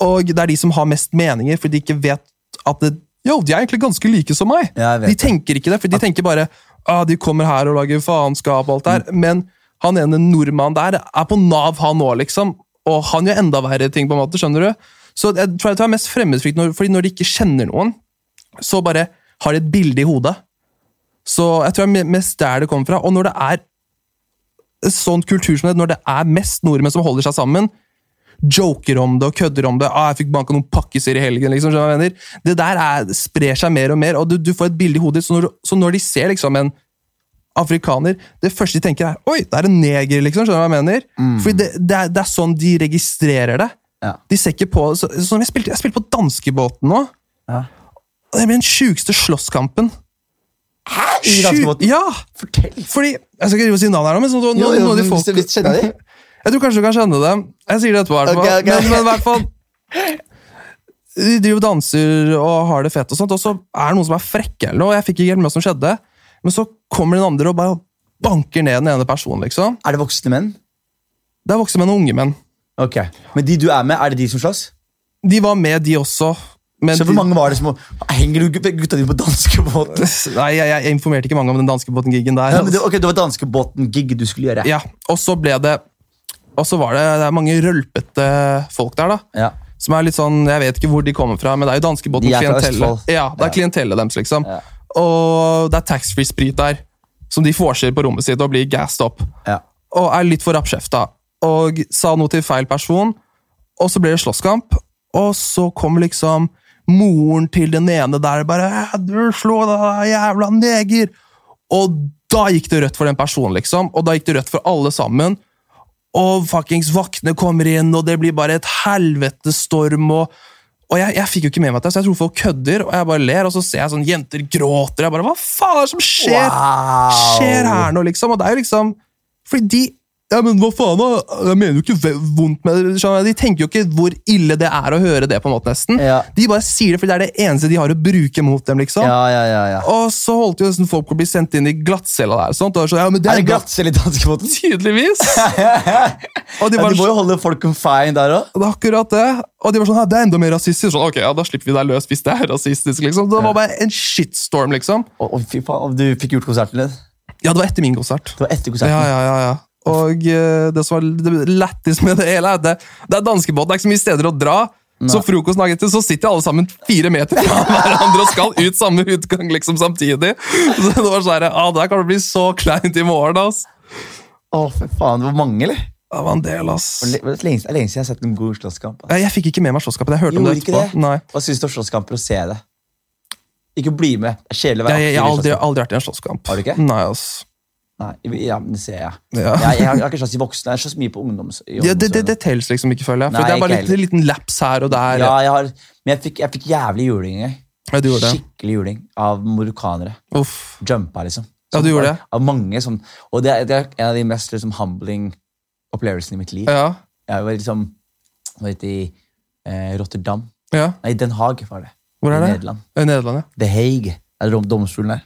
Speaker 6: Og det er de som har mest meninger, fordi de ikke vet at det, jo, de er egentlig ganske like som meg.
Speaker 1: Ja, jeg vet
Speaker 6: de tenker ikke det, for de tenker bare ah, de kommer her og lager faenskap og alt
Speaker 1: Mm.
Speaker 6: det her. Men han ene nordmannen der er på Nav, han òg, liksom. Og han gjør enda verre ting, på en måte, skjønner du? Så jeg tror jeg tar mest fremmedfrykt, når, fordi når de ikke kjenner noen, så bare har de et bilde i hodet. Så jeg tror det er me- mest der det kommer fra. Og når det er sånn kultur som det, når det er mest nordmenn som holder seg sammen, joker om det og kødder om det. Ah, 'Jeg fikk banka noen pakkiser i helgen.' liksom, skjønner du hva jeg mener? Det der er, sprer seg mer og mer, og du, du får et bilde i hodet ditt. Så når, du- så når de ser liksom en afrikaner, det første de tenker er 'oi, det er en neger'. liksom, skjønner du hva jeg mener?
Speaker 1: Mm.
Speaker 6: Fordi det, det, er, det er sånn de registrerer det.
Speaker 1: Ja.
Speaker 6: De ser ikke på så, sånn, jeg, spilte, jeg spilte på danskebåten nå.
Speaker 1: Ja.
Speaker 6: Og det ble den sjukeste slåsskampen.
Speaker 1: I danskebåten?
Speaker 6: Ja!
Speaker 1: Fortell!
Speaker 6: Fordi, Jeg skal ikke drive og si navn her, nå, men sånn, noen, noen av de folk...
Speaker 1: Hvis du kjenner de?
Speaker 6: Jeg tror kanskje du kan kjenne det. Jeg sier det etterpå. i hvert fall.
Speaker 1: Ok, ok.
Speaker 6: Men, men i hvert fall De driver og danser og har det fett, og sånt, og så er det noen som er frekke. eller noe, jeg fikk ikke helt med hva som skjedde, Men så kommer den andre og bare banker ned den ene personen. liksom.
Speaker 1: Er det voksne menn?
Speaker 6: Det er voksne menn og unge menn.
Speaker 1: Ok. Men de du er med, er det de som slåss?
Speaker 6: De var med, de også. Men
Speaker 1: Så hvor
Speaker 6: de-
Speaker 1: mange var det som Henger du gutta dine på danskebåten?
Speaker 6: Nei, jeg, jeg informerte ikke mange om den danskebåten-gigen der.
Speaker 1: Ja, men det, ok, det var danskebåten-gig du skulle gjøre.
Speaker 6: Ja, Og så ble det Og så var det, det er mange rølpete folk der, da.
Speaker 1: Ja.
Speaker 6: Som er litt sånn, Jeg vet ikke hvor de kommer fra, men det er jo danskebåten.
Speaker 1: De er fra
Speaker 6: klientellet.
Speaker 1: Østfold.
Speaker 6: Ja, det er
Speaker 1: Ja.
Speaker 6: klientellet deres, liksom.
Speaker 1: Ja.
Speaker 6: Og det er taxfree-sprit der, som de forser på rommet sitt og blir gassed opp.
Speaker 1: Ja.
Speaker 6: Og er litt for rappkjefta. Og sa noe til feil person, og så blir det slåsskamp. Og så kommer liksom moren til den ene der og bare «Æ, 'Du slå deg, jævla neger!' Og da gikk det rødt for den personen, liksom. Og da gikk det rødt for alle sammen. Og fuckings vaktene kommer inn, og det blir bare et helvetesstorm. Og, og jeg, jeg fikk jo ikke med meg det, så jeg tror folk kødder, og jeg bare ler. Og så ser jeg sånn jenter gråter. Jeg bare, Hva faen er det som skjer?
Speaker 1: Wow.
Speaker 6: skjer her nå, liksom? Og det er jo liksom Fordi de ja, men hva faen da? Jeg mener jo ikke ve- vondt med det. skjønner du? De tenker jo ikke hvor ille det er å høre det, på en måte, nesten.
Speaker 1: Ja.
Speaker 6: De bare sier det, for det er det eneste de har å bruke mot dem, liksom.
Speaker 1: Ja, ja, ja, ja.
Speaker 6: Og så holdt jo nesten folk på å bli sendt inn i glattcella der. Sånt, og så, ja, men det
Speaker 1: Er
Speaker 6: er,
Speaker 1: det
Speaker 6: glatt,
Speaker 1: glattcelle i danskebåten?
Speaker 6: tydeligvis! og de
Speaker 1: Ja,
Speaker 6: bare,
Speaker 1: de må jo holde folk confined der òg.
Speaker 6: det er akkurat det. Og de var sånn, «Ja, det er enda mer rasistisk. Sånn, ok, ja, Da slipper vi deg løs hvis det er rasistisk. liksom. Det var bare en shitstorm, liksom.
Speaker 1: Og, og fy faen, og du fikk gjort konserten din.
Speaker 6: Ja, det var etter min konsert.
Speaker 1: Det var etter
Speaker 6: Ja,
Speaker 1: konserten.
Speaker 6: ja, ja, ja. Og eh, det som var lættis med det hele, er at det, det er danskebåten. Det er ikke så mye steder å dra. Så frokosten dagen etter, så sitter alle sammen fire meter fra hverandre og skal ut samme utgang liksom samtidig. Så det var sånn her, ah, der kan det bli så kleint i morgen, ass.
Speaker 1: Å, fy faen, det var mange, eller?
Speaker 6: Det var en del, ass.
Speaker 1: Det er lenge, det er lenge siden jeg har sett en god slåsskamp. ass.
Speaker 6: Jeg, jeg fikk ikke med meg slåsskampen. Jeg hørte om
Speaker 1: Gjorde
Speaker 6: det
Speaker 1: ikke
Speaker 6: etterpå.
Speaker 1: det?
Speaker 6: Nei.
Speaker 1: Hva syns du om slåsskamper og se det? Ikke bli med. Det er kjedelig å
Speaker 6: Jeg,
Speaker 1: være
Speaker 6: jeg, jeg har
Speaker 1: aktiv i slåsskamp.
Speaker 6: aldri, aldri vært i en slåsskamp.
Speaker 1: Har du ikke?
Speaker 6: Nei, ass.
Speaker 1: Nei, ja, men det ser jeg.
Speaker 6: Ja.
Speaker 1: jeg. Jeg har jeg har ikke slåss i voksne. Jeg har slåss mye på ungdoms... i
Speaker 6: Ja, det, det,
Speaker 1: ungdomsårene.
Speaker 6: det telles liksom ikke, føler jeg. For
Speaker 1: Nei,
Speaker 6: det er bare
Speaker 1: ikke
Speaker 6: en liten, liten laps her og der.
Speaker 1: Ja, jeg har, men jeg fikk, jeg fikk jævlig juling en gang.
Speaker 6: Ja, du gjorde det.
Speaker 1: Skikkelig juling av morokkanere.
Speaker 6: Uff.
Speaker 1: Jumpa, liksom.
Speaker 6: Ja, du gjorde det.
Speaker 1: Av mange sånn. Og det er, det er en av de mest liksom, humbling opplevelsene i mitt liv.
Speaker 6: Ja,
Speaker 1: Jeg var liksom var ute i eh, Rotterdam.
Speaker 6: ja.
Speaker 1: Nei, Den Haag var det.
Speaker 6: Hvor er
Speaker 1: I
Speaker 6: det?
Speaker 1: Nederland.
Speaker 6: I Nederland, ja.
Speaker 1: The Hague. Det er dom- domstolen der.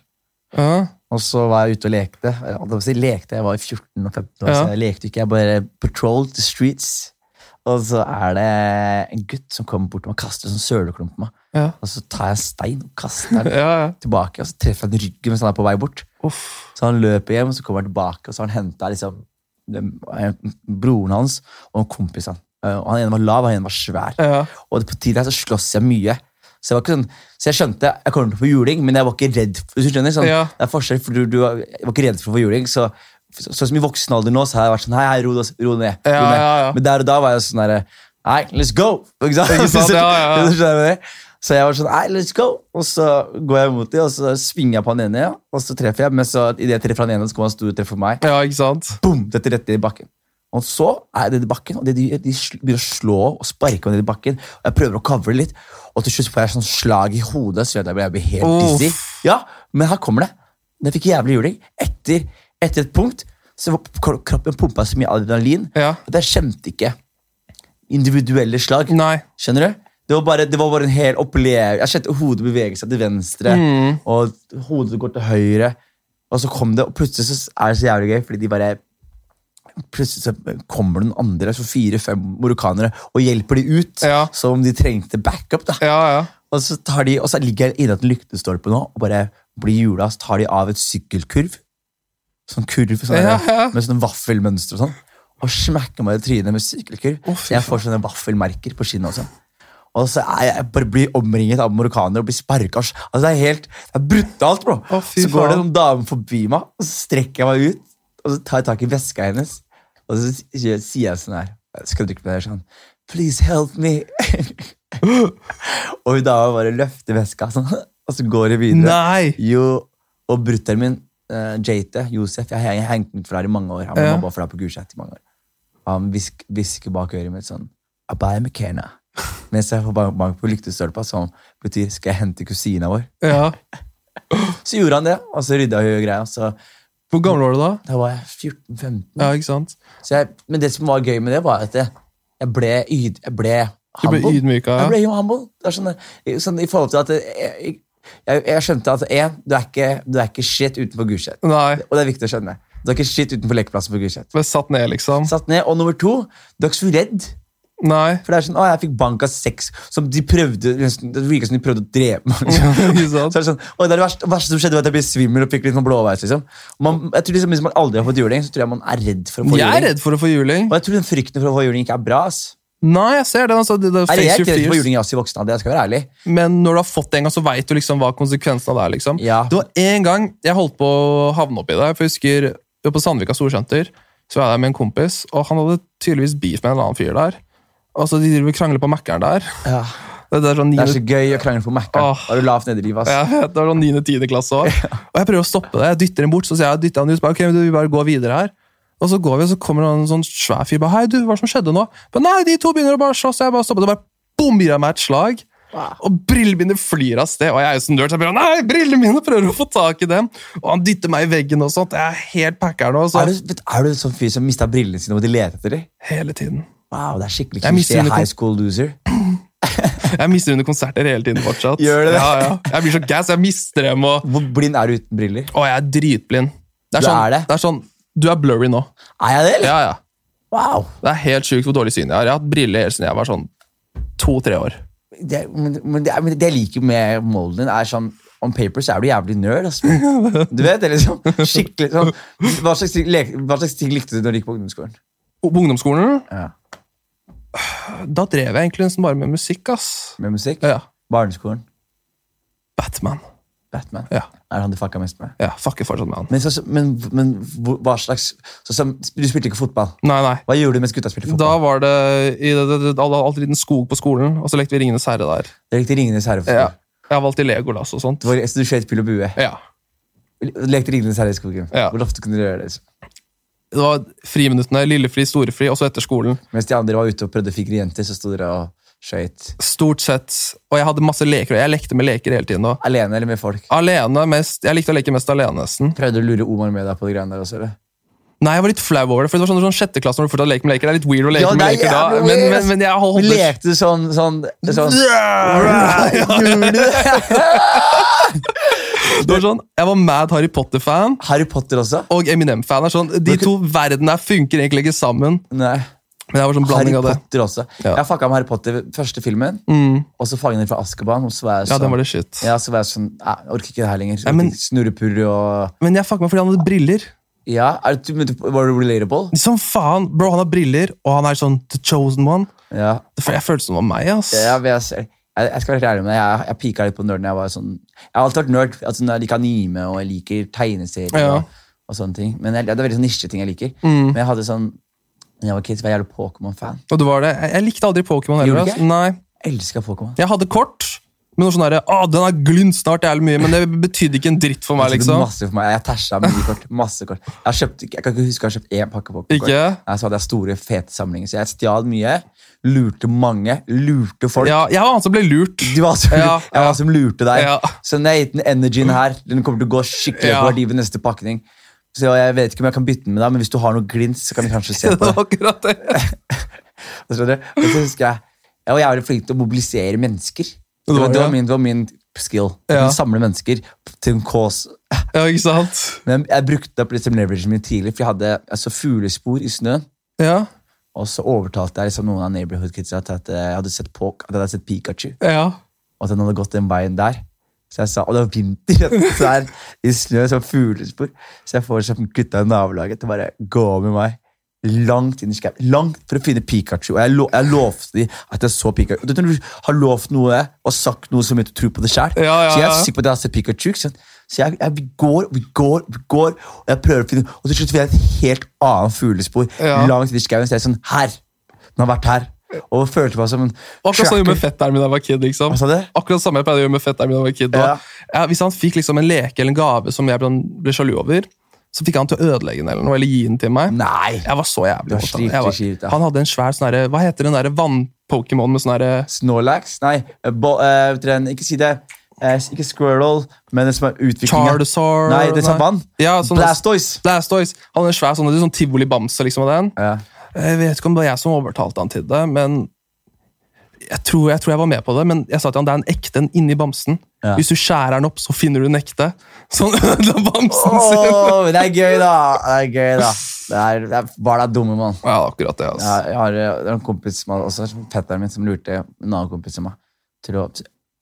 Speaker 6: ja.
Speaker 1: Og så var jeg ute og lekte. Jeg, holdt på å si lekte. jeg var 14 og 15 år,
Speaker 6: Ja.
Speaker 1: så jeg lekte ikke. Jeg bare patrolled the streets. Og så er det en gutt som kommer bort og kaster en sånn søleklump på meg.
Speaker 6: Ja.
Speaker 1: Og så tar jeg en stein og kaster den
Speaker 6: Ja, ja.
Speaker 1: tilbake, og så treffer jeg den i ryggen mens han er på vei bort.
Speaker 6: Uff.
Speaker 1: Så han løper hjem, og så kommer han tilbake, og så har han henta liksom, den- eh, broren hans og en kompis. Han. Eh, Og han ene var lav, og han ene var svær.
Speaker 6: Ja.
Speaker 1: Og på tiden her så slåss jeg mye. Så jeg var ikke sånn, så jeg skjønte jeg kommer til å få juling, men jeg var ikke redd. for- Hvis du skjønner, sånn,
Speaker 6: Ja.
Speaker 1: Det er forskjell, for du, du var jeg var ikke redd for å få juling. Så, så, sånn som i voksen alder nå, så har jeg vært sånn Hei, hei, ro, deg- ro ned. Ro
Speaker 6: Ja,
Speaker 1: ned.
Speaker 6: ja, ja.
Speaker 1: Men der og da var jeg sånn derre Hei, let's go! Ikke sant?
Speaker 6: Ikke sant?
Speaker 1: Så-
Speaker 6: Ja, ja.
Speaker 1: så skjønner jeg det. Så jeg var sånn Hei, let's go! Og så går jeg mot dem, og så svinger jeg på han ene, ja. og så treffer jeg. Men så idet jeg treffer han ene, så kommer han store og treffer meg.
Speaker 6: Ja, ikke sant?
Speaker 1: Boom! Dette rett ned i bakken. Og så er det i bakken, og det de, de sl- begynner å slå og sparke meg ned i bakken. Og jeg prøver å cover litt, og til slutt får jeg sånn slag i hodet. Så jeg, jeg blir helt
Speaker 6: Uff.
Speaker 1: dizzy. Ja, Men her kommer det. Den fikk jævlig juling. Etter, etter et punkt så var k- kroppen pumpa så mye adrenalin
Speaker 6: Ja.
Speaker 1: at jeg kjente ikke individuelle slag.
Speaker 6: Nei.
Speaker 1: Skjønner du? Det var bare, det var bare en hel opplevelse. Jeg kjente hodet bevege seg til venstre,
Speaker 6: Mm.
Speaker 1: og hodet går til høyre. Og så kom det, og plutselig så er det så jævlig gøy, fordi de bare Plutselig så kommer den andre, så fire-fem marokkanere, og hjelper de ut.
Speaker 6: Ja.
Speaker 1: Som om de trengte backup. da.
Speaker 6: Ja, ja.
Speaker 1: Og så, tar de, og så ligger jeg innenfor lyktestolpen nå, og bare blir jula, så tar de av et sykkelkurv. Sånn kurv sånn
Speaker 6: Ja,
Speaker 1: der,
Speaker 6: ja.
Speaker 1: med sånn vaffelmønster og sånn. Og smekker meg i trynet med sykkelkurv.
Speaker 6: Å, fy
Speaker 1: så jeg får sånne vaffelmerker på skinnet også. Og så er jeg, jeg bare blir omringet av marokkanere og blir sparka. Altså, det er helt det er brutalt, bro.
Speaker 6: Å, fy
Speaker 1: så går det
Speaker 6: faen.
Speaker 1: noen damer forbi meg, og så strekker jeg meg ut, og så tar jeg tak i veska hennes, og så sier sier jeg sånn her Skal du drikke med deg sånn? Please help me. Og hun dama bare løfter veska, sånn, og så går hun videre.
Speaker 6: Nei!
Speaker 1: Jo, og brutter'n min, eh, Jate, Josef Jeg har hengt ut for her i mange år. Han var
Speaker 6: Ja.
Speaker 1: mobba for her på Gulset i mange år. Han hvisk- hvisker bak øret mitt sånn Abaya Mekena. Mens jeg får bank, bank på lyktestolpa, som betyr 'skal jeg hente kusina vår'.
Speaker 6: ja.
Speaker 1: Så gjorde han det, og så rydda hun greia. Så
Speaker 6: Hvor gammel var du da?
Speaker 1: da var jeg 14-15.
Speaker 6: Ja, ikke sant?
Speaker 1: Så jeg, men det som var gøy med det, var at jeg, jeg ble yd... Jeg ble
Speaker 6: Du ble
Speaker 1: humble.
Speaker 6: ydmyka, ja.
Speaker 1: Jeg ble jo humble. Det er sånn, sånn, I forhold til at jeg, jeg, jeg skjønte at én, du, er ikke- du er ikke shit utenfor Gulset.
Speaker 6: Nei.
Speaker 1: Og det er viktig å skjønne. Du er ikke shit utenfor lekeplassen på Gulset.
Speaker 6: Ble satt ned, liksom.
Speaker 1: Satt ned, Og nummer to, du er ikke så redd.
Speaker 6: Nei.
Speaker 1: For det er sånn, å, jeg fikk bank av seks som de prøvde nesten- Det virka som de prøvde å drepe meg. liksom.
Speaker 6: Ikke
Speaker 1: Så
Speaker 6: sant?
Speaker 1: er det sånn, «Oi, det er det verste, verste som skjedde, var at jeg ble svimmel og fikk litt sånn blåveis. liksom. Og Man, jeg tror liksom, Hvis man aldri har fått juling, så tror jeg man er redd for å få
Speaker 6: Jeg er
Speaker 1: juling.
Speaker 6: redd for å få juling.
Speaker 1: Og jeg tror den frykten for å få juling ikke er bra. ass.
Speaker 6: Nei, jeg ser den. Altså, det, det,
Speaker 1: Er det
Speaker 6: face
Speaker 1: jeg
Speaker 6: your
Speaker 1: redd for
Speaker 6: fears.
Speaker 1: juling i oss i voksen alder? Jeg skal være ærlig.
Speaker 6: Men når du har fått det en gang, så veit du liksom hva konsekvensen av det er. liksom.
Speaker 1: Ja.
Speaker 6: Det var en gang jeg holdt på å havne oppi det. for jeg husker jeg var På Sandvika storsenter så var jeg der med en kompis, og han hadde tydeligvis beef med en annen fyr der. Og så De driver og krangler på Mækkern der.
Speaker 1: Ja.
Speaker 6: Det er sånn
Speaker 1: Det
Speaker 6: 9.
Speaker 1: er så gøy å krangle på Mac-en.
Speaker 6: Åh.
Speaker 1: Da er du lavt nede i livet. ass.
Speaker 6: Ja, jeg vet, det var sånn 9.-10. klasse også. Og jeg prøver å stoppe det. Jeg dytter den bort, så sier jeg dytter han ut. så Bare, ok, men du, vi bare går videre her. Og så går vi, og så kommer det en sånn svær fyr. bare, Hei, du, hva som skjedde nå? Men nei, de to begynner å bare slåss. og Jeg bare stopper det. og Bare bom, gir han meg et slag. Og brillene mine flyr av sted. Og jeg er jo så nerd, så jeg bare Nei, brillene mine! Prøver å få tak i dem. Og han dytter meg i veggen og sånt. Jeg er helt packer nå. Så
Speaker 1: Er, du, vet, er du en sånn fyr som mista brillene sine og de lette etter dem?
Speaker 6: hele tiden.
Speaker 1: Wow, det er skikkelig
Speaker 6: Jeg mister
Speaker 1: klisjé.
Speaker 6: det.
Speaker 1: High school loser.
Speaker 6: Jeg mister under konserter hele tiden fortsatt.
Speaker 1: Gjør du det?
Speaker 6: Ja, ja. Jeg blir så gass. Jeg mister dem, og
Speaker 1: Hvor blind er du uten briller?
Speaker 6: Å, jeg er dritblind. Det er
Speaker 1: Du
Speaker 6: sånn,
Speaker 1: er det?
Speaker 6: det er sånn Du er blurry nå.
Speaker 1: Er jeg det, eller?
Speaker 6: Ja, ja.
Speaker 1: Wow!
Speaker 6: Det er helt sjukt hvor dårlig syn jeg har. Jeg har hatt briller helt siden jeg var sånn to-tre år.
Speaker 1: Det, men, men, det, men det jeg liker med molden din, er sånn On paper så er du jævlig nerd. ass. Du vet, det er liksom skikkelig sånn, hva, slags ting, lek- hva slags ting likte du når du gikk på ungdomsskolen?
Speaker 6: Og På ungdomsskolen
Speaker 1: Ja.
Speaker 6: da drev jeg egentlig nesten bare med musikk. ass.
Speaker 1: Med musikk?
Speaker 6: Ja,
Speaker 1: Barneskolen?
Speaker 6: Batman.
Speaker 1: Batman?
Speaker 6: Ja.
Speaker 1: Er det han du fucka mest med?
Speaker 6: Ja, Fucker fortsatt med han.
Speaker 1: Men, så, men, men hvor- hva slags så, som, Du spilte ikke fotball.
Speaker 6: Nei, nei.
Speaker 1: Hva gjorde du mens gutta spilte
Speaker 6: Da
Speaker 1: fotball?
Speaker 6: var det i det, det, det, det var alltid en liten skog på skolen, og så lekte vi Ringenes herre der.
Speaker 1: Det lekte Ringenes herre. for
Speaker 6: Ja.
Speaker 1: skolen.
Speaker 6: Jeg valgte Legolas og sånt.
Speaker 1: Det var- Så du skjøt pil og bue?
Speaker 6: Ja.
Speaker 1: Lekte Ringenes herre i skogen?
Speaker 6: Ja.
Speaker 1: Hvor ofte kunne du gjøre det? liksom?
Speaker 6: Det var friminuttene, lillefri, storefri, og så etter skolen.
Speaker 1: Mens de andre var ute og prøvde å fikre jenter, så sto dere og skøyt.
Speaker 6: Stort sett. Og jeg hadde masse leker, og jeg lekte med leker hele tiden. Og
Speaker 1: Alene eller med folk?
Speaker 6: alene mest, Jeg likte å leke mest alene, nesten.
Speaker 1: Prøvde du å lure Omar med deg på det greiene der også? eller?
Speaker 6: Nei, jeg var litt flau over det. For det var sånn, sånn sjette klasse når du fortsatt leker med leker. Det er litt weird å leke
Speaker 1: Ja,
Speaker 6: med
Speaker 1: det er
Speaker 6: leker da.
Speaker 1: jævlig
Speaker 6: Men,
Speaker 1: weird,
Speaker 6: men,
Speaker 1: ass.
Speaker 6: men jeg
Speaker 1: Men
Speaker 6: holdt
Speaker 1: lekte du sånn, sånn, sånn Gjorde du det?
Speaker 6: Det var sånn, Jeg var mad Harry Potter-fan
Speaker 1: Harry Potter også?
Speaker 6: og Eminem-fan. er Sånn, de to verdenene her funker egentlig ikke sammen.
Speaker 1: Nei.
Speaker 6: Men jeg var sånn
Speaker 1: Harry
Speaker 6: blanding av det.
Speaker 1: Potter også.
Speaker 6: Ja. Mm.
Speaker 1: Jeg fucka med Harry Potter første filmen, og så Fangene fra Azkaban. Og så var jeg
Speaker 6: Ja,
Speaker 1: sånn,
Speaker 6: den var det shit.
Speaker 1: Ja, så var jeg sånn, "Nei, jeg orker ikke det her lenger.
Speaker 6: Nei, men-
Speaker 1: Snurrepurre og
Speaker 6: Men jeg fucker meg fordi han hadde briller.
Speaker 1: Ja, er du, men du- Var du relatable?
Speaker 6: Som faen, bro, Han har briller, og han er sånn the chosen one.
Speaker 1: Ja.
Speaker 6: Det- Jeg følte som det var meg. ass.
Speaker 1: Ja, men jeg, ser- Jeg, jeg skal være helt ærlig med deg, jeg, jeg pika litt på nerd når jeg var sånn Jeg har alltid vært nerd. Altså, når jeg liker anime, og jeg liker tegneserier.
Speaker 6: Ja. Mm.
Speaker 1: Og, og sånne ting. Men jeg, det er veldig sånn nisjeting jeg liker. Men jeg hadde sånn da jeg var kid, så var jeg jævlig Pokémon-fan.
Speaker 6: Og det var det. Jeg, jeg likte aldri
Speaker 1: Gjorde
Speaker 6: Pokémon heller.
Speaker 1: du
Speaker 6: ass.
Speaker 1: ikke?
Speaker 6: Nei.
Speaker 1: Elska Pokémon.
Speaker 6: Jeg hadde kort, men noe sånn derre Å, den er glint snart jævlig mye, men det betydde ikke en dritt for meg,
Speaker 1: Jeg kjøpte
Speaker 6: liksom.
Speaker 1: Altså, Masse for meg. Jeg tæsja mye kort. Masse kort. Jeg, har kjøpt, jeg kan ikke huske jeg har kjøpt én pakke Pokémon.
Speaker 6: Ikke?
Speaker 1: Så hadde jeg store, fete samlinger. Så jeg stjal mye. Lurte mange. Lurte folk.
Speaker 6: Ja, jeg var han som ble lurt.
Speaker 1: Du var som,
Speaker 6: Ja,
Speaker 1: jeg
Speaker 6: ja.
Speaker 1: var som lurte deg.
Speaker 6: Ja.
Speaker 1: Så når jeg har gitt den energien her, den kommer til å gå skikkelig
Speaker 6: Ja.
Speaker 1: på verdi ved neste pakning. Så jeg vet ikke om jeg kan bytte den med deg, men hvis du har noe glins, så kan vi kanskje se
Speaker 6: Det
Speaker 1: på
Speaker 6: var
Speaker 1: det.
Speaker 6: akkurat det.
Speaker 1: Og så, og så husker jeg, jeg var jævlig flink til å mobilisere mennesker. Det var, det var, min, det var min skill. Jeg
Speaker 6: Ja.
Speaker 1: kunne samle mennesker til en cause.
Speaker 6: Ja, ikke sant?
Speaker 1: Men jeg brukte opp liksom leveragen min tidlig, for jeg hadde altså, fuglespor i snøen.
Speaker 6: Ja,
Speaker 1: Og så overtalte jeg liksom noen av neighborhood kidsa til at eh, jeg hadde sett, Pok at jeg hadde sett Pikachu.
Speaker 6: ja.
Speaker 1: og at Altså, den hadde gått den veien der. Så jeg sa, Og det var vinter vet du, så her, i snø, som fuglespor. Så jeg får sånn gutta i nabolaget til å bare gå med meg langt inn i skauen. Langt for å finne Pikachu. Og jeg, lo, jeg lovte de at jeg så Pikachu. Du, når du har lovt noe og sagt noe som gjør at du tror på det sjøl.
Speaker 6: Ja, ja,
Speaker 1: Så jeg er
Speaker 6: ja.
Speaker 1: sikker på at jeg har sett Pikachu. ikke sant? Så jeg, jeg, vi går, vi går, vi går, og jeg prøver å finne Og til slutt finner jeg et helt annet fuglespor
Speaker 6: Ja.
Speaker 1: langt inn i skauen. Så jeg er sånn Her! Den har vært her. Og følte meg som en
Speaker 6: Akkurat sånn jeg
Speaker 1: tracker.
Speaker 6: gjorde med fetteren min da jeg var kid. liksom.
Speaker 1: Hva sa du?
Speaker 6: Akkurat samme jeg pleide å gjøre med fetteren min da jeg var kid. da.
Speaker 1: Ja.
Speaker 6: Ja, hvis han fikk liksom en leke eller en gave som jeg ble, ble sjalu over, så fikk han til å ødelegge den eller noe, eller gi den til meg.
Speaker 1: Nei!
Speaker 6: Jeg var så jævlig
Speaker 1: Du var
Speaker 6: hot, da.
Speaker 1: skikkelig
Speaker 6: Jeg
Speaker 1: skikkelig, ja.
Speaker 6: Han hadde en svær sånn herre- Hva heter den derre vann-pokémon med sånn herre
Speaker 1: Snorlax? Nei, eh, bo, eh, vet dere en- ikke si det. Eh, ikke Squirrel, men den som er utviklingen.
Speaker 6: Chardasor
Speaker 1: Nei, det er sånn vann.
Speaker 6: Ja, sånn
Speaker 1: Blastoise!
Speaker 6: Blastoise. Han hadde en svær sånn, sånn tivoli-bamse liksom, av den.
Speaker 1: Ja.
Speaker 6: Jeg vet ikke om det var jeg som overtalte han til det, men jeg tror jeg, tror jeg var med på det. Men jeg sa til han det er en ekte en inni bamsen.
Speaker 1: Ja.
Speaker 6: Hvis du skjærer den opp, så finner du den ekte. Så han ødela bamsen sin.
Speaker 1: Åh, men det er gøy, da! Det er gøy, da. Det er, det er bare det er dumme, mann.
Speaker 6: Ja, akkurat det. Altså.
Speaker 1: Jeg, jeg har eh, det er en kompis som hadde, også fetteren min som lurte en annen kompis av meg til å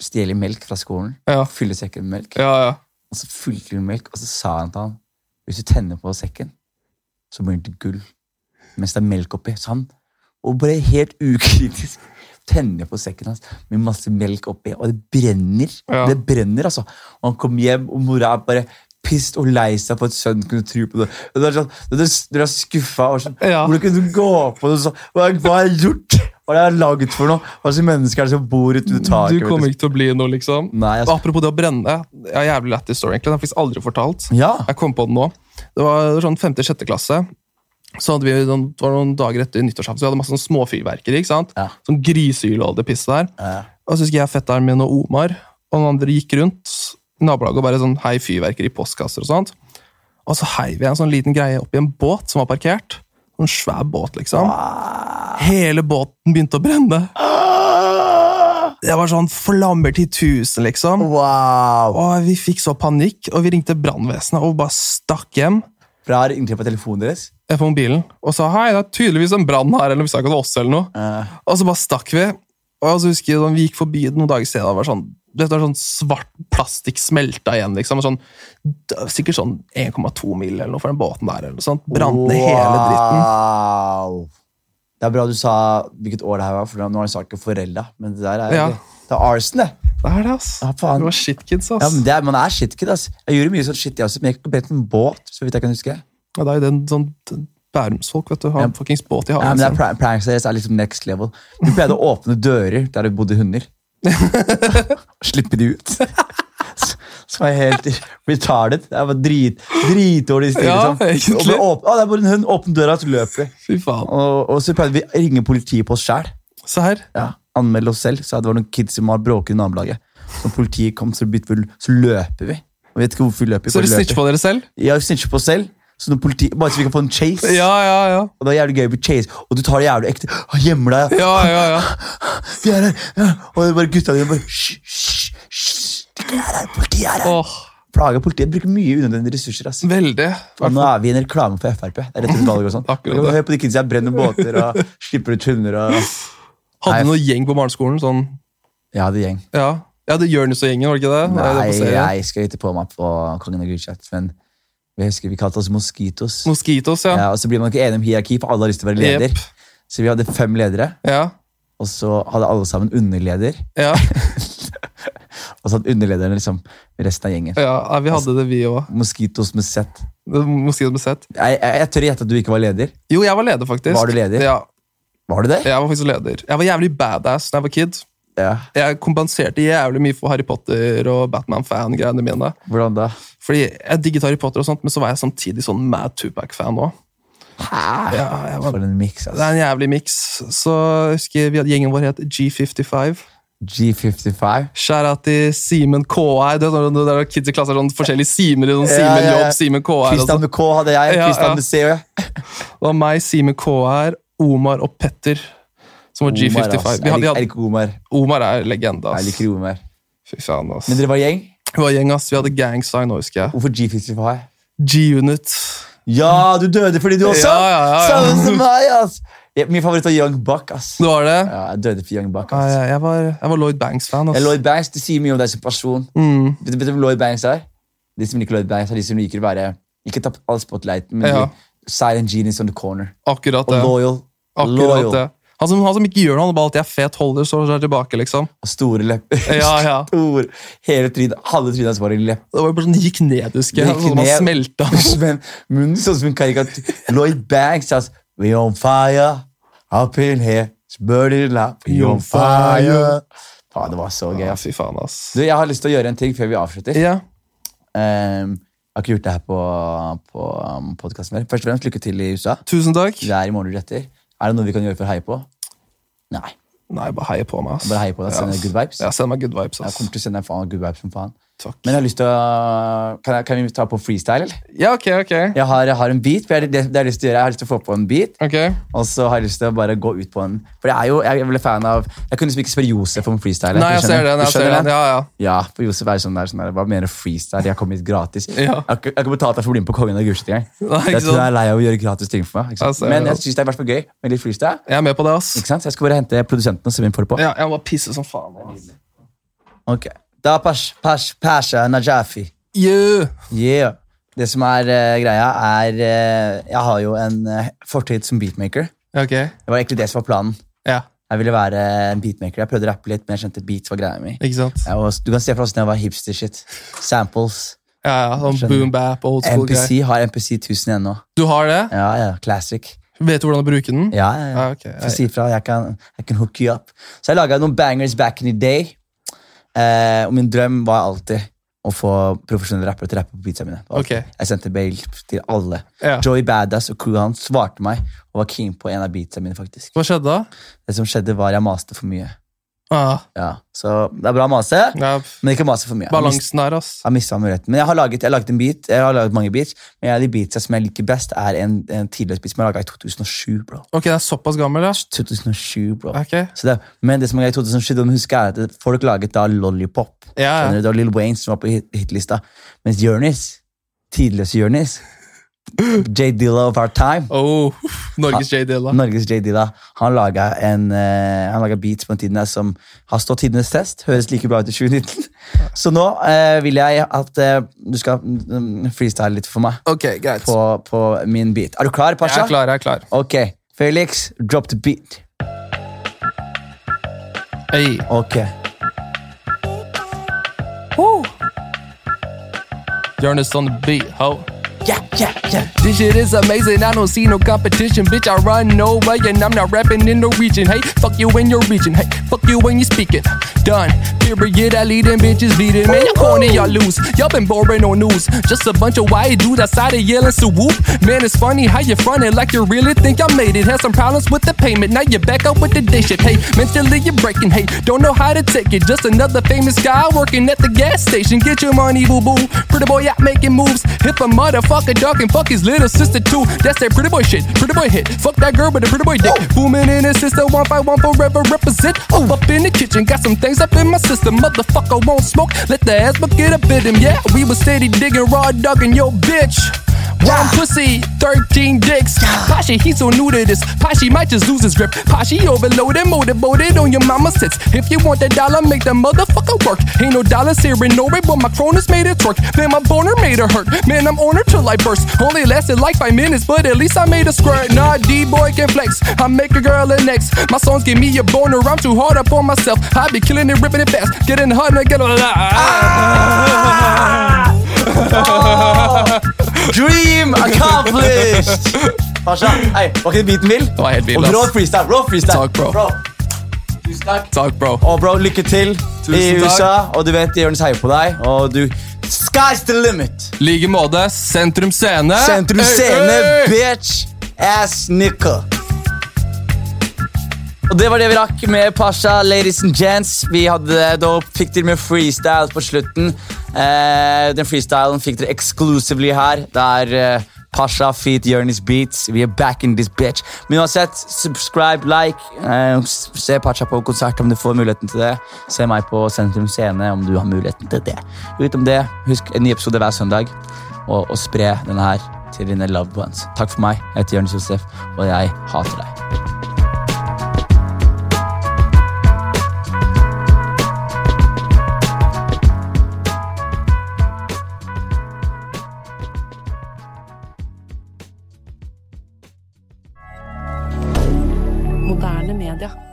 Speaker 1: stjele melk fra skolen.
Speaker 6: Ja.
Speaker 1: Fylle sekken med melk.
Speaker 6: Ja, ja.
Speaker 1: Og så fylte hun melk, og så sa han til han hvis du tenner på sekken, så blir den til gull. Mens det er melk oppi. Så han og bare helt ukritisk tenner på sekken hans med masse melk oppi, og det brenner.
Speaker 6: Ja.
Speaker 1: Det brenner, altså. Og han kom hjem, og mora er bare pissed og lei seg for at sønnen kunne tro på det. Og det er sånn, det er, det er skuffa og sånn,
Speaker 6: Ja.
Speaker 1: Hvordan kunne du gå på det sånn? Hva hva har jeg gjort? Hva har jeg laget for noe? Hva slags mennesker er det som bor ute ved taket?
Speaker 6: Du kommer ikke til å bli noe, liksom.
Speaker 1: Nei,
Speaker 6: Og
Speaker 1: altså.
Speaker 6: Apropos det å brenne. Jeg har jævlig lættis story, egentlig. Den har jeg faktisk aldri fortalt.
Speaker 1: Ja.
Speaker 6: Jeg kom på den nå. Det var sånn femte-sjette klasse. Så hadde vi noen, det var noen dager etter nyttårsaften, så vi hadde masse sånn småfyrverkeri. ikke sant?
Speaker 1: Ja.
Speaker 6: Sånn griseyl og all det pisset der.
Speaker 1: Ja.
Speaker 6: Og så husker jeg fetteren min og Omar og noen andre gikk rundt i nabolaget og bare sånn hei fyrverkeri i postkasser og sånt. Og så heiv jeg en sånn liten greie opp i en båt som var parkert. En svær båt, liksom. Hele båten begynte å brenne. Det var sånn flammer til tusen, liksom.
Speaker 1: Wow!
Speaker 6: Og vi fikk så panikk, og vi ringte brannvesenet og bare stakk hjem
Speaker 1: For jeg har inntrykk på telefonen deres.
Speaker 6: eh, på mobilen og sa hei, det er tydeligvis en brann her, eller vi sa ikke at det var oss eller noe.
Speaker 1: Eh.
Speaker 6: Og så bare stakk vi. Og så husker jeg sånn, Vi gikk forbi det noen dager senere, og det var sånn, dette var sånn svart plastikk smelta igjen. liksom, og sånn, d- Sikkert sånn 1,2 mil eller noe for den båten der. eller noe sånt, Brant ned hele dritten.
Speaker 1: Wow. Det er bra du sa hvilket år det her var, for nå har jeg sagt ikke forelda. Men det der er
Speaker 6: Ja.
Speaker 1: Det er arson, det.
Speaker 6: Det er det, ass.
Speaker 1: Ja, faen.
Speaker 6: Det var shitkids,
Speaker 1: Ja,
Speaker 6: ass.
Speaker 1: men det er, man er shitkid, ass. Jeg gjorde mye sånn shit, jeg også, men jeg gikk på bedt en båt, så vidt jeg kan huske.
Speaker 6: Ja, det er jo den sånn d- Bærumsfolk, vet du. Har
Speaker 1: Ja.
Speaker 6: en fuckings båt i
Speaker 1: Ja,
Speaker 6: hagen.
Speaker 1: men det er
Speaker 6: sin.
Speaker 1: pra- Pranks deres er liksom next level. Du pleide å åpne dører der det bodde hunder. Og Slippe de ut. Som er helt retarded. Det er bare drit, dritdårlig stil.
Speaker 6: Ja,
Speaker 1: liksom.
Speaker 6: egentlig.
Speaker 1: Og bare åpne, å, der bor en hund. Åpne døra, så løper vi.
Speaker 6: Fy faen.
Speaker 1: Og, og så pleide vi å ringe politiet på oss sjæl.
Speaker 6: Se her.
Speaker 1: ja, anmelde oss selv, så det var noen kids som har bråket i nabolaget. Så politiet kom, så, bytte vi, så løper vi. Og vet ikke hvorfor vi løper.
Speaker 6: Så
Speaker 1: bare
Speaker 6: dere snitcher
Speaker 1: løper.
Speaker 6: på dere selv?
Speaker 1: Ja, vi snitcher på oss selv, så når politiet, bare så vi kan få en chase.
Speaker 6: Ja, ja, ja.
Speaker 1: Og det er jævlig gøy med chase, og du tar det jævlig ekte. «Å, Gjemmer deg.
Speaker 6: Ja, ja, ja.
Speaker 1: Vi er her. Ja. Og det er bare gutta dine bare «Hysj, hysj, hysj. De er her, Politiet er her.
Speaker 6: Åh,
Speaker 1: Plager politiet. Bruker mye unødvendige ressurser. ass.
Speaker 6: veldig.
Speaker 1: Og nå er vi i en reklame for Frp. Det er rett og slett valget og sånn.
Speaker 6: Akkurat det.
Speaker 1: Hør på de kidsa her, brenner båter og slipper ut hunder og
Speaker 6: Hadde du
Speaker 1: Nei.
Speaker 6: noe gjeng på barneskolen? sånn...
Speaker 1: Ja, det er gjeng.
Speaker 6: Ja, ja det gjør Jonis og gjengen, var det ikke det? Nei, det
Speaker 1: Nei,
Speaker 6: er på serie.
Speaker 1: jeg skrev på meg på Kongen av Gulset, men vi husker vi kalte oss Moskitos.
Speaker 6: Moskitos, ja.
Speaker 1: Ja, og så blir man ikke enig om hierarki, for alle har lyst til å være leder.
Speaker 6: Jep.
Speaker 1: Så vi hadde fem ledere,
Speaker 6: ja.
Speaker 1: Og så hadde alle sammen underleder.
Speaker 6: Ja,
Speaker 1: Og så hadde underlederne liksom resten av gjengen.
Speaker 6: ja nei, vi hadde det, vi òg.
Speaker 1: Moskitos med sett. Jeg, jeg, jeg tør gjette at du ikke var leder.
Speaker 6: Jo, jeg var leder, faktisk.
Speaker 1: Var du leder?
Speaker 6: Ja,
Speaker 1: Var du det?
Speaker 6: jeg var faktisk leder. Jeg var jævlig badass da jeg var kid.
Speaker 1: Ja.
Speaker 6: Jeg kompenserte jævlig mye for Harry Potter og Batman-fan-greiene mine.
Speaker 1: Hvordan da?
Speaker 6: Fordi jeg digget Harry Potter, og sånt, men så var jeg samtidig sånn mad Tupac-fan òg. Ja, jeg var-
Speaker 1: For en mix,
Speaker 6: det er
Speaker 1: altså.
Speaker 6: en jævlig miks. Så jeg husker vi hadde gjengen vår het G55.
Speaker 1: G55.
Speaker 6: Skjæra til Simen KR. Det er sånn, det er kids i klassen har sånn forskjellige Simer. Sånn
Speaker 1: Ja, ja,
Speaker 6: Simen
Speaker 1: ja.
Speaker 6: Jobb, Simen KR. Og,
Speaker 1: Christian
Speaker 6: sånn.
Speaker 1: med K hadde jeg.
Speaker 6: Ja,
Speaker 1: Christian
Speaker 6: ja.
Speaker 1: med C. og jeg.
Speaker 6: og meg, Simen KR, Omar og Petter, som var
Speaker 1: Omar, ass. Jeg
Speaker 6: G55. Vi hadde, vi
Speaker 1: liker- jeg
Speaker 6: hadde,
Speaker 1: liker Omar.
Speaker 6: Omar er legende,
Speaker 1: Jeg
Speaker 6: ass.
Speaker 1: liker Omar.
Speaker 6: Fy faen, ass.
Speaker 1: Men dere var gjeng?
Speaker 6: Vi var gjeng, ass. Vi hadde gangsign nå, husker jeg.
Speaker 1: Hvorfor G55?
Speaker 6: G-Unit.
Speaker 1: Ja, du døde fordi du også!
Speaker 6: Ja, ja, ja, ja.
Speaker 1: Samme som meg, ass! Ja, Min favoritt var Young Buck, ass.
Speaker 6: Det var det.
Speaker 1: Ja, jeg døde for Young Buck,
Speaker 6: Nei,
Speaker 1: ass.
Speaker 6: jeg, var, jeg var Lloyd Banks-fan, ass.
Speaker 1: Ja, Lloyd Banks, Det sier mye om deg som person.
Speaker 6: Mm.
Speaker 1: Vet du vet du hvem Lloyd Banks er? De som liker Lloyd Banks, er de som liker å være Ikke tapp all spotlighten, men
Speaker 6: Ja.
Speaker 1: de- silent genius on the corner.
Speaker 6: Akkurat
Speaker 1: Og
Speaker 6: det.
Speaker 1: loyal. Og
Speaker 6: Akkurat
Speaker 1: loyal.
Speaker 6: det. Han som, han som ikke gjør noe, han bare alltid er fet holder, så er han tilbake, liksom.
Speaker 1: Og store lepper.
Speaker 6: Ja, ja.
Speaker 1: Stor. Hele trynet, Halve trynet hans var en lepp.
Speaker 6: Det var bare sånn, det gikk ned, husker jeg.
Speaker 1: Det gikk
Speaker 6: Sånn, man
Speaker 1: ned.
Speaker 6: smelta.
Speaker 1: Men munnen sånn som en karikatur. Lloyd Banks, ass. We on fire. Up in here. It's burning up. We on fire. Faen, det var så gøy.
Speaker 6: Ja,
Speaker 1: ass.
Speaker 6: fy faen, ass.
Speaker 1: Du, jeg har lyst til å gjøre en ting før vi avslutter.
Speaker 6: Ja.
Speaker 1: Ehm, jeg har ikke gjort det her på, på um, podkasten mer. Først og fremst, lykke til i USA.
Speaker 6: Tusen takk.
Speaker 1: Det er i morgen du retter. Er det noe vi kan gjøre for å heie på? Nei.
Speaker 6: Nei, bare heie på meg, ass.
Speaker 1: Bare heie på deg, send deg
Speaker 6: ass.
Speaker 1: good vibes.
Speaker 6: Ja, send meg good vibes,
Speaker 1: Jeg
Speaker 6: ass.
Speaker 1: kommer til å sende deg faen good vibes som faen.
Speaker 6: Takk.
Speaker 1: Men jeg har lyst til å Kan, jeg, kan vi ta på freestyle, eller?
Speaker 6: Ja, ok, ok.
Speaker 1: Jeg har, jeg har en beat. for Jeg, det, det har jeg, lyst til å gjøre. jeg har lyst til å få på en beat,
Speaker 6: Ok.
Speaker 1: og så har jeg lyst til å bare gå ut på en For jeg er jo jeg ble fan av Jeg kunne liksom ikke spørre Josef om freestyle.
Speaker 6: Nei, jeg ser den, jeg ser den. Ja, ja.
Speaker 1: Ja, for Josef er sånn der, sånn der Hva mener du freestyle? Jeg har kommet hit gratis.
Speaker 6: Ja.
Speaker 1: Jeg har ikke jeg har ikke betalt deg for å bli med på Kongen av Gulset engang.
Speaker 6: Nei, ikke
Speaker 1: Jeg tror
Speaker 6: sant?
Speaker 1: jeg er lei av å gjøre gratis ting for meg. Ikke sant?
Speaker 6: Altså,
Speaker 1: Men
Speaker 6: ja.
Speaker 1: jeg syns det er i hvert fall gøy med litt freestyle.
Speaker 6: Jeg er med på det, ass.
Speaker 1: Ikke sant? Så jeg skal bare hente produsenten og se hvem vi får det på.
Speaker 6: Ja, jeg må bare pisse som faen. ass.
Speaker 1: Ok. Da pash, pash, pasha eh, Najafi.
Speaker 6: Yeah!
Speaker 1: Yeah. Det som er eh, greia, er eh, Jeg har jo en eh, fortid som beatmaker.
Speaker 6: Ok.
Speaker 1: Det var egentlig det som var planen.
Speaker 6: Ja,
Speaker 1: Jeg ville være en beatmaker. Jeg prøvde å rappe litt, men jeg skjønte beats var greia mi.
Speaker 6: ikke sant?
Speaker 1: Jeg var, du kan se for deg hvordan jeg var hipster-shit. Samples.
Speaker 6: Ja, ja, sånn
Speaker 1: Skjønner.
Speaker 6: boom bap, old school greier.
Speaker 1: MPC har MPC 1000 ennå.
Speaker 6: Du har det?
Speaker 1: Ja, ja, classic.
Speaker 6: Vet du hvordan å bruke den?
Speaker 1: Ja, ja, ja.
Speaker 6: Ah, ok.
Speaker 1: Få si ifra. Jeg kan, jeg kan hook you up. Så jeg laga noen bangers back in the day. Eh, og min drøm var alltid å få profesjonelle rappere til å rappe på beatsa mine. Det var
Speaker 6: Ok.
Speaker 1: alltid- Jeg sendte bail til alle.
Speaker 6: Ja.
Speaker 1: Joey Badass og crewet hans svarte meg og var keen på en av beatsa mine. faktisk.
Speaker 6: Hva skjedde da?
Speaker 1: Det som skjedde, var jeg maste for mye.
Speaker 6: Ah,
Speaker 1: Ja, Så det er bra å mase,
Speaker 6: ja,
Speaker 1: men ikke mase for mye. Jeg mist-
Speaker 6: balansen her, ass.
Speaker 1: Jeg mistet muligheten. Men jeg har laget, jeg har laget en beat, jeg har laget mange beats, men en av de beatsa som jeg liker best, er en, en tidligere beat som jeg laga i 2007, bro.
Speaker 6: Ok, det er såpass gammel, ja.
Speaker 1: 2007, bro.
Speaker 6: Ok.
Speaker 1: Så det, men det som er i 2007, du må huske er at folk laget da Lollipop.
Speaker 6: Ja, ja.
Speaker 1: Skjønner du? Det var Lil Wayne som var på hit- hitlista. Mens Jonis, tidløse Jonis, J. Dilla of our time,
Speaker 6: Oh, uff, Norges J Dilla.
Speaker 1: Norges J. Dilla, han laget, en, eh, han laget beats på en tiden der som har stått tidenes test. Høres like bra ut i 2019. Så nå eh, vil jeg at eh, du skal mm, freestyle litt for meg
Speaker 6: Ok, greit.
Speaker 1: på, på min beat. Er du klar, Pasha?
Speaker 6: Jeg er klar, jeg er klar.
Speaker 1: Ok. Felix, drop the beat.
Speaker 6: Hey.
Speaker 1: Ok.
Speaker 6: Jonas on the beat, ho.
Speaker 1: Yeah, yeah, yeah.
Speaker 6: This shit is amazing, I don't see no competition. Bitch, I run no way and I'm not rapping in Norwegian. Hey, fuck you when you're reaching. Hey, fuck you when you're speaking. Done. Period, I lead them bitches bleeding. Man, y'all corny, y'all lose. Y'all been boring on news. Just a bunch of white dudes outside of yelling so whoop. Man, it's funny how you frontin' like you really think I made it. Had some problems with the payment, now you back up with the dish shit. Hey, mentally you're breaking. Hey, don't know how to take it. Just another famous guy working at the gas station. Get your money, boo boo. Pretty boy out making moves. Hip a motherfucker dog and fuck his little sister too. That's that pretty boy shit. Pretty boy hit. Fuck that girl with the pretty boy dick. Booming in his sister, one by one forever represent. Oh, up in the kitchen, got some things up in my system. Motherfucker won't smoke. Let the asthma get up in him. Yeah, we was steady digging raw dog and yo bitch. One pussy, 13 dicks. Pashi, he so new to this. Pashi might just lose his grip. Pashi overloaded, motivated on your mama's tits. If you want the dollar, make the motherfucker work. Ain't no dollars here in Norway, but my cronus made it twerk. Man, my boner made her hurt. Man, I'm on her till I burst. Only lasted like five minutes, but at least I made a squirt. Nah, D-boy can flex. I make a girl an X. My songs give me a boner. I'm too hard up on myself. I be killing it, ripping it fast. Getting hard and I get a
Speaker 1: Ah! Dream accomplished! Pasha, hei, var ikke det beaten vill?
Speaker 7: var helt vill,
Speaker 1: Og
Speaker 7: ass.
Speaker 1: Rå freestyle. rå freestyle.
Speaker 7: Takk, bro.
Speaker 1: Tusen takk.
Speaker 7: Takk, bro.
Speaker 1: Og bro, lykke til i
Speaker 7: Tusen takk.
Speaker 1: USA. Og du vet, Jonis heier på deg. Og du Sky's the limit!
Speaker 7: Like måte. Sentrum Scene.
Speaker 1: Sentrum
Speaker 7: Øy,
Speaker 1: scene,
Speaker 7: øy!
Speaker 1: bitch ass nickel. Og det var det vi rakk med Pasha, ladies and gents. Vi hadde da fikk til med freestyle på slutten. Eh, den freestylen fikk dere exclusively her. Det er eh, Pasha feat Jonis Beats. Vi er back in this bitch. Men uansett, subscribe, like. Eh, s- se Pasha på konsert om du får muligheten til det. Se meg på Sentrum Scene om du har muligheten til det. Utenom det, husk en ny episode hver søndag. Og, og spre denne her til dine loved ones. Takk for meg. Jeg heter Jonis Josef, og jeg hater deg.
Speaker 8: Moderne media.